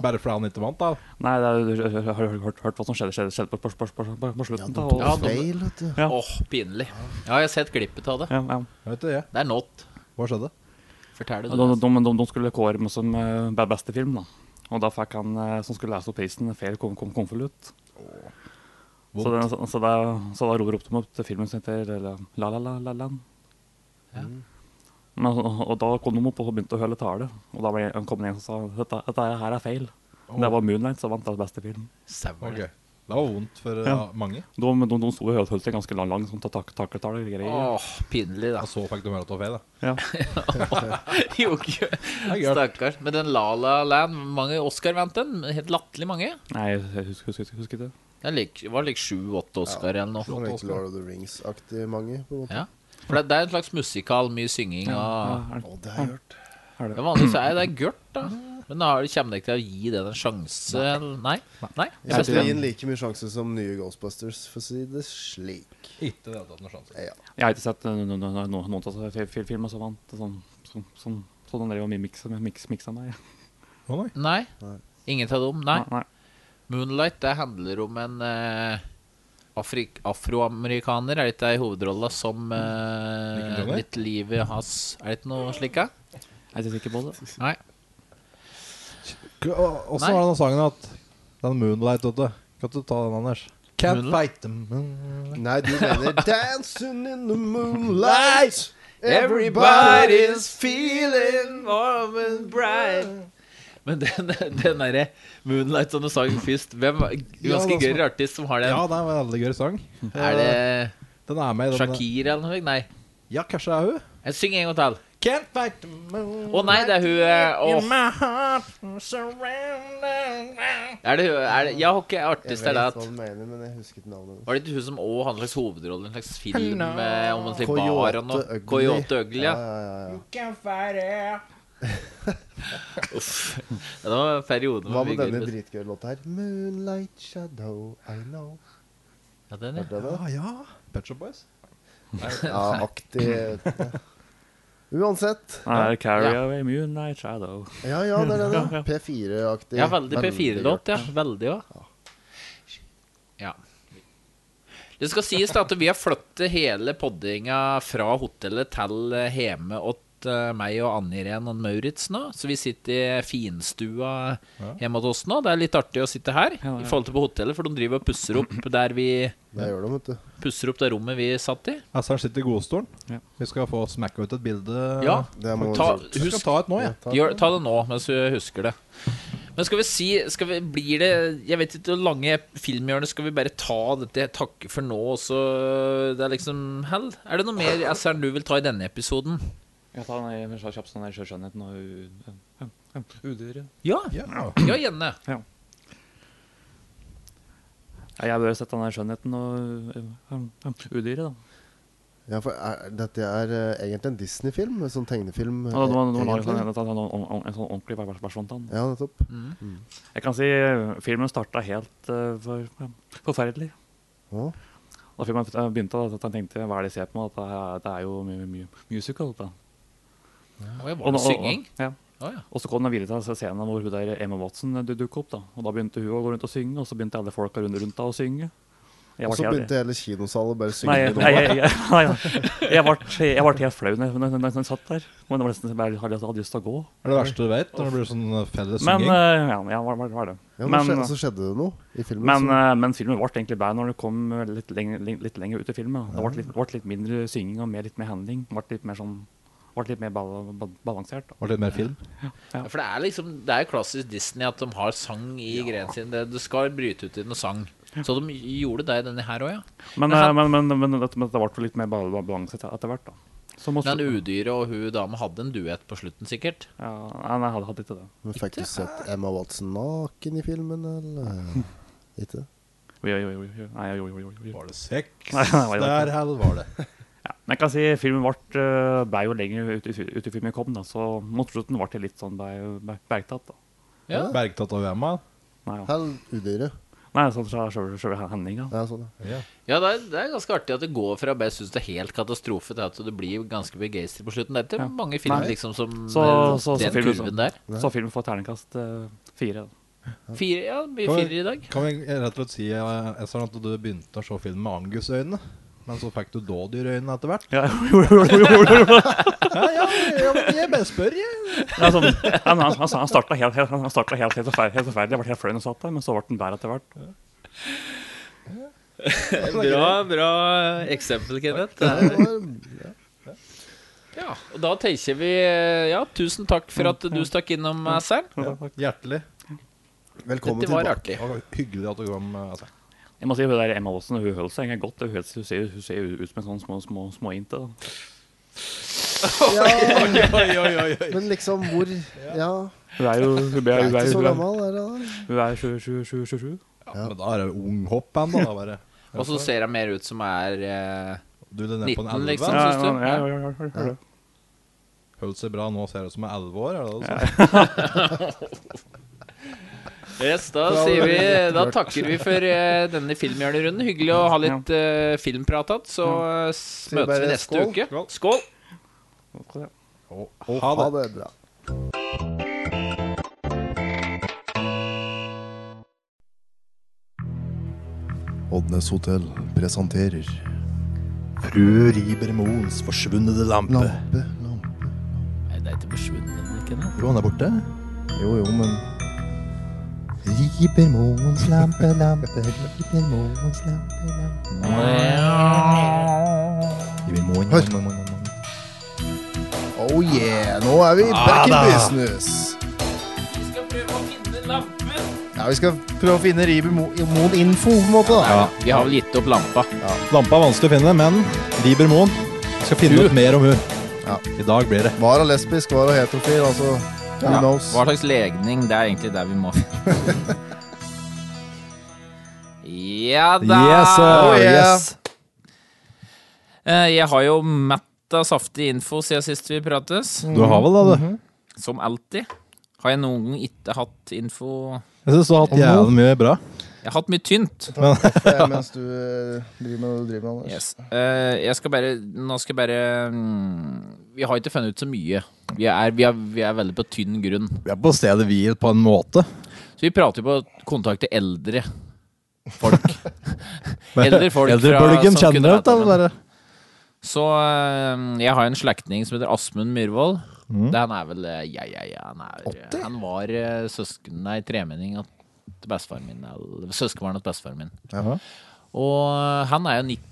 Speaker 3: Bare fordi han ikke vant, da.
Speaker 11: Nei, det er, har du har du hørt, hørt hva som skjedde, skjedde, skjedde på, på, på, på, på, på slutten? da, og-
Speaker 2: Ja,
Speaker 11: ja,
Speaker 2: Åh,
Speaker 4: feil, vet du.
Speaker 2: pinlig. Ja, jeg har sett klippet av det.
Speaker 11: ja, ja.
Speaker 3: Jeg vet ikke, jeg.
Speaker 2: Det er not.
Speaker 3: Hva skjedde?
Speaker 2: Fortell det.
Speaker 11: De,
Speaker 2: du.
Speaker 11: de, de, de skulle kåre meg som eh, be- beste film, da. Og da fikk han eh, som skulle lese opp prisen, feil kom, kom, konvolutt. Så, den, så, så, da, så da ropte de opp til filmen som heter La La La La, la Land.
Speaker 2: Ja.
Speaker 11: Men, altså, og, og da kom de opp og begynte å høre tale. Og da ble, kom det en som sa dette, dette her er feil. Det var Moonlight som vant den beste film.
Speaker 2: Sauer.
Speaker 3: Ok. Det var vondt for ja. mange.
Speaker 11: De, de, de sto og hørte hørte ganske lang, lang sånn tak, takletale og greier.
Speaker 2: Åh, pinlig, da.
Speaker 3: Og så fikk de høre at det var feil, da.
Speaker 11: Ja.
Speaker 2: jo, ikke
Speaker 3: gøy.
Speaker 2: Stakkars. Men den La La Land, hvor mange Oscar vant den? Helt latterlig mange.
Speaker 11: Nei, jeg husker, husker, husker, husker det.
Speaker 2: Det lik, var like sju-åtte Oscar eller noe.
Speaker 4: Sånn litt Lord of the Rings-aktig mange. på en måte.
Speaker 2: Ja. For det, det er en slags musikal, mye synging og
Speaker 11: Ja, er-
Speaker 4: Å, det har jeg hørt.
Speaker 2: Men vanligvis er det gørt, da. Men har, kommer dere ikke til å gi det en sjanse? Nei? Nei?
Speaker 4: Jeg synes det gir den like mye sjanse som nye Ghostbusters, for å si det slik.
Speaker 3: Ikke det at det var sjanse.
Speaker 4: Ja.
Speaker 11: Jeg har ikke sett eh, noen noen- noen- noen av disse fil- fil- filmene som vant. Sånn, sånn, sånn, sånn drev og miksa mix, miksa meg.
Speaker 3: Å nei.
Speaker 2: Nei? Ingen av dem? Nei.
Speaker 11: Nei, nei.
Speaker 2: Moonlight det handler om en eh, afrik afroamerikaner, er det ikke det i hovedrolla, som
Speaker 3: Michael
Speaker 2: eh,
Speaker 3: Johnny?
Speaker 2: litt livet hans Er det ikke noe slikt? da?
Speaker 11: Jeg er ikke sikker på det.
Speaker 2: Nei.
Speaker 3: Og så
Speaker 2: Nei.
Speaker 3: var den sangen at Den Moonlight, vet du. Kan du ta den, Anders? Can't
Speaker 2: Moonlight?
Speaker 3: fight the moon
Speaker 4: Nei, du mener 'Dancing in the moonlight'.
Speaker 2: Everybody's feeling warm and bright Men den, den derre Moonlight som du sang først Hvem Ganske
Speaker 3: Ja, det var
Speaker 2: gøy artist som har den.
Speaker 3: Ja, det er en veldig gøy sang.
Speaker 2: er det
Speaker 3: Den er med i den
Speaker 2: Shakira eller noe? Nei.
Speaker 3: Ja, kanskje det er hun?
Speaker 2: Jeg synger en gang til.
Speaker 3: Can't fight the moon
Speaker 2: Å nei, det er hun eh,
Speaker 3: in
Speaker 2: åh,
Speaker 3: my heart surrounded
Speaker 2: Er det hun er det, Ja, ok,
Speaker 4: Jeg
Speaker 2: artist er
Speaker 4: vet
Speaker 2: det
Speaker 4: hva
Speaker 2: at
Speaker 4: du mener, men jeg husker ikke navnet.
Speaker 2: Var det ikke hun som også hadde en slags hovedrolle i en slags film eh, om en slags bar
Speaker 4: Coyote
Speaker 2: og noe?
Speaker 4: Ugly.
Speaker 2: Coyote Ugly. Ja.
Speaker 4: Ja, ja, ja, ja.
Speaker 3: Can't fight it
Speaker 2: Uff. Ja, Det var en periode
Speaker 4: Hva med
Speaker 2: mye
Speaker 4: denne
Speaker 2: gøy.
Speaker 4: dritgøye låta her? Moonlight shadow, I know.
Speaker 2: Ja, den, ja.
Speaker 4: Hørte dere
Speaker 3: Ja,
Speaker 4: det?
Speaker 3: ja. Pet Shop Boys.
Speaker 4: Ja, aktig. jeg vet ikke. Uansett.
Speaker 11: Nei, Carry Away Moonlight Shadow.
Speaker 4: Ja, ja, det er det. da. P4-aktig.
Speaker 2: ja veldig P4-låt.
Speaker 4: godt.
Speaker 2: Ja, veldig òg. Ja. Det skal sies da at vi har flyttet hele poddinga fra hotellet til eh, hjemme åt eh, meg og Anne Irén og Maurits nå. Så vi sitter i finstua hjemme hos oss nå. Det er litt artig å sitte her
Speaker 11: Ja, ja.
Speaker 2: i forhold til på hotellet, for de driver og pusser opp der vi
Speaker 4: Det gjør de, vet du.
Speaker 2: pusser opp det rommet vi satt i.
Speaker 3: Altså, her sitter godstolen.
Speaker 11: Ja.
Speaker 3: Vi skal få smakka ut et bilde.
Speaker 2: Ja,
Speaker 4: Det må
Speaker 2: ta,
Speaker 4: vi
Speaker 3: Vi skal
Speaker 2: husk
Speaker 3: ta et nå, jeg.
Speaker 4: ta.
Speaker 2: Gjør, ta det nå, mens du husker det. Men skal vi si skal vi, Blir det Jeg vet ikke hvor lange filmhjørnet Skal vi bare ta dette takke for nå, og så Det er liksom Hell? Er det noe mer SR du vil ta i denne episoden?
Speaker 11: Jeg tar den i- kjapt sånn der skjønnheten og u- ja, ja, udyret.
Speaker 2: Ja.
Speaker 3: Ja.
Speaker 2: Ja, Jenne.
Speaker 11: Ja, jeg bør sette den der skjønnheten og ja, ja, udyret, da.
Speaker 4: Ja, for er, dette er eh, egentlig en Disney-film. En sånn tegnefilm.
Speaker 11: Ja, det var- det var laget
Speaker 4: egentlig.
Speaker 11: sånn- det var en, en, en, en sånn ordentlig vers- versjon av den.
Speaker 4: Ja, nettopp.
Speaker 11: Jeg kan si eh, filmen starta helt eh, for, ja, forferdelig.
Speaker 4: Ja.
Speaker 11: Da filmen eh, begynte, da, at jeg tenkte hva er det jeg ser på meg? At det er, det er jo mye mye musical. Da.
Speaker 2: Oi,
Speaker 11: Og
Speaker 2: var det
Speaker 11: nå- og-
Speaker 2: synging?
Speaker 11: Ja.
Speaker 2: Å ja.
Speaker 11: Og så kom den videre til scenen hvor hun der Emma Watson eh, du- dukket opp. da. Og da begynte hun å gå rundt og synge, og så begynte alle folka rundt, rundt da å synge. Jeg
Speaker 4: Og
Speaker 11: ble
Speaker 4: så
Speaker 11: helt-
Speaker 4: begynte hele kinosalet bare å synge.
Speaker 11: Nei, jeg,
Speaker 4: med
Speaker 11: nei,
Speaker 4: noe.
Speaker 11: jeg, jeg, nei, nei. jeg, ble, jeg ble helt flau når når- når jeg satt der. Men det var nesten så jeg bare hadde, hadde lyst til å gå.
Speaker 3: Det er det verste du vet, når det blir sånn felles
Speaker 11: Men
Speaker 3: synging.
Speaker 11: eh, ja, ja, hva, hva hva er det?
Speaker 4: Ja, men,
Speaker 11: men,
Speaker 4: så skjedde- så skjedde det noe i filmen.
Speaker 11: men,
Speaker 4: så,
Speaker 3: Liksom-
Speaker 11: eh, men filmen ble egentlig bad når det kom eh, litt lenger, litt, litt lenger ut i filmen. da. Det ble litt, ble litt mindre synging og mer, litt mer handling. Ble litt mer, sånn, ble litt mer bal bal balansert. Da.
Speaker 3: Det var litt mer film.
Speaker 11: Ja.
Speaker 2: For det er liksom Det er klassisk Disney at de har sang i greiene sine. Det- Du skal bryte ut i noe sang. Så de gjorde det i denne her òg, ja.
Speaker 11: Men,
Speaker 2: Men
Speaker 11: eh,
Speaker 2: han-
Speaker 11: men, men, men, det, men det ble jo litt mer bal bal- balanse etter- etter hvert, da.
Speaker 10: Som også-
Speaker 2: Den udyret og hun dama hadde en duett på slutten, sikkert.
Speaker 10: Ja, nei, nei, jeg hadde, hadde ikke det.
Speaker 9: Men fikk du sett Emma Watson naken i filmen, eller? Ikke?
Speaker 10: Jo, jo, jo, jo. Nei, jo, jo, jo, jo.
Speaker 3: Var det sex
Speaker 10: Nei, nei, det var
Speaker 3: der,
Speaker 10: ikke.
Speaker 3: eller var det
Speaker 10: Ja, men jeg kan si filmen ble, eh, ble jo lenger ut, ut, ut i filmen kom, da, så mot slutten ble det litt sånn ble, ble, bergtatt. da.
Speaker 2: Ja.
Speaker 3: Bergtatt av Emma?
Speaker 10: Nei, ja.
Speaker 9: Hell, udyret.
Speaker 10: nei sånn fra selve selve handlinga.
Speaker 9: Ja, sånn, ja.
Speaker 2: Ja, det er, det er ganske artig at det går fra bare synes det er helt katastrofe til at du blir ganske begeistret på slutten. Det er ikke
Speaker 10: Ja.
Speaker 2: mange filmer
Speaker 10: Nei.
Speaker 2: liksom som
Speaker 10: Så,
Speaker 2: eh,
Speaker 10: så, så,
Speaker 2: den
Speaker 10: filmen,
Speaker 2: kurven der.
Speaker 10: så, så filmen får terningkast eh, fire. Da.
Speaker 2: Fire, ja, mye
Speaker 3: Kan vi-
Speaker 2: firer i dag.
Speaker 3: Kan vi rett og slett si eh, Essan, at du begynte å se film med Angus-øyne, men så fikk du dådyrøyne etter hvert?
Speaker 10: Ja, jo, jo, jo, jo, jo, jo.
Speaker 3: Ja, ja, ja, men jeg bare spør, jeg.
Speaker 10: Ja, sånn, han han, han, han starta helt, helt, han startet helt, helt, forferdelig- helt forferdelig. Jeg ble helt flau når han satt der, men så ble han bedre etter hvert.
Speaker 2: Bra, bra eksempel, Kenneth.
Speaker 9: Det var
Speaker 2: Ja, og da tenker vi eh, Ja, tusen takk for at du stakk innom, Assern.
Speaker 3: Hjertelig.
Speaker 9: Velkommen
Speaker 2: Dette var
Speaker 9: tilbake.
Speaker 2: artig.
Speaker 3: Det var hyggelig at du kom. eh, Essan.
Speaker 10: Jeg må si hun der Emma Aasen, hun holdt seg egentlig godt. Hun, hun, ser, hun ser jo ut som en sånn små, små, små inte. Da.
Speaker 9: Ja,
Speaker 2: Oi, oi, oi.
Speaker 9: men liksom hvor Ja,
Speaker 10: Hun er jo hun
Speaker 9: du
Speaker 10: er,
Speaker 9: er
Speaker 10: hun er,
Speaker 9: ikke så
Speaker 10: hun er,
Speaker 9: gammel, er du da?
Speaker 10: hun er 27.
Speaker 3: Ja, men da er det unghoppband, da. Bare.
Speaker 2: Og så ser jeg mer ut som er eh,
Speaker 3: Du er nede på
Speaker 2: 19,
Speaker 3: en 11.
Speaker 2: liksom.
Speaker 10: Ja,
Speaker 2: synes du?
Speaker 10: ja, ja, ja, ja, ja, ja.
Speaker 3: Holdt seg bra nå, ser ut som er 11 år. Er det det du sa?
Speaker 2: Yes, da, sier vi, da takker vi for eh, denne filmhjørnerunden. Hyggelig å ha litt uh, filmprat igjen. Så eh, s-
Speaker 9: Sier
Speaker 2: møtes
Speaker 9: bare
Speaker 2: vi neste
Speaker 9: skål.
Speaker 2: uke. Skål!
Speaker 10: Ok, ja.
Speaker 3: Å,
Speaker 9: Ha det bra.
Speaker 4: Oddnes hotell presenterer
Speaker 3: Fru Ribermoens forsvunne lampe.
Speaker 4: Lampe, lampe
Speaker 2: Nei, det er ikke forsvunnet, ikke det?
Speaker 3: Jo, han er borte.
Speaker 4: Jo, jo, men
Speaker 9: Ribermoens lampe, lampe, Ribermoens lampe, lampe
Speaker 4: Hør! Oh yeah, nå er vi back in business.
Speaker 2: Vi skal prøve å finne lampen.
Speaker 4: Ja, Vi skal prøve å finne Ribermoen info, på en måte. da.
Speaker 2: Vi har vel gitt opp lampa.
Speaker 3: Lampa er vanskelig å finne, men Ribermoen Vi skal finne ut mer om hun.
Speaker 4: Ja.
Speaker 3: I dag blir det.
Speaker 4: Var hun lesbisk, var hun heterofil? Altså, who
Speaker 2: Ja.
Speaker 4: knows?
Speaker 2: Hva slags legning? Det er egentlig der vi må Ja da!
Speaker 3: Yes, sir.
Speaker 4: Oh, yeah.
Speaker 3: yes.
Speaker 2: Eh, Jeg har jo metta saftig info siden sist vi prates.
Speaker 3: Du har vel det, du.
Speaker 2: Som alltid. Har jeg noen gang ikke hatt info
Speaker 3: Jeg syns du har hatt jævlig mye bra.
Speaker 2: Jeg har hatt mye tynt.
Speaker 4: Ja, Mens du eh, driver med det du driver med, Anders.
Speaker 2: Yes. Eh, jeg skal bare Nå skal jeg bare mm, Vi har ikke funnet ut så mye. Vi er, vi er, vi er veldig på tynn grunn.
Speaker 3: Vi er på stedet hvil på en måte.
Speaker 2: Så vi prater jo på å kontakte eldre folk. eldre folk
Speaker 3: Eldrebølgen
Speaker 2: som kunne
Speaker 3: kjenner
Speaker 2: vært
Speaker 3: ut, da.
Speaker 2: med.
Speaker 3: Bare.
Speaker 2: Så eh, jeg har en slektning som heter Asmund Myhrvold. Det Han er vel eh, Ja, ja, ja. Han, er, han var eh, søsken Nei, tremenning til bestefaren min. Eller søskenbarn til bestefaren min.
Speaker 4: Jaha.
Speaker 2: Og eh, han er jo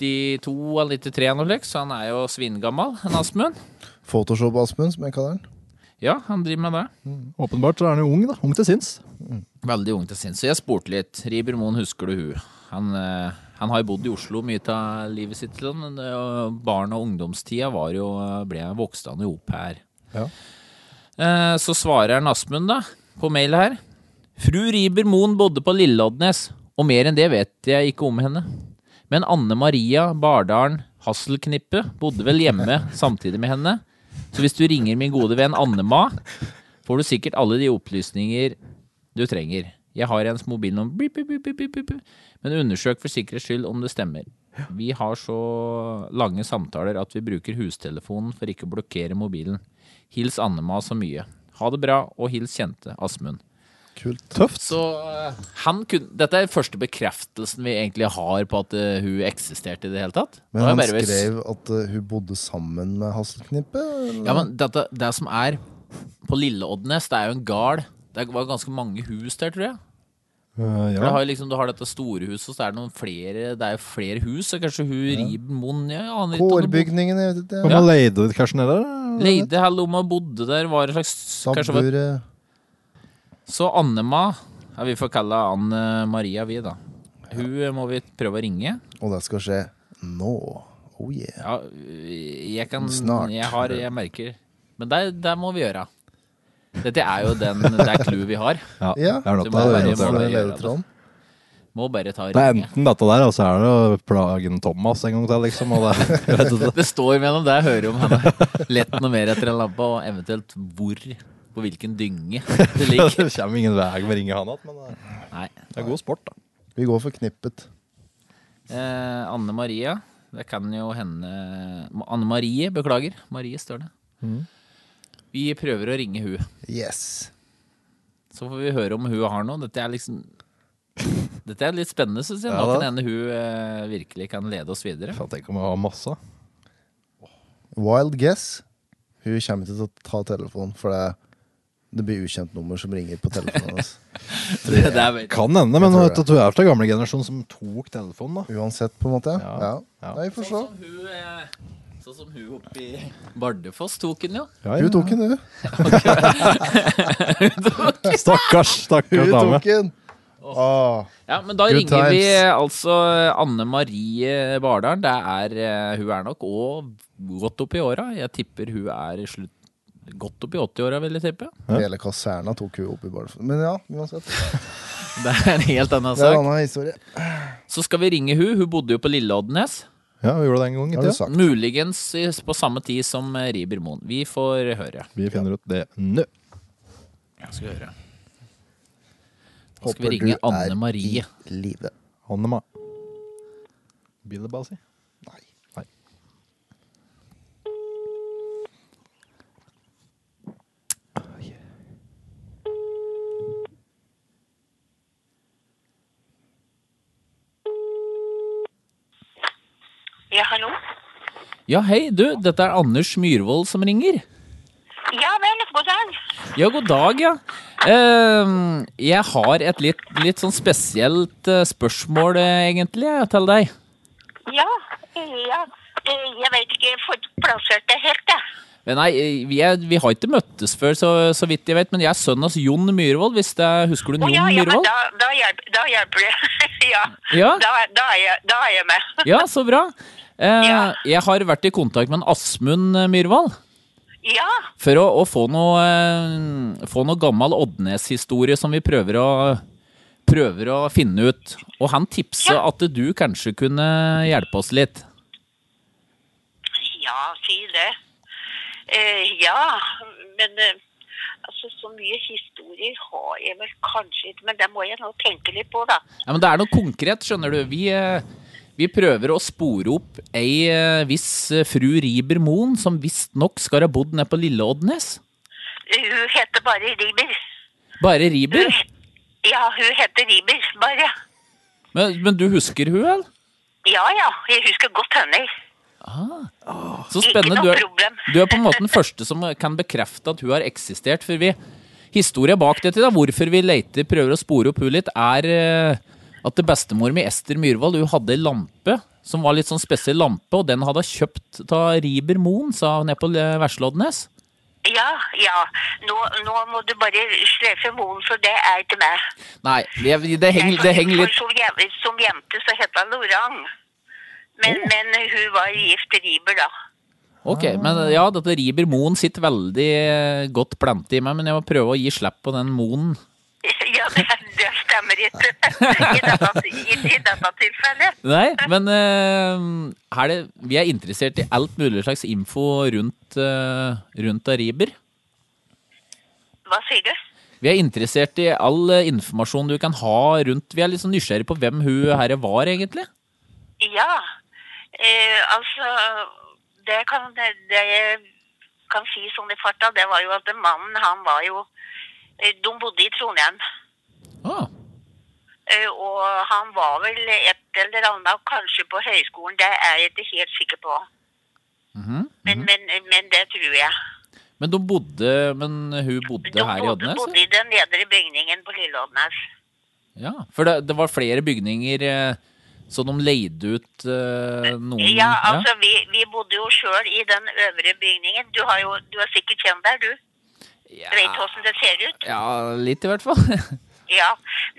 Speaker 2: 92 eller 93, eller noe slikt, så han er jo svingammal, en Asmund.
Speaker 4: Photoshop Asmund, som jeg kaller den.
Speaker 2: Ja, han driver med det.
Speaker 3: Åpenbart så er han jo ung, da. Ung til sinns.
Speaker 2: Veldig ung til sinns. Så jeg spurte litt. Riiber Moen, husker du hun? Han, eh, han har jo bodd i Oslo mye av livet sitt, sånn, men eh, barn- og ungdomstida var jo, eh, ble han vokste han jo opp her.
Speaker 3: Ja.
Speaker 2: Eh, Så svarer han Asmund, da, på mail her. Fru Riiber Moen bodde på Lilleoddnes, og mer enn det vet jeg ikke om henne. Men Anne Maria Bardalen Hasselknippe bodde vel hjemme samtidig med henne. Så hvis du ringer min gode venn Annema, får du sikkert alle de opplysninger du trenger. Jeg har hennes mobilnummer Bip, bip, bip, bip, bip, bip. Men undersøk for sikkerhets skyld om det stemmer. Vi har så lange samtaler at vi bruker hustelefonen for ikke å blokkere mobilen. Hils Annema så mye. Ha det bra, og hils kjente Asmund.
Speaker 4: Kult.
Speaker 3: Tøft.
Speaker 2: Så eh, han kun, Dette er første bekreftelsen vi egentlig har på at eh, hun eksisterte i det hele tatt. Nå
Speaker 4: Men
Speaker 2: er
Speaker 4: han
Speaker 2: jeg bare-
Speaker 4: skrev at eh, hun bodde sammen med Hasselknippe? eller?
Speaker 2: Ja, men dette, det som er på Lilleoddnes, det er jo en gard. Det var ganske mange hus der, tror jeg.
Speaker 3: Eh,
Speaker 2: For det
Speaker 3: ja.
Speaker 2: har jo liksom, du har dette store huset, og så er det noen flere Det er jo flere hus. Så kanskje hun Ribermoen ja, jeg aner ikke om hun bodde-
Speaker 4: Kårbygningen, jeg vet ikke.
Speaker 3: Kan
Speaker 4: Ja.
Speaker 3: man leie det ut kanskje nede? eller?
Speaker 2: Leide heller om hun bodde der, var en slags kanskje det var-
Speaker 4: Stabburet
Speaker 2: Så Annema ja, Vi får kalle henne Anne Maria, vi, da. Hun eh, må vi prøve å ringe.
Speaker 4: Og det skal skje nå. Oh yeah.
Speaker 2: Ja, jeg kan
Speaker 4: Snart.
Speaker 2: Jeg har Jeg merker. Men det, det må vi gjøre. Dette er jo den Det er clouet vi har.
Speaker 3: Ja,
Speaker 4: Ja,
Speaker 3: det er
Speaker 2: det
Speaker 3: noe
Speaker 2: må
Speaker 3: av
Speaker 2: være-
Speaker 3: det.
Speaker 4: Det
Speaker 2: det må
Speaker 4: er
Speaker 2: vi gjøre,
Speaker 4: ledetråden.
Speaker 2: Må bare ta
Speaker 3: Det er
Speaker 2: ringe.
Speaker 3: enten dette der, og så er det å plage en Thomas en gang til, liksom. Og det, vet du det.
Speaker 2: Det står mellom det jeg hører om henne. Lett noe mer etter en lampe, og eventuelt hvor. På hvilken dynge det ligger.
Speaker 3: det kommer ingen vei med å ringe han igjen, men eh, det
Speaker 2: Nei.
Speaker 3: er god sport, da.
Speaker 4: Vi går for knippet.
Speaker 2: Eh, Anne Maria. Det kan jo hende Anne Marie, beklager. Marie står det. Vi prøver å ringe hun.
Speaker 4: Yes.
Speaker 2: Så får vi høre om hun har noe. Dette er liksom Dette er litt spennende, syns jeg.
Speaker 3: Ja,
Speaker 2: Nå
Speaker 3: da.
Speaker 2: kan hende hun eh, virkelig kan lede oss videre.
Speaker 3: Faen, Tenk om jeg har masse.
Speaker 4: Wild guess. Hun kommer ikke til å ta telefonen, for det, det blir ukjent nummer som ringer på telefonen hennes.
Speaker 2: Det er veldig-
Speaker 3: Kan hende, men
Speaker 4: tror
Speaker 3: vet du, du er fra gamle generasjon som tok telefonen, da.
Speaker 4: Uansett, på en måte. Ja.
Speaker 3: Ja.
Speaker 4: ja.
Speaker 3: Ja.
Speaker 4: Nei, vi får se.
Speaker 2: Sånn som hun eh, Sånn som hun oppe i Bardufoss tok den jo.
Speaker 4: Hun tok den, hun.
Speaker 3: Stakkars, stakkars
Speaker 4: Hun
Speaker 3: dame.
Speaker 4: tok den! Ah,
Speaker 2: Ja, men da
Speaker 4: Good
Speaker 2: ringer vi
Speaker 4: times.
Speaker 2: eh, altså Anne Marie Bardal. Det er, eh, hun er nok òg godt opp i åra. Jeg tipper hun er i slutt godt opp i 80-åra, vil jeg tippe.
Speaker 4: hele kaserna tok hun opp i Bardufoss. Men ja, uansett.
Speaker 2: Det er en helt annen
Speaker 4: Det er en
Speaker 2: sak.
Speaker 4: annen historie.
Speaker 2: Så skal vi ringe hun. Hun bodde jo på Lille Oddnes.
Speaker 3: Ja, vi gjorde det en gang i
Speaker 4: Har du
Speaker 3: tida.
Speaker 4: sagt.
Speaker 2: Muligens i- på samme tid som eh, Riiber Moen. Vi får høre.
Speaker 3: Vi finner ut det nå.
Speaker 2: Skal høre. Nå skal
Speaker 4: Håper
Speaker 2: vi
Speaker 4: du
Speaker 2: ringe
Speaker 4: er
Speaker 2: Anne Marie.
Speaker 4: i live.
Speaker 3: Annema. Billeba, si. Nei. Nei.
Speaker 11: Ja, hallo?
Speaker 2: Ja, hei, du. Dette er Anders Myhrvold som ringer.
Speaker 11: Ja vel, god dag.
Speaker 2: Ja, god dag, ja. Ehm, jeg har et litt, litt sånn spesielt eh, spørsmål, eh, egentlig, jeg, til deg.
Speaker 11: Ja, eh, ja. Eh, Jeg vet ikke, jeg får ikke plassert det helt, jeg.
Speaker 2: Men Nei, eh, vi, er, vi har ikke møttes før, så, så vidt jeg vet, men jeg er sønn av Jon Myhrvold. Hvis det, husker du
Speaker 11: Å
Speaker 2: Jon
Speaker 11: ja, ja, men
Speaker 2: Myhrvold?
Speaker 11: da, da, hjelper, da hjelper det. ja,
Speaker 2: Ja.
Speaker 11: Da, da, er jeg, da er jeg med.
Speaker 2: Ja, så bra. Eh,
Speaker 11: Ja.
Speaker 2: Jeg har vært i kontakt med en Asmund eh, Myhrvold
Speaker 11: Ja,
Speaker 2: for å, å få noe eh, Få noe gammel Oddnes-historie som vi prøver å Prøver å finne ut. Og han tipset
Speaker 11: Ja.
Speaker 2: at du kanskje kunne hjelpe oss litt.
Speaker 11: ja, si det. Eh, ja, men eh, altså, så mye historier har jeg vel kanskje ikke, men det må jeg nå tenke litt på, da.
Speaker 2: Ja, men det er noe konkret, skjønner du. Vi, eh, vi prøver å spore opp ei eh, viss eh, fru Riiber Moen, som visstnok skal ha bodd nede på Lille Oddnes.
Speaker 11: Hun heter bare Riber.
Speaker 2: Bare Riiber?
Speaker 11: Ja, hun heter Riber, bare.
Speaker 2: Men, men du husker hun, eller?
Speaker 11: Ja, ja, jeg husker godt henne.
Speaker 2: Så
Speaker 11: Ikke
Speaker 2: spennende.
Speaker 11: noe
Speaker 2: Du er,
Speaker 11: problem.
Speaker 2: du er på en måte den første som kan bekrefte at hun har eksistert. For vi, historien bak dette, da, hvorfor vi leter, prøver å spore opp hun litt, er eh, at det bestemor mi, Ester Myhrvold, hun hadde ei lampe som var litt sånn spesiell lampe, og den hadde hun kjøpt av Riiber Moen, sa hun nede på eh, Veslodnes.
Speaker 11: Ja, ja. Nå, nå må du bare slefe moren, for det er ikke meg.
Speaker 2: Nei, det, det,
Speaker 11: Jeg
Speaker 2: henger,
Speaker 11: for-
Speaker 2: det henger litt
Speaker 11: For som, je- som jente så het hun Lorang. Men,
Speaker 2: Oh.
Speaker 11: men hun var gift Riber, da.
Speaker 2: Ok, men ja, dette Riiber Moen sitter veldig eh, godt plante i meg, men jeg må prøve å gi slipp på den Moen.
Speaker 11: Ja, det, det stemmer ikke. I dette, i, i dette tilfellet.
Speaker 2: Nei, men eh, er det, vi er interessert i alt mulig slags info rundt, eh, rundt av Riiber.
Speaker 11: Hva sier du?
Speaker 2: Vi er interessert i all eh, informasjon du kan ha rundt Vi er litt sånn nysgjerrig på hvem hun her var, egentlig.
Speaker 11: Ja. Eh, altså, det kan det, det jeg kan si sånn i farta, det var jo at mannen, han var jo eh, De bodde i Trondheim.
Speaker 2: Ah,
Speaker 11: Eh, Og han var vel et eller annet kanskje på høyskolen, det er jeg ikke helt sikker på. men, men, men det tror jeg.
Speaker 2: men, de bodde, men hun bodde
Speaker 11: De
Speaker 2: her i
Speaker 11: bodde,
Speaker 2: Oddnes?
Speaker 11: bodde
Speaker 2: ja?
Speaker 11: i den nedre bygningen på Lille Oddnes.
Speaker 2: Ja, for det, det var flere bygninger eh, så de leide ut eh, noen
Speaker 11: Ja, altså Vi, vi bodde jo sjøl i den øvre bygningen. Du har jo du har sikkert kjent der, du.
Speaker 2: Ja.
Speaker 11: Du Vet hvordan det ser ut?
Speaker 2: Ja, litt i hvert fall.
Speaker 11: Ja.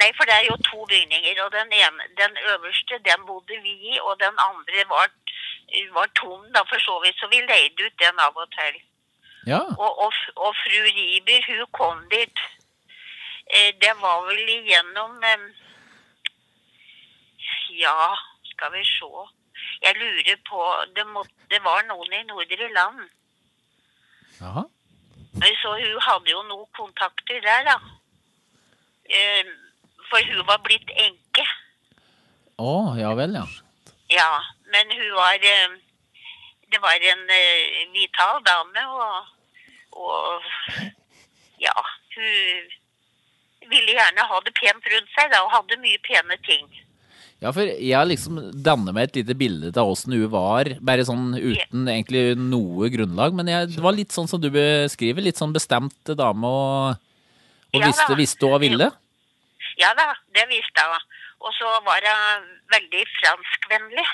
Speaker 11: Nei, for det er jo to bygninger, og den, ene, den øverste den bodde vi i, og den andre var var tom, da, for så vidt. Så vi leide ut den av og til.
Speaker 2: Ja.
Speaker 11: Og, og, f- og fru Riber, hun kom dit. Eh, Det var vel igjennom eh, Ja, skal vi se. Jeg lurer på Det, må, det var noen i Nordre Land.
Speaker 2: Jaha.
Speaker 11: Eh, Så hun hadde jo noen kontakter der, da. Eh, For hun var blitt enke.
Speaker 2: Å, ja vel, ja.
Speaker 11: Ja, men hun var eh, Det var en eh, vital dame, og, og Ja, hun ville gjerne ha det pent rundt seg, da, og hadde mye pene ting.
Speaker 2: Ja, for jeg liksom danner meg et lite bilde av åssen hun var, bare sånn uten egentlig noe grunnlag. Men jeg, det var litt sånn som du beskriver, litt sånn bestemt dame og, og
Speaker 11: Ja da.
Speaker 2: visste, visste hva hun ville.
Speaker 11: Ja da, det visste hun. Og så var hun veldig franskvennlig.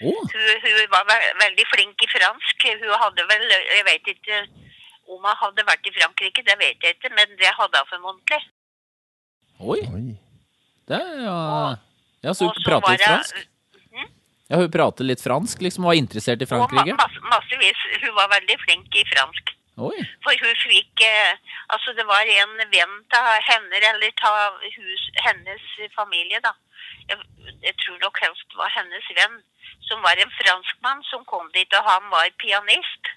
Speaker 11: Hun, hun var ve- veldig flink i fransk. Hun hadde vel Jeg vet ikke om hun hadde vært i Frankrike, det vet jeg ikke, men det hadde hun formodentlig.
Speaker 2: Oi! Det er ja Ja, så
Speaker 11: og
Speaker 2: hun
Speaker 11: så
Speaker 2: prater litt
Speaker 11: var det-
Speaker 2: fransk? Ja, hun prater litt fransk, liksom. Var interessert i Frankrike?
Speaker 11: Og ma masse, massevis. Hun var veldig flink i fransk.
Speaker 2: Oi.
Speaker 11: For hun fikk eh, Altså, det var en venn av henne, eller av hus, hennes familie, da. Jeg, jeg tror nok helst var hennes venn, som var en franskmann som kom dit, og han var pianist.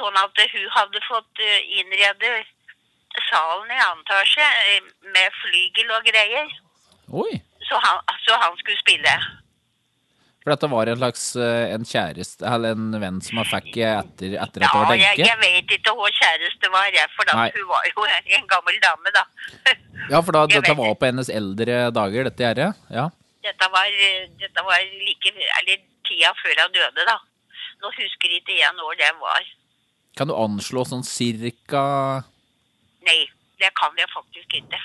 Speaker 11: Sånn at hun hadde fått eh, innrede salen i annen etasje eh, med flygel og greier.
Speaker 2: Oi.
Speaker 11: Så han, så han skulle spille.
Speaker 2: For dette var en slags eh, en kjæreste, eller en venn som han fikk etter, etter at hun
Speaker 11: Ja,
Speaker 2: var
Speaker 11: jeg, jeg
Speaker 2: enke?
Speaker 11: vet ikke hvor kjæreste var, jeg, for da,
Speaker 2: Nei.
Speaker 11: hun var jo en gammel dame, da.
Speaker 2: Ja, for da,
Speaker 11: jeg
Speaker 2: dette
Speaker 11: vet
Speaker 2: var på hennes eldre dager, dette gjerdet? Ja.
Speaker 11: Dette var, eh, dette var like, eller tida før hun døde, da. Nå husker ikke jeg når det var.
Speaker 2: Kan du anslå sånn cirka
Speaker 11: Nei, det kan jeg faktisk ikke.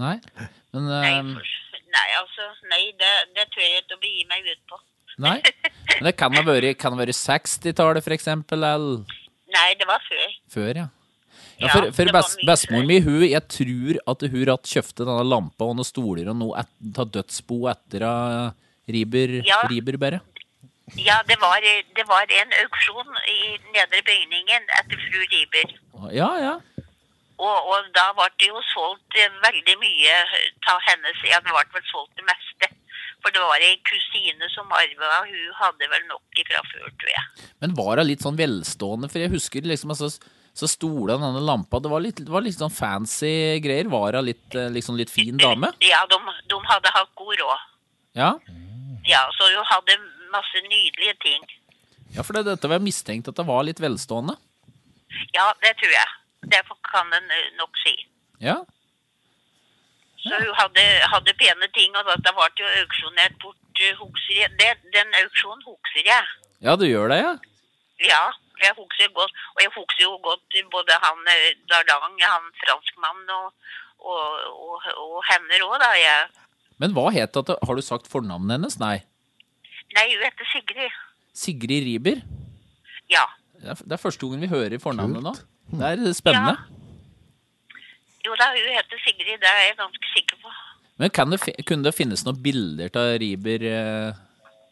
Speaker 2: Nei? Men eh,
Speaker 11: Nei, altså, nei, det, det tør jeg ikke å begi meg ut på.
Speaker 2: Nei? Men det kan ha vært, kan ha vært 60-tallet, for eksempel, eller
Speaker 11: Nei, det var før.
Speaker 2: Før, ja. Ja,
Speaker 11: Ja,
Speaker 2: for, for
Speaker 11: det var
Speaker 2: best,
Speaker 11: mye
Speaker 2: bestemor mi, hun, jeg tror at hun ratt kjøpte denne lampa og noen stoler og noe et, ta dødsbo etter av Riber,
Speaker 11: Ja.
Speaker 2: Riber bare.
Speaker 11: Ja, det var, eh, det var en auksjon i nedre bygningen etter fru Riber.
Speaker 2: Ja, ja.
Speaker 11: Og, og da ble det jo solgt eh, veldig mye eh, av hennes Ja, det ble vel solgt det meste. For det var ei kusine som arva, hun hadde vel nok ifra før, tror jeg.
Speaker 2: Men var hun litt sånn velstående? For jeg husker liksom altså, så stola denne lampa, det var litt, det var litt sånn fancy greier. Var hun litt, eh, liksom litt fin dame?
Speaker 11: Ja, de, de hadde hatt god råd.
Speaker 2: Ja,
Speaker 11: Ja, så hun hadde masse nydelige ting.
Speaker 2: ja for det, dette var jeg mistenkt at hun var litt velstående.
Speaker 11: Ja, det tror jeg. Derfor kan en eh, nok si.
Speaker 2: Ja,
Speaker 11: Så hun hadde, hadde pene ting, og dette ble jo auksjonert bort. eh, Husker jeg. Det, den auksjonen husker jeg.
Speaker 2: ja du gjør det, ja?
Speaker 11: Ja, jeg husker godt. Og jeg husker jo godt både han eh, Darlang, han franskmannen, og, og, og, og henne òg, da. Jeg,
Speaker 2: Men hva het det? Har du sagt fornavnet hennes? Nei.
Speaker 11: nei, hun heter Sigrid.
Speaker 2: Sigrid Riber?
Speaker 11: Ja.
Speaker 2: Det er, det er første gangen vi hører fornavnet nå. Det er eh, spennende.
Speaker 11: Jo da, hun heter Sigrid, det er jeg ganske sikker på.
Speaker 2: Men kan det, fi- kunne det finnes noen bilder av Riber eh,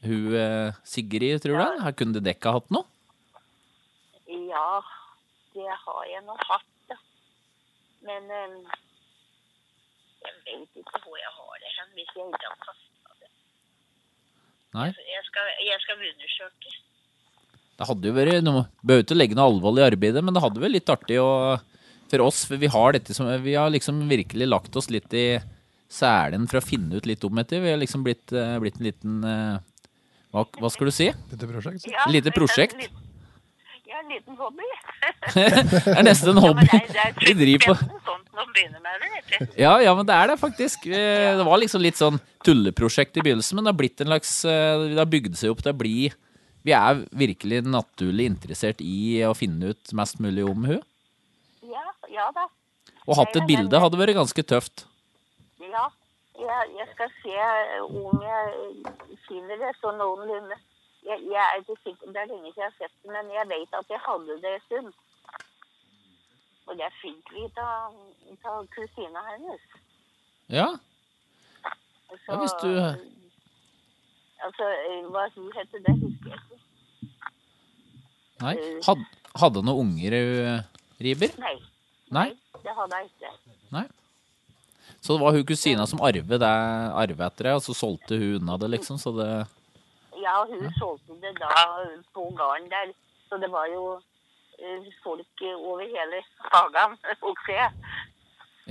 Speaker 2: hun eh, Sigrid, tror du? Her kunne det dekka hatt noe?
Speaker 11: Ja, det har jeg nå hatt, da. Men eh, jeg vet ikke hvor jeg har det hen, hvis jeg ikke har kasta det.
Speaker 2: Nei.
Speaker 11: Jeg skal, jeg skal undersøke.
Speaker 2: Det hadde jo vært noe Behøver ikke legge noe alvorlig arbeid i det, men det hadde vært litt artig å For oss, for vi har dette som Vi har liksom virkelig lagt oss litt i selen for å finne ut litt om dette. Vi har liksom blitt, eh, blitt en liten eh, hva, hva skal du si? Lite prosjekt?
Speaker 11: Ja,
Speaker 2: Lite
Speaker 11: en
Speaker 2: prosjekt.
Speaker 11: liten- Ja, en liten hobby.
Speaker 2: Det er nesten en
Speaker 11: Ja, men
Speaker 2: hobby.
Speaker 11: det er- det er
Speaker 2: Vi driver på
Speaker 11: spennende sånt når man begynner med det, vet du.
Speaker 2: Ja, ja, men det er det faktisk. Eh, Det var liksom litt sånn tulleprosjekt i begynnelsen, men det har blitt en slags eh, Det har bygd seg opp til å bli Vi er virkelig naturlig interessert i å finne ut mest mulig om hun.
Speaker 11: Ja, ja da.
Speaker 2: Og hatt et bilde hadde vært ganske tøft.
Speaker 11: Ja. Jeg, jeg skal se eh, om jeg finner det sånn noenlunde. Jeg, jeg er ikke sikker, Det er lenge siden jeg har sett det, men jeg vet at jeg hadde det en stund. Og det fikk vi av av kusina hennes.
Speaker 2: Ja.
Speaker 11: Så,
Speaker 2: ja hvis du
Speaker 11: Altså, eh, hva hun heter, det husker jeg ikke.
Speaker 2: Nei.
Speaker 11: Mm.
Speaker 2: Had, hadde noen unger, eh, Riber?
Speaker 11: Nei,
Speaker 2: Nei?
Speaker 11: det hadde jeg ikke.
Speaker 2: Nei. Så det var hun kusina som arvet det, arvet etter det, og så solgte hun unna det, liksom. Så det
Speaker 11: Ja, hun solgte det da på gården der, så det var jo eh, folk eh, over hele hagen, også jeg.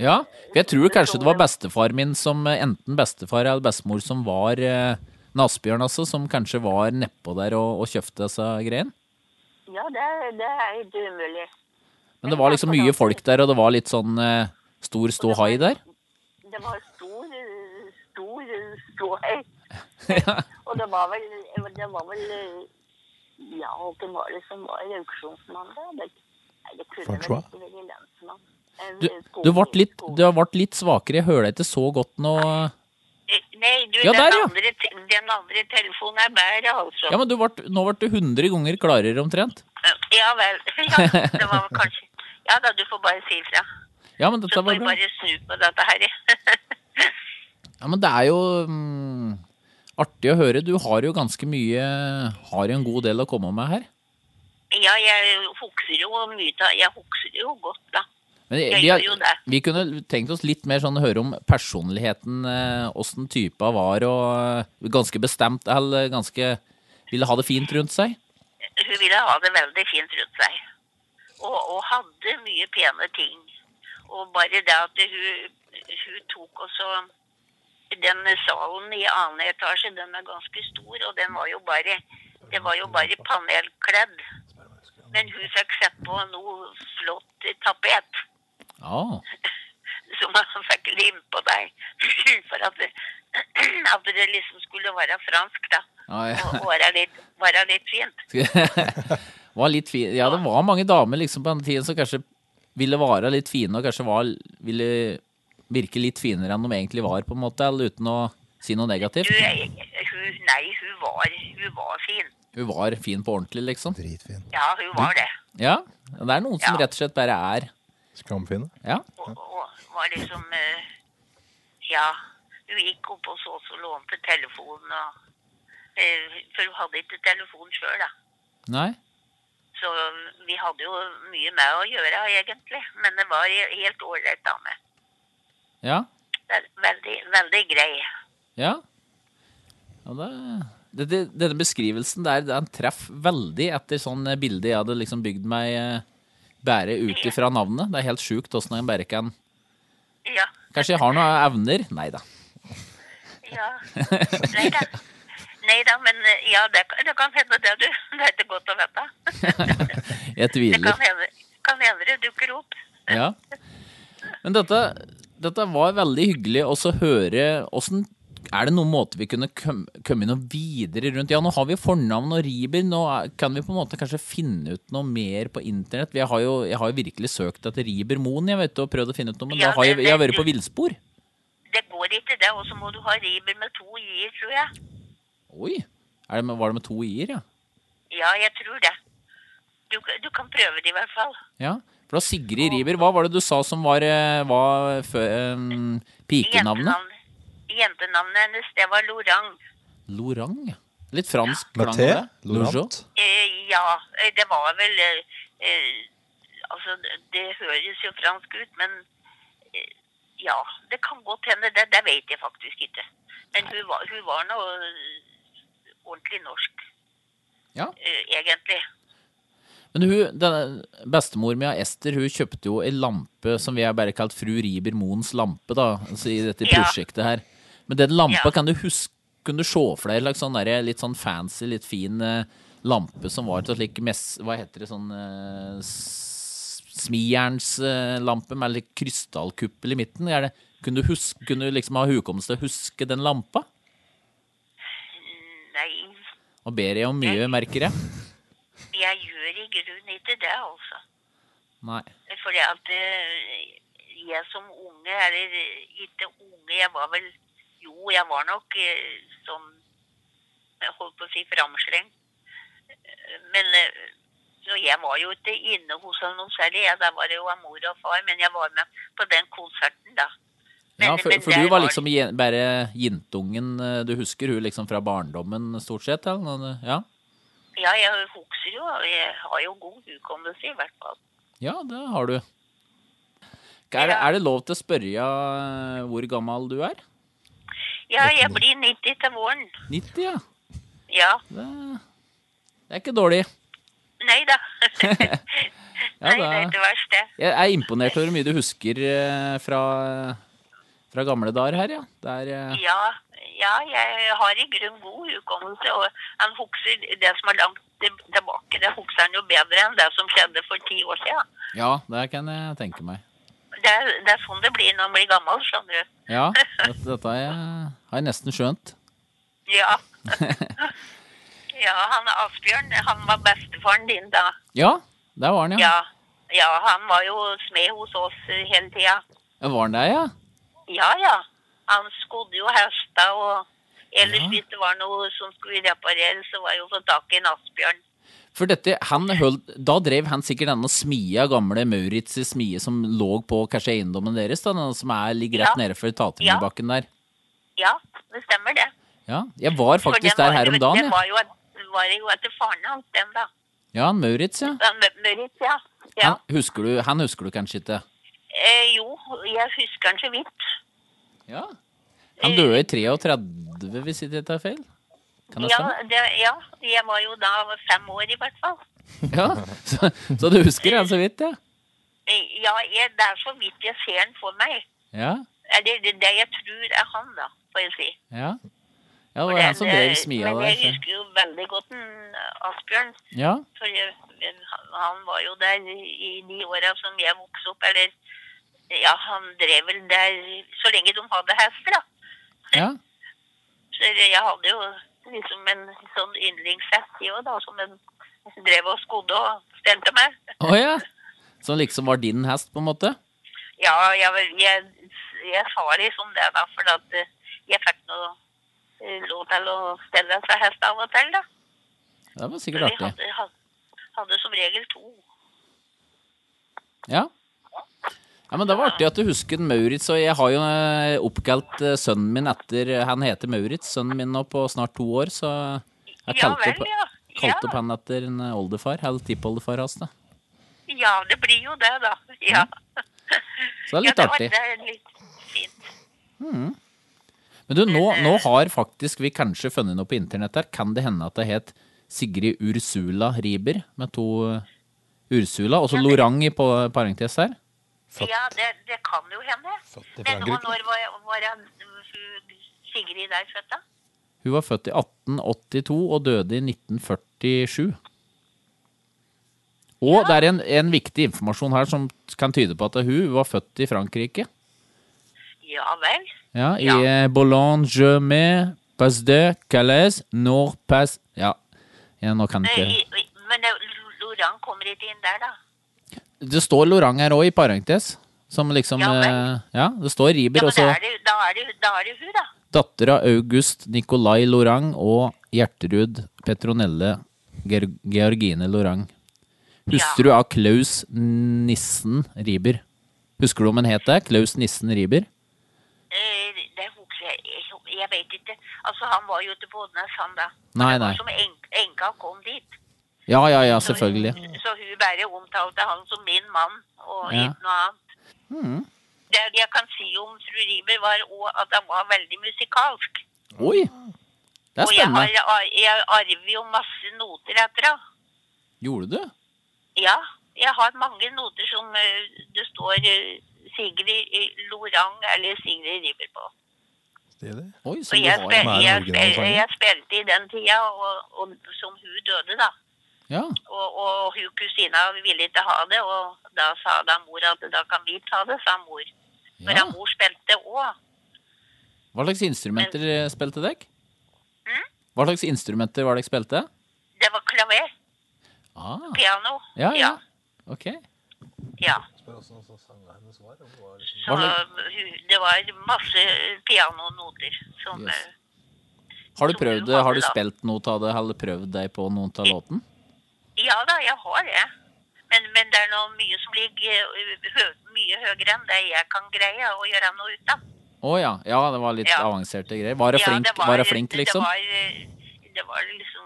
Speaker 2: Ja, for jeg tror kanskje det var bestefar min som eh, Enten bestefar eller bestemor som var eh, en Asbjørn, altså, som kanskje var nedpå der og, og kjøpte disse greiene.
Speaker 11: Ja, det, det er helt umulig.
Speaker 2: Men det var liksom mye folk der, og det var litt sånn eh, stor ståhai der.
Speaker 11: Det var stor, eh, stor eh, ståhei. Og det var vel, det var vel eh, Ja, hvem var det som var auksjonsmann da? Det, nei, det kunne vel
Speaker 2: Francois?
Speaker 11: ikke være lensmann. En,
Speaker 2: Du,
Speaker 11: eh,
Speaker 2: du ble litt, du har vært litt svakere, jeg hører deg ikke så godt nå.
Speaker 11: Eh, Nei, du,
Speaker 2: Ja,
Speaker 11: den,
Speaker 2: der, ja.
Speaker 11: Andre, te- den andre telefonen er bedre, altså.
Speaker 2: Ja, men du vart- nå ble du 100 ganger klarere omtrent.
Speaker 11: Eh, Ja vel. Ja, det var vel kanskje Ja da, du får bare si ifra.
Speaker 2: Ja, men
Speaker 11: Så
Speaker 2: dette
Speaker 11: får
Speaker 2: var
Speaker 11: vi
Speaker 2: bra.
Speaker 11: bare snu på dette her.
Speaker 2: Ja, men det er jo mm, artig å høre. Du har jo ganske mye Har jo en god del å komme med her.
Speaker 11: Ja, jeg husker jo mye av Jeg husker det jo godt, da.
Speaker 2: Men
Speaker 11: Jeg
Speaker 2: vi, har-
Speaker 11: gjør jo det.
Speaker 2: vi kunne tenkt oss litt mer sånn å høre om personligheten, eh, åssen typa var, og eh, ganske bestemt, eller ganske ville ha det fint rundt seg.
Speaker 11: Hun ville ha det veldig fint rundt seg. Og, og hadde mye pene ting. Og bare det at hun, hun tok også Den salen i annen etasje, den er ganske stor, og den var jo bare Det var jo bare panelkledd. Men hun fikk sett på noe flott tapet
Speaker 2: Ja.
Speaker 11: som han fikk lim på deg. For at det, at det liksom skulle være fransk, da.
Speaker 2: Ja, ja.
Speaker 11: Og og være litt, være litt fint.
Speaker 2: var litt fin. Ja, det var mange damer liksom på den tiden som kanskje ville være litt fine, og kanskje var, ville virke litt finere enn de egentlig var, på en måte, eller uten å si noe negativt.
Speaker 11: Du, jeg- hun, nei, hun var, hun var fin.
Speaker 2: Hun var fin på ordentlig, liksom. Dritfin.
Speaker 11: Ja, hun var det.
Speaker 2: Ja, det er noen som rett og slett bare er Skamfine? Ja.
Speaker 11: Og var liksom eh, Ja. Hun gikk opp hos oss og lånte telefonen. Og, eh, for hun hadde ikke telefon sjøl, da.
Speaker 2: Nei.
Speaker 11: Så um, vi hadde jo mye med å gjøre, egentlig. Men det var he- helt ålreit dame.
Speaker 2: Ja.
Speaker 11: Vel- Veldig, veldig grei.
Speaker 2: Ja. ja det, det, det, denne beskrivelsen der, den treff veldig etter sånn bilde jeg hadde liksom bygd meg eh, bære ut ifra navnet. Det er helt sjukt åssen en bare kan
Speaker 11: Ja.
Speaker 2: Kanskje jeg har noen evner? Nei da.
Speaker 11: Ja. Nei da. Nei da, men eh, ja, det, kan- det kan hende det, du. Det er ikke godt å vite.
Speaker 2: Jeg
Speaker 11: Det kan
Speaker 2: tviler.
Speaker 11: hende, kan hende det dukker opp.
Speaker 2: Ja. Men dette, dette var veldig hyggelig også å høre åssen er det noen måte vi kunne kom- komme noe videre rundt? Ja, nå har vi fornavn og riber. Nå er- kan vi på en måte kanskje finne ut noe mer på internett. Jeg har jo, jeg har jo virkelig søkt etter Riber Moen jeg vet, og prøvd å finne ut noe, men
Speaker 11: Ja,
Speaker 2: da har jeg,
Speaker 11: det-
Speaker 2: jeg har vært
Speaker 11: det-
Speaker 2: på villspor.
Speaker 11: Det går ikke, det. Og så må du ha riber med to i-er, tror jeg.
Speaker 2: Oi! Er det med, var det med to i-er, ja?
Speaker 11: Ja, jeg tror det. Du, du kan prøve det i hvert fall.
Speaker 2: ja? For da Sigrid Riber, hva var det du sa som var, eh, var fø- em, pikenavnet?
Speaker 11: Jentenavn- Jentenavnet hennes, det var Lorang.
Speaker 2: Lorang? ja. Litt fransk
Speaker 3: Med
Speaker 2: klang
Speaker 3: T?
Speaker 2: over det.
Speaker 3: Lorant?
Speaker 2: Lorant?
Speaker 11: Eh, ja, eh, det var vel eh, eh, Altså, det- det høres jo fransk ut, men eh, ja. Det kan godt hende, det, det vet jeg faktisk ikke. Men hun var, hun var nå eh, ordentlig norsk.
Speaker 2: Ja.
Speaker 11: eh, egentlig.
Speaker 2: Men hun, denne bestemor mi, Ester, hun kjøpte jo ei lampe som vi har bare kalt fru Riber Moens lampe, da, altså i dette
Speaker 11: Ja.
Speaker 2: prosjektet her. Men den lampa,
Speaker 11: Ja.
Speaker 2: kan du huske, kunne du se for deg en slags sånn derre litt sånn fancy, litt fin eh, lampe som var til slik mess... Hva heter det, sånn eh, s- smijernslampe med litt krystallkuppel i midten? Er det, kunne, du huske, kunne du liksom ha hukommelse til å huske den lampa?
Speaker 11: Nei,
Speaker 2: Og ber jeg om mye, merker jeg.
Speaker 11: jeg gjør i grunnen ikke det, altså.
Speaker 2: Nei.
Speaker 11: Fordi at eh, jeg som unge, eller eh, ikke unge, jeg var vel Jo, jeg var nok eh, sånn Jeg holdt på å si framslengt. Eh, Men eh, så jeg var jo ikke inne hos han noe særlig. Jeg, der var det jo av mor og far, men jeg var med på den konserten, da.
Speaker 2: Ja,
Speaker 11: Men-
Speaker 2: for,
Speaker 11: men
Speaker 2: for
Speaker 11: der
Speaker 2: du var
Speaker 11: var-
Speaker 2: liksom je- bare jentungen eh, du husker, hun liksom fra barndommen stort sett? Eller? noe- Ja,
Speaker 11: Ja, jeg husker jo, og jeg har jo god hukommelse i hvert fall.
Speaker 2: ja det har du. Er, det- er det lov til å spørre eh, hvor gammel du er?
Speaker 11: Ja, jeg blir 90 til våren.
Speaker 2: 90, ja.
Speaker 11: Ja.
Speaker 2: Det er ikke dårlig.
Speaker 11: Nei da.
Speaker 2: Ja,
Speaker 11: Nei, det er ikke verst, det.
Speaker 2: Jeg er imponert over hvor mye du husker eh, fra, fra gamle dager her, ja. Det er, eh,
Speaker 11: Ja, ja, jeg har i grunn god hukommelse, og han husker det som er langt til- tilbake. Det husker han jo bedre enn det som skjedde for ti år siden.
Speaker 2: ja, det kan jeg tenke meg.
Speaker 11: Det er, det er sånn det blir når man blir gammel, skjønner du.
Speaker 2: Ja, dette, dette har, jeg, har jeg nesten skjønt.
Speaker 11: Ja. ja, han Asbjørn, han var bestefaren din da.
Speaker 2: Ja, der var han, ja.
Speaker 11: Ja, ja han var jo smed hos oss eh, hele tida.
Speaker 2: ja. Var han der, ja?
Speaker 11: Ja, ja. Han skodde jo hester, og ellers
Speaker 2: Ja.
Speaker 11: hvis det var noe som skulle repareres, så var jo å få tak i en Asbjørn.
Speaker 2: For dette, han holdt, da drev han sikkert denne smia, gamle Mauritz' smie, som lå på kanskje eiendommen deres, da, den som er, ligger rett
Speaker 11: Ja.
Speaker 2: nede for Tatemyrbakken der.
Speaker 11: Ja, det stemmer det.
Speaker 2: Ja, jeg var
Speaker 11: For
Speaker 2: faktisk
Speaker 11: den
Speaker 2: der
Speaker 11: var
Speaker 2: her
Speaker 11: jo-
Speaker 2: om dagen,
Speaker 11: Den
Speaker 2: jeg.
Speaker 11: var jo, et- var jo etter faren hans, den da.
Speaker 2: Ja, han Mauritz, ja.
Speaker 11: Den Mø- Møritz, ja. ja.
Speaker 2: Han husker du, han husker du kanskje ikke.
Speaker 11: Eh, jo, jeg husker han så vidt.
Speaker 2: Ja. Han døde i 33, hvis ikke jeg tar feil. Kan det
Speaker 11: Ja,
Speaker 2: stemme?
Speaker 11: det, ja, jeg var jo da fem år i hvert fall.
Speaker 2: Ja, så, så du husker han så vidt, ja.
Speaker 11: Eh, Ja, jeg, det er så vidt jeg ser han for meg.
Speaker 2: Ja,
Speaker 11: Eller det, det jeg tror er han da, får jeg si. eh,
Speaker 2: ja. Ja, det var han som drev smia
Speaker 11: Men
Speaker 2: der.
Speaker 11: jeg
Speaker 2: så-
Speaker 11: husker jo veldig godt en, Asbjørn.
Speaker 2: Ja.
Speaker 11: For jeg, han- han var jo der i de åra som jeg vokste opp, eller Ja, han drev vel der så lenge de hadde hester, da.
Speaker 2: Ja.
Speaker 11: Så jeg hadde jo liksom en sånn yndlingshest, jeg òg, da, som en drev og skodde og stelte med.
Speaker 2: Å ja. Som liksom var din hest, på en måte?
Speaker 11: Ja, jeg, var- jeg, jeg sa liksom det, da, for at eh, jeg fikk noe eh, lov til å stelle seg hest av og til, da.
Speaker 2: Det var sikkert
Speaker 11: Vi
Speaker 2: artig.
Speaker 11: hadde, hadde, hadde som regel to.
Speaker 2: Ja. Ja, men Det var artig at du husker den Maurits. Og jeg har jo eh, oppkalt eh, sønnen min etter Han heter Maurits, sønnen min nå på snart to år, så jeg
Speaker 11: Ja
Speaker 2: kalte
Speaker 11: vel,
Speaker 2: opp,
Speaker 11: ja.
Speaker 2: kalte
Speaker 11: Ja.
Speaker 2: opp han etter en eh, oldefar. Eller tippoldefar hans, da.
Speaker 11: Ja, det blir jo det, da. Ja.
Speaker 2: Så det er Mm, litt
Speaker 11: ja, det var-
Speaker 2: artig.
Speaker 11: Det er litt fint.
Speaker 2: Mhm. Men du, nå, nå har faktisk vi kanskje funnet noe på internett her. Kan det hende at det het Sigrid Ursula Riiber med to eh, Ursula, og så Lorangi på parentes her?
Speaker 11: Ja, det, det kan jo hende.
Speaker 2: i
Speaker 11: Men og
Speaker 2: Frankrike.
Speaker 11: når var, var jeg, mm, Sigrid der født, da?
Speaker 2: Hun var født i 1882 og døde i 1947. Og det er en, en viktig informasjon her som kan tyde på at hun var født i Frankrike.
Speaker 11: Ja vel.
Speaker 2: Ja, I eh, ja. Boulogne-Germain, Passe de Calais, Nord-Passe ja. ja, nå kan jeg ikke
Speaker 11: I- i- Men det- Laurent kommer ikke inn der, da.
Speaker 2: Det står Lorang her òg, i parentes. Som liksom
Speaker 11: Ja, vel.
Speaker 2: eh, Ja, det står
Speaker 11: Ja,
Speaker 2: Riber,
Speaker 11: men
Speaker 2: og så
Speaker 11: da er det, da er det, da er det hun, da.
Speaker 2: datter av August Nicolai Lorang og Gjertrud Petronelle Ger Georgine Lorang. Hustru av Klaus Nissen Riber. Husker du om hun het det? Klaus Nissen Riber?
Speaker 11: Eh, Det husker jeg jeg- Jeg vet ikke. Altså, han var jo til Bodnes, han da.
Speaker 2: Nei,
Speaker 11: Det var
Speaker 2: nei.
Speaker 11: Som en- enka kom dit.
Speaker 2: Ja, ja, ja, selvfølgelig.
Speaker 11: Så hun bare omtalte han som min mann, og
Speaker 2: Ja.
Speaker 11: ikke noe annet.
Speaker 2: Mhm.
Speaker 11: Det jeg kan si om fru Riiber, var også at han var veldig musikalsk.
Speaker 2: Oi! Det er
Speaker 11: og jeg,
Speaker 2: spennende.
Speaker 11: har, jeg arver jo masse noter etter henne.
Speaker 2: Gjorde du?
Speaker 11: Ja, jeg har mange noter som eh, det står eh, Sigrid eh, Lorang eller Sigrid Riiber på.
Speaker 2: Oi,
Speaker 11: Og jeg, spil, jeg, spil, jeg spilte i den tida og, og, som hun døde, da.
Speaker 2: Ja.
Speaker 11: Og, og hun kusina ville ikke ha det, og da sa da mor at da kan vi ta det, sa mor. For
Speaker 2: Ja.
Speaker 11: ja. mor spilte òg.
Speaker 2: Hva slags instrumenter eh, spilte dere?
Speaker 11: Mhm.
Speaker 2: Hva slags instrumenter var dere spilte?
Speaker 11: Det var klaver,
Speaker 2: Ah.
Speaker 11: piano.
Speaker 2: Ja, ja. Ok.
Speaker 11: ja. Så
Speaker 2: Hva slags-
Speaker 11: hun, det var masse pianonoter som
Speaker 2: Yes.
Speaker 11: eh,
Speaker 2: Har du prøvd det? Har du
Speaker 11: da.
Speaker 2: spilt noe av det, eller prøvd deg på noe av låten?
Speaker 11: Ja da, jeg har det. Men, men det er noe mye som ligger eh, hø, mye høyere enn det jeg kan greie å gjøre noe ut av.
Speaker 2: Å ja. ja, det var litt
Speaker 11: Ja.
Speaker 2: avanserte greier. Var det
Speaker 11: Ja,
Speaker 2: flink, var, det flink liksom?
Speaker 11: Det var, eh, det var liksom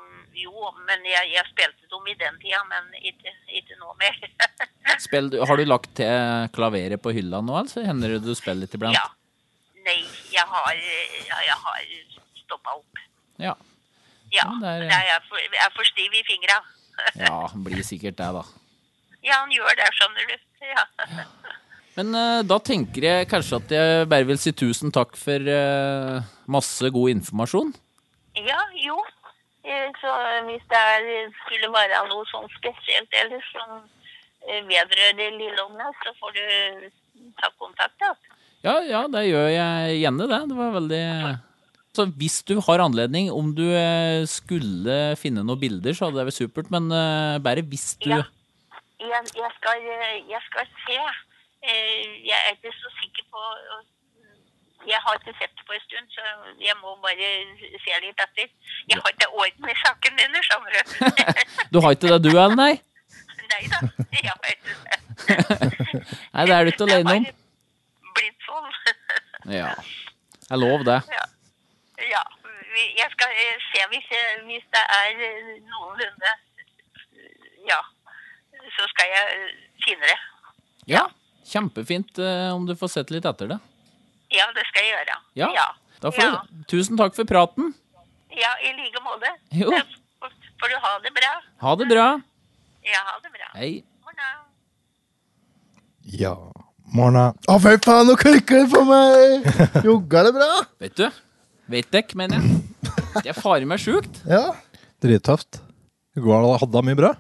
Speaker 11: Jo, men jeg, jeg spilte dem i den tida, men ikke, ikke nå mer.
Speaker 2: Spill, har du lagt til eh, klaveret på hylla nå, altså? Hender det du spiller litt iblant?
Speaker 11: Ja. Nei, jeg har, eh, ja, jeg har stoppa opp.
Speaker 2: Ja. Ja,
Speaker 11: Ja.
Speaker 2: der, ja.
Speaker 11: det er, jeg, er for, jeg er for stiv i fingra.
Speaker 2: Ja, blir sikkert det, da.
Speaker 11: Ja, han gjør det, skjønner du. Ja.
Speaker 2: Men eh, da tenker jeg kanskje at jeg bare vil si tusen takk for eh, masse god informasjon.
Speaker 11: ja, jo. Eh, Så hvis det er, eh, skulle være noe sånn spesielt ellers som eh, vedrører Lillehovna, så får du eh, ta kontakt. da.
Speaker 2: Ja, ja, det gjør jeg gjerne, det. Det var veldig Så hvis du har anledning, om du eh, skulle finne noen bilder, så hadde det vært supert, men eh, bare hvis du
Speaker 11: Ja. Jeg, jeg, skal, eh, jeg skal se. Eh, Jeg er ikke så sikker på Jeg har ikke sett det på en stund, så jeg må bare se litt etter. Jeg har ikke orden i saken din, skjønner du.
Speaker 2: Du har ikke det, du, eller nei?
Speaker 11: Nei da, jeg har ikke det.
Speaker 2: Nei, det er du ikke
Speaker 11: Det har
Speaker 2: alene om.
Speaker 11: blitt sånn.
Speaker 2: Ja. Jeg lov det.
Speaker 11: Ja. ja. vi- Jeg skal eh, se hvis, eh, hvis det er eh, noenlunde Ja. Så skal jeg eh, finne det.
Speaker 2: Ja. Kjempefint eh, om du får sett litt etter det.
Speaker 11: Ja, det skal jeg gjøre.
Speaker 2: Ja. Da får
Speaker 11: Ja.
Speaker 2: du det. Tusen takk for praten.
Speaker 11: Ja, i like måte.
Speaker 2: Jo.
Speaker 11: Får du ha det bra.
Speaker 2: Ha det bra.
Speaker 11: Ja, ha det bra.
Speaker 2: Hei.
Speaker 3: Ja. Morna.
Speaker 4: Å, fy faen, nå klikker det for meg! Jogga det bra?
Speaker 2: Vet du? Vet dekk, mener jeg. Det er farer meg sjukt.
Speaker 4: Ja.
Speaker 3: Drittøft. Går det hadde mye bra?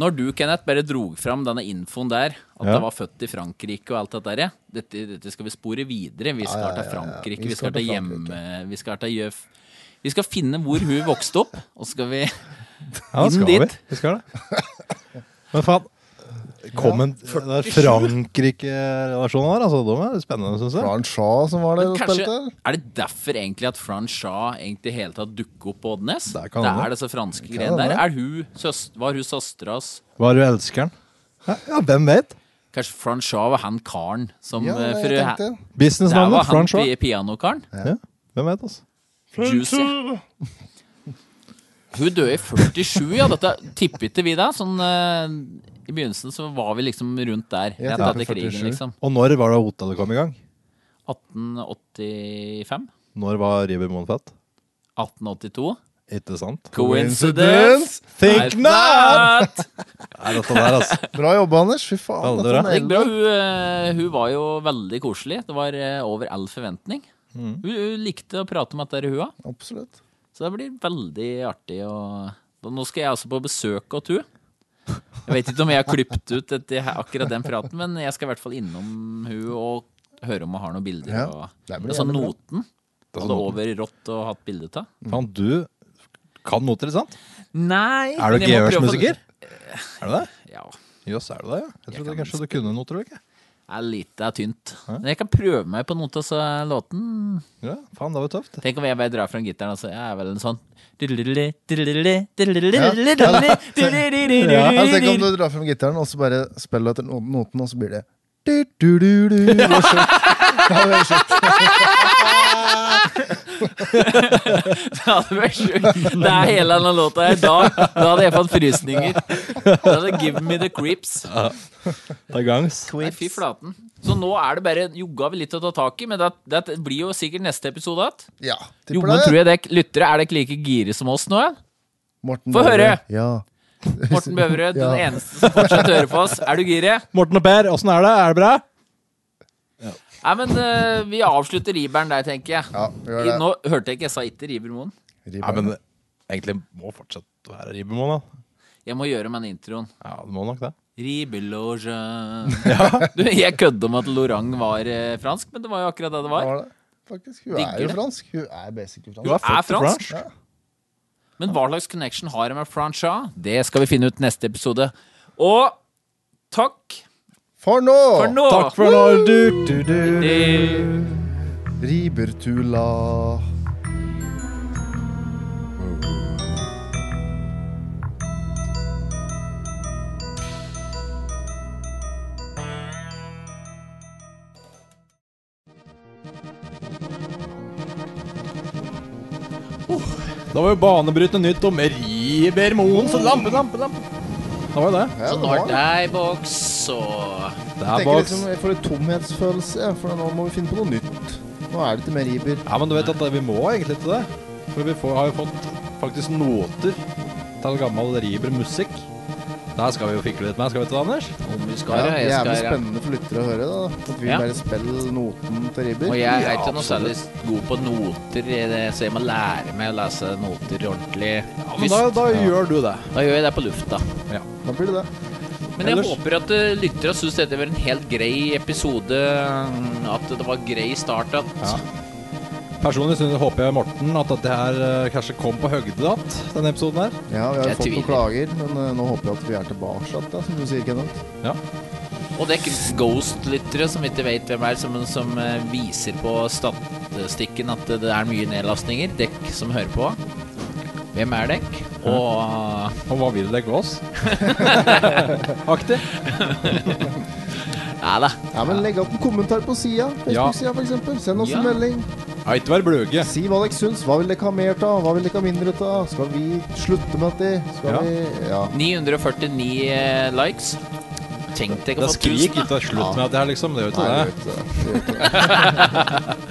Speaker 2: Når du, Kenneth, bare drog fram denne infoen der, at
Speaker 3: Ja.
Speaker 2: jeg var født i Frankrike og alt det der, dette, dette skal vi spore videre. Vi skal
Speaker 4: ja,
Speaker 2: til
Speaker 4: ja, ja.
Speaker 2: Frankrike, vi skal til hjemme, vi skal til Jøf. Vi skal finne hvor hun vokste opp, og så skal vi
Speaker 3: Ja, det
Speaker 2: inn
Speaker 3: skal vi.
Speaker 2: dit.
Speaker 3: Vi skal det. Men faen, kom en det er Frankrike-relasjonen her, altså. De er spennende, syns jeg.
Speaker 4: Franchard som var der og
Speaker 2: Kanskje,
Speaker 4: spilte?
Speaker 2: er det derfor egentlig at Fran Shah egentlig i hele tatt dukker opp på Oddnes? Det,
Speaker 3: kan hende.
Speaker 2: er disse franske greiene der.
Speaker 3: hende.
Speaker 2: Er hun, søs, var hun søstras
Speaker 3: Var du elskeren? Ja, ja, hvem vet?
Speaker 2: Kanskje Fran Shah var han karen som
Speaker 4: Ja,
Speaker 2: eh,
Speaker 4: jeg
Speaker 2: for he-
Speaker 4: tenkte det.
Speaker 3: Businessnavnet,
Speaker 2: Der var han
Speaker 3: Fran Shaw.
Speaker 2: pi- pianokaren.
Speaker 3: Ja, hvem vet, altså.
Speaker 2: Juicy. Hun døde i 47, ja. Dette tippet ikke vi da. Sånn, eh, I begynnelsen så var vi liksom rundt der.
Speaker 3: Ja,
Speaker 2: Rett etter krigen, liksom.
Speaker 3: Og når var det hotellet kom i gang?
Speaker 2: 1885?
Speaker 3: Når var River Monfett?
Speaker 2: 1882?
Speaker 3: Ikke sant?
Speaker 2: Coincidence?
Speaker 3: Think
Speaker 2: Nei,
Speaker 3: not!
Speaker 2: not!
Speaker 3: Nei, dette der, altså.
Speaker 4: Bra jobba, Anders. Fy faen. sånn
Speaker 3: Veldig
Speaker 4: dette
Speaker 3: bra.
Speaker 2: Det gikk
Speaker 4: nailer
Speaker 2: bra.
Speaker 4: du.
Speaker 2: Hun, eh, hun var jo veldig koselig. Det var eh, over all forventning. Hun, hun likte å prate med dette hua.
Speaker 4: Absolutt.
Speaker 2: Så det blir veldig artig å Da- Nå skal jeg altså på besøk hos hun. Jeg vet ikke om jeg har klippet ut dette, akkurat den praten, men jeg skal i hvert fall innom hun og høre om hun har noen bilder.
Speaker 4: Ja,
Speaker 2: og,
Speaker 4: det blir
Speaker 2: det er sånn
Speaker 4: jævlig bra.
Speaker 2: noten.
Speaker 3: Altså
Speaker 2: Hadde over rått og hatt bilde av.
Speaker 3: sånn Faen, du kan noter, ikke sant?
Speaker 2: Nei!
Speaker 3: Er du GØRs-musiker? Er du det?
Speaker 2: Ja.
Speaker 3: Jøss, er du det? ja? Jeg trodde
Speaker 2: kan
Speaker 3: kanskje du kunne noter, eller ikke?
Speaker 2: Det er lite det er tynt. Men jeg kan prøve meg på noe av så- låten.
Speaker 3: Ja, faen, det var tøft.
Speaker 2: Tenk om jeg bare drar fram gitaren og så jeg er vel en sånn Ja,
Speaker 4: Ja, tenk om du drar frem gitaren og så bare spiller etter no- noten, og så blir det du, du, du, du. Det var skjønt. Det var skjønt.
Speaker 2: Ja, det var sjukt. Det er hele denne låta her. Da, da hadde jeg fått frysninger. Da hadde Give me the creeps.
Speaker 3: Det er gangs.
Speaker 2: Nei, fy flaten. Så nå er det bare jogga vi litt å ta tak i, men det, det blir jo sikkert neste episode att.
Speaker 4: Ja,
Speaker 2: Jo,
Speaker 4: tipper
Speaker 2: men tror
Speaker 4: det.
Speaker 2: jeg dere lyttere er dere like gire som oss nå, ja?
Speaker 4: Morten
Speaker 2: Få
Speaker 4: Bøhre.
Speaker 2: høre.
Speaker 4: Ja.
Speaker 2: Morten Bøverud,
Speaker 4: Ja.
Speaker 2: den eneste som fortsatt hører på oss. Er du gire?
Speaker 3: Morten og Per, åssen er det? Er det bra?
Speaker 2: Nei, men eh, vi avslutter Riberen der, tenker jeg.
Speaker 4: Ja, vi gjør
Speaker 2: I,
Speaker 4: det.
Speaker 2: nå hørte jeg ikke jeg sa ikke Ribermoen.
Speaker 4: River.
Speaker 3: Nei, men det- egentlig må fortsatt være Ribermoen, da.
Speaker 2: Jeg må gjøre med den introen.
Speaker 3: Ja, det må nok det.
Speaker 2: Ribeloge Du, jeg kødda med at Lorang var eh, fransk, men det var jo akkurat det det
Speaker 4: Det
Speaker 2: var.
Speaker 4: var det. Faktisk, hun
Speaker 2: Digger
Speaker 4: er jo
Speaker 2: det.
Speaker 4: fransk. Hun er basically
Speaker 3: Du er
Speaker 4: fransk.
Speaker 3: født i
Speaker 2: fransk.
Speaker 3: French.
Speaker 4: Ja.
Speaker 2: Men hva slags connection har jeg med Francha? Det skal vi finne ut neste episode. Og takk
Speaker 4: For nå!
Speaker 2: for nå!
Speaker 3: Takk for nå. Du, du, du.
Speaker 2: Eh,
Speaker 4: Ribertula.
Speaker 3: Da var jo banebrytende nytt om Riber Moens lampe, lampe, lampe. Da var jo det.
Speaker 2: Så nå er Sånn det i boks, og
Speaker 3: Det
Speaker 4: Jeg
Speaker 3: er
Speaker 4: tenker
Speaker 3: boks.
Speaker 4: liksom, jeg får en tomhetsfølelse, ja, for nå må vi finne på noe nytt. Nå er det ikke mer Iber.
Speaker 3: Ja, men du vet at vi må egentlig til det. For vi får, har jo fått faktisk noter til gammel Riber-musikk. Det her skal vi jo fikle litt med, skal vi ikke det, Anders?
Speaker 2: Om vi skal
Speaker 4: Ja,
Speaker 2: det, jeg
Speaker 4: jævlig
Speaker 2: skal det.
Speaker 4: spennende for lyttere å høre. da At vi
Speaker 2: Ja.
Speaker 4: bare spiller noten til Riber.
Speaker 2: Og jeg er
Speaker 4: Ja,
Speaker 2: ikke noe særlig
Speaker 4: absolutt.
Speaker 2: god på noter, i det, så jeg må lære meg å lese noter ordentlig.
Speaker 3: Men da, da gjør du det.
Speaker 2: Da gjør jeg det på lufta.
Speaker 4: Da blir det det.
Speaker 2: Men jeg
Speaker 4: Ellers-
Speaker 2: håper at eh, lyttere syns dette var en helt grei episode. mm, At det var grei start. At
Speaker 3: Ja. Personlig synes, håper jeg, Morten, at dette her eh, kanskje kom på høgde igjen, denne episoden her.
Speaker 4: Ja, vi har
Speaker 2: Jeg
Speaker 4: jo fått
Speaker 2: tviler.
Speaker 4: noen klager, men eh, nå håper jeg at vi er tilbake igjen, da, som du sier, Kenneth.
Speaker 3: Ja.
Speaker 2: Og det er Ghost-lyttere som ikke vet hvem er, som, som eh, viser på statistikken at det er mye nedlastninger. Dekk som hører på. Hvem er dekk? Og eh,
Speaker 3: Og hva vil det gå oss? Aktig.
Speaker 2: Ja da.
Speaker 4: Ja, men Legg opp en kommentar på sida. Facebook-sida, for eksempel Send oss
Speaker 2: Ja.
Speaker 4: en melding.
Speaker 3: Ja, ikke vær bløge.
Speaker 4: Si hva dere syns. Hva vil dere ha mer av? Hva vil dere ha mindre av? Skal vi slutte med dette? Skal
Speaker 3: Ja.
Speaker 4: vi Ja.
Speaker 2: 949 eh, likes. Tenk deg
Speaker 3: Det
Speaker 2: å få
Speaker 3: skrik
Speaker 2: 1000, da.
Speaker 3: ikke slutt med at det her, liksom. Det gjør ikke
Speaker 4: Nei,
Speaker 3: det.
Speaker 4: det gjør ikke det. Det gjør ikke det.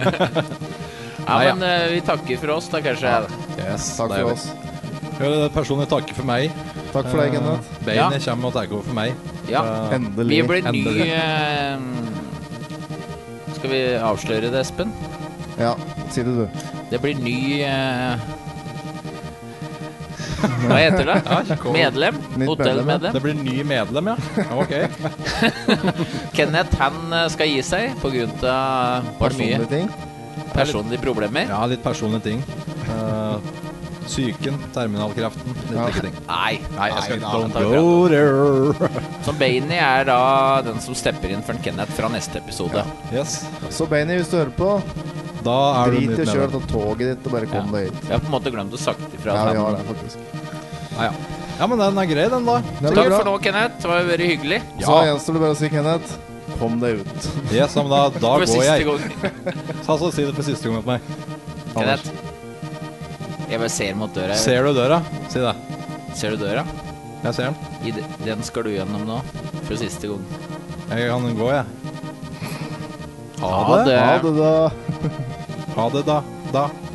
Speaker 2: Ja,
Speaker 3: Nei, ja.
Speaker 2: men eh, vi takker for oss, da kanskje.
Speaker 3: Yes,
Speaker 4: Takk for oss.
Speaker 3: Jeg vil personlig takke for meg.
Speaker 4: Takk for deg, Kenneth.
Speaker 3: Eh, Beinet kommer og tar over for meg.
Speaker 2: Ja.
Speaker 3: Eh,
Speaker 2: Vi
Speaker 4: Endelig.
Speaker 2: blir ny
Speaker 3: Endelig.
Speaker 2: eh, Skal vi avsløre det, Espen?
Speaker 4: Ja, si det, du.
Speaker 2: Det blir ny eh, Hva heter det? Medlem?
Speaker 4: Nytt
Speaker 2: Hotellmedlem?
Speaker 3: Det blir ny medlem, ja. Ok.
Speaker 2: Kenneth han eh, skal gi seg pga. mye
Speaker 4: Personlige ting.
Speaker 2: personlige problemer.
Speaker 3: Ja, litt personlige ting. Eh, Psyken, terminalkreften, litt
Speaker 4: Ja.
Speaker 3: slike ting.
Speaker 2: Nei.
Speaker 3: Nei, jeg
Speaker 2: Nei,
Speaker 3: skal ikke
Speaker 2: da,
Speaker 3: Don't
Speaker 2: da-
Speaker 3: go there.
Speaker 2: Så Bainey er da den som stepper inn for Kenneth fra neste episode.
Speaker 3: Yes.
Speaker 4: Så Benny, hvis du hører på,
Speaker 3: Da er du
Speaker 4: drit i
Speaker 3: nytt
Speaker 4: å kjøre
Speaker 3: medlem.
Speaker 4: til toget ditt og bare kom deg hit.
Speaker 2: Vi har på en måte glemt å sagt ifra.
Speaker 4: Ja,
Speaker 2: at
Speaker 4: vi
Speaker 2: han-
Speaker 4: har det, faktisk.
Speaker 3: Ja, ja. ja, men den er grei, den, da.
Speaker 4: Det
Speaker 2: Takk
Speaker 4: blir
Speaker 2: for
Speaker 4: bra.
Speaker 2: nå, Kenneth. Det var veldig hyggelig.
Speaker 4: Så gjenstår det bare å si, Kenneth, kom deg ut.
Speaker 3: Yes, men da, da
Speaker 2: For
Speaker 3: går
Speaker 2: siste
Speaker 3: jeg.
Speaker 2: gang.
Speaker 3: Ta så Si det for siste gang til meg.
Speaker 2: Kenneth. Jeg bare ser mot døra. jeg vet.
Speaker 3: Ser du døra? Si det.
Speaker 2: Ser du døra?
Speaker 3: Jeg ser den.
Speaker 2: I de- den skal du gjennom nå, for siste gang.
Speaker 3: Jeg kan gå, jeg.
Speaker 2: Ha det.
Speaker 4: Ha det, da.
Speaker 3: Ha det, da. Da.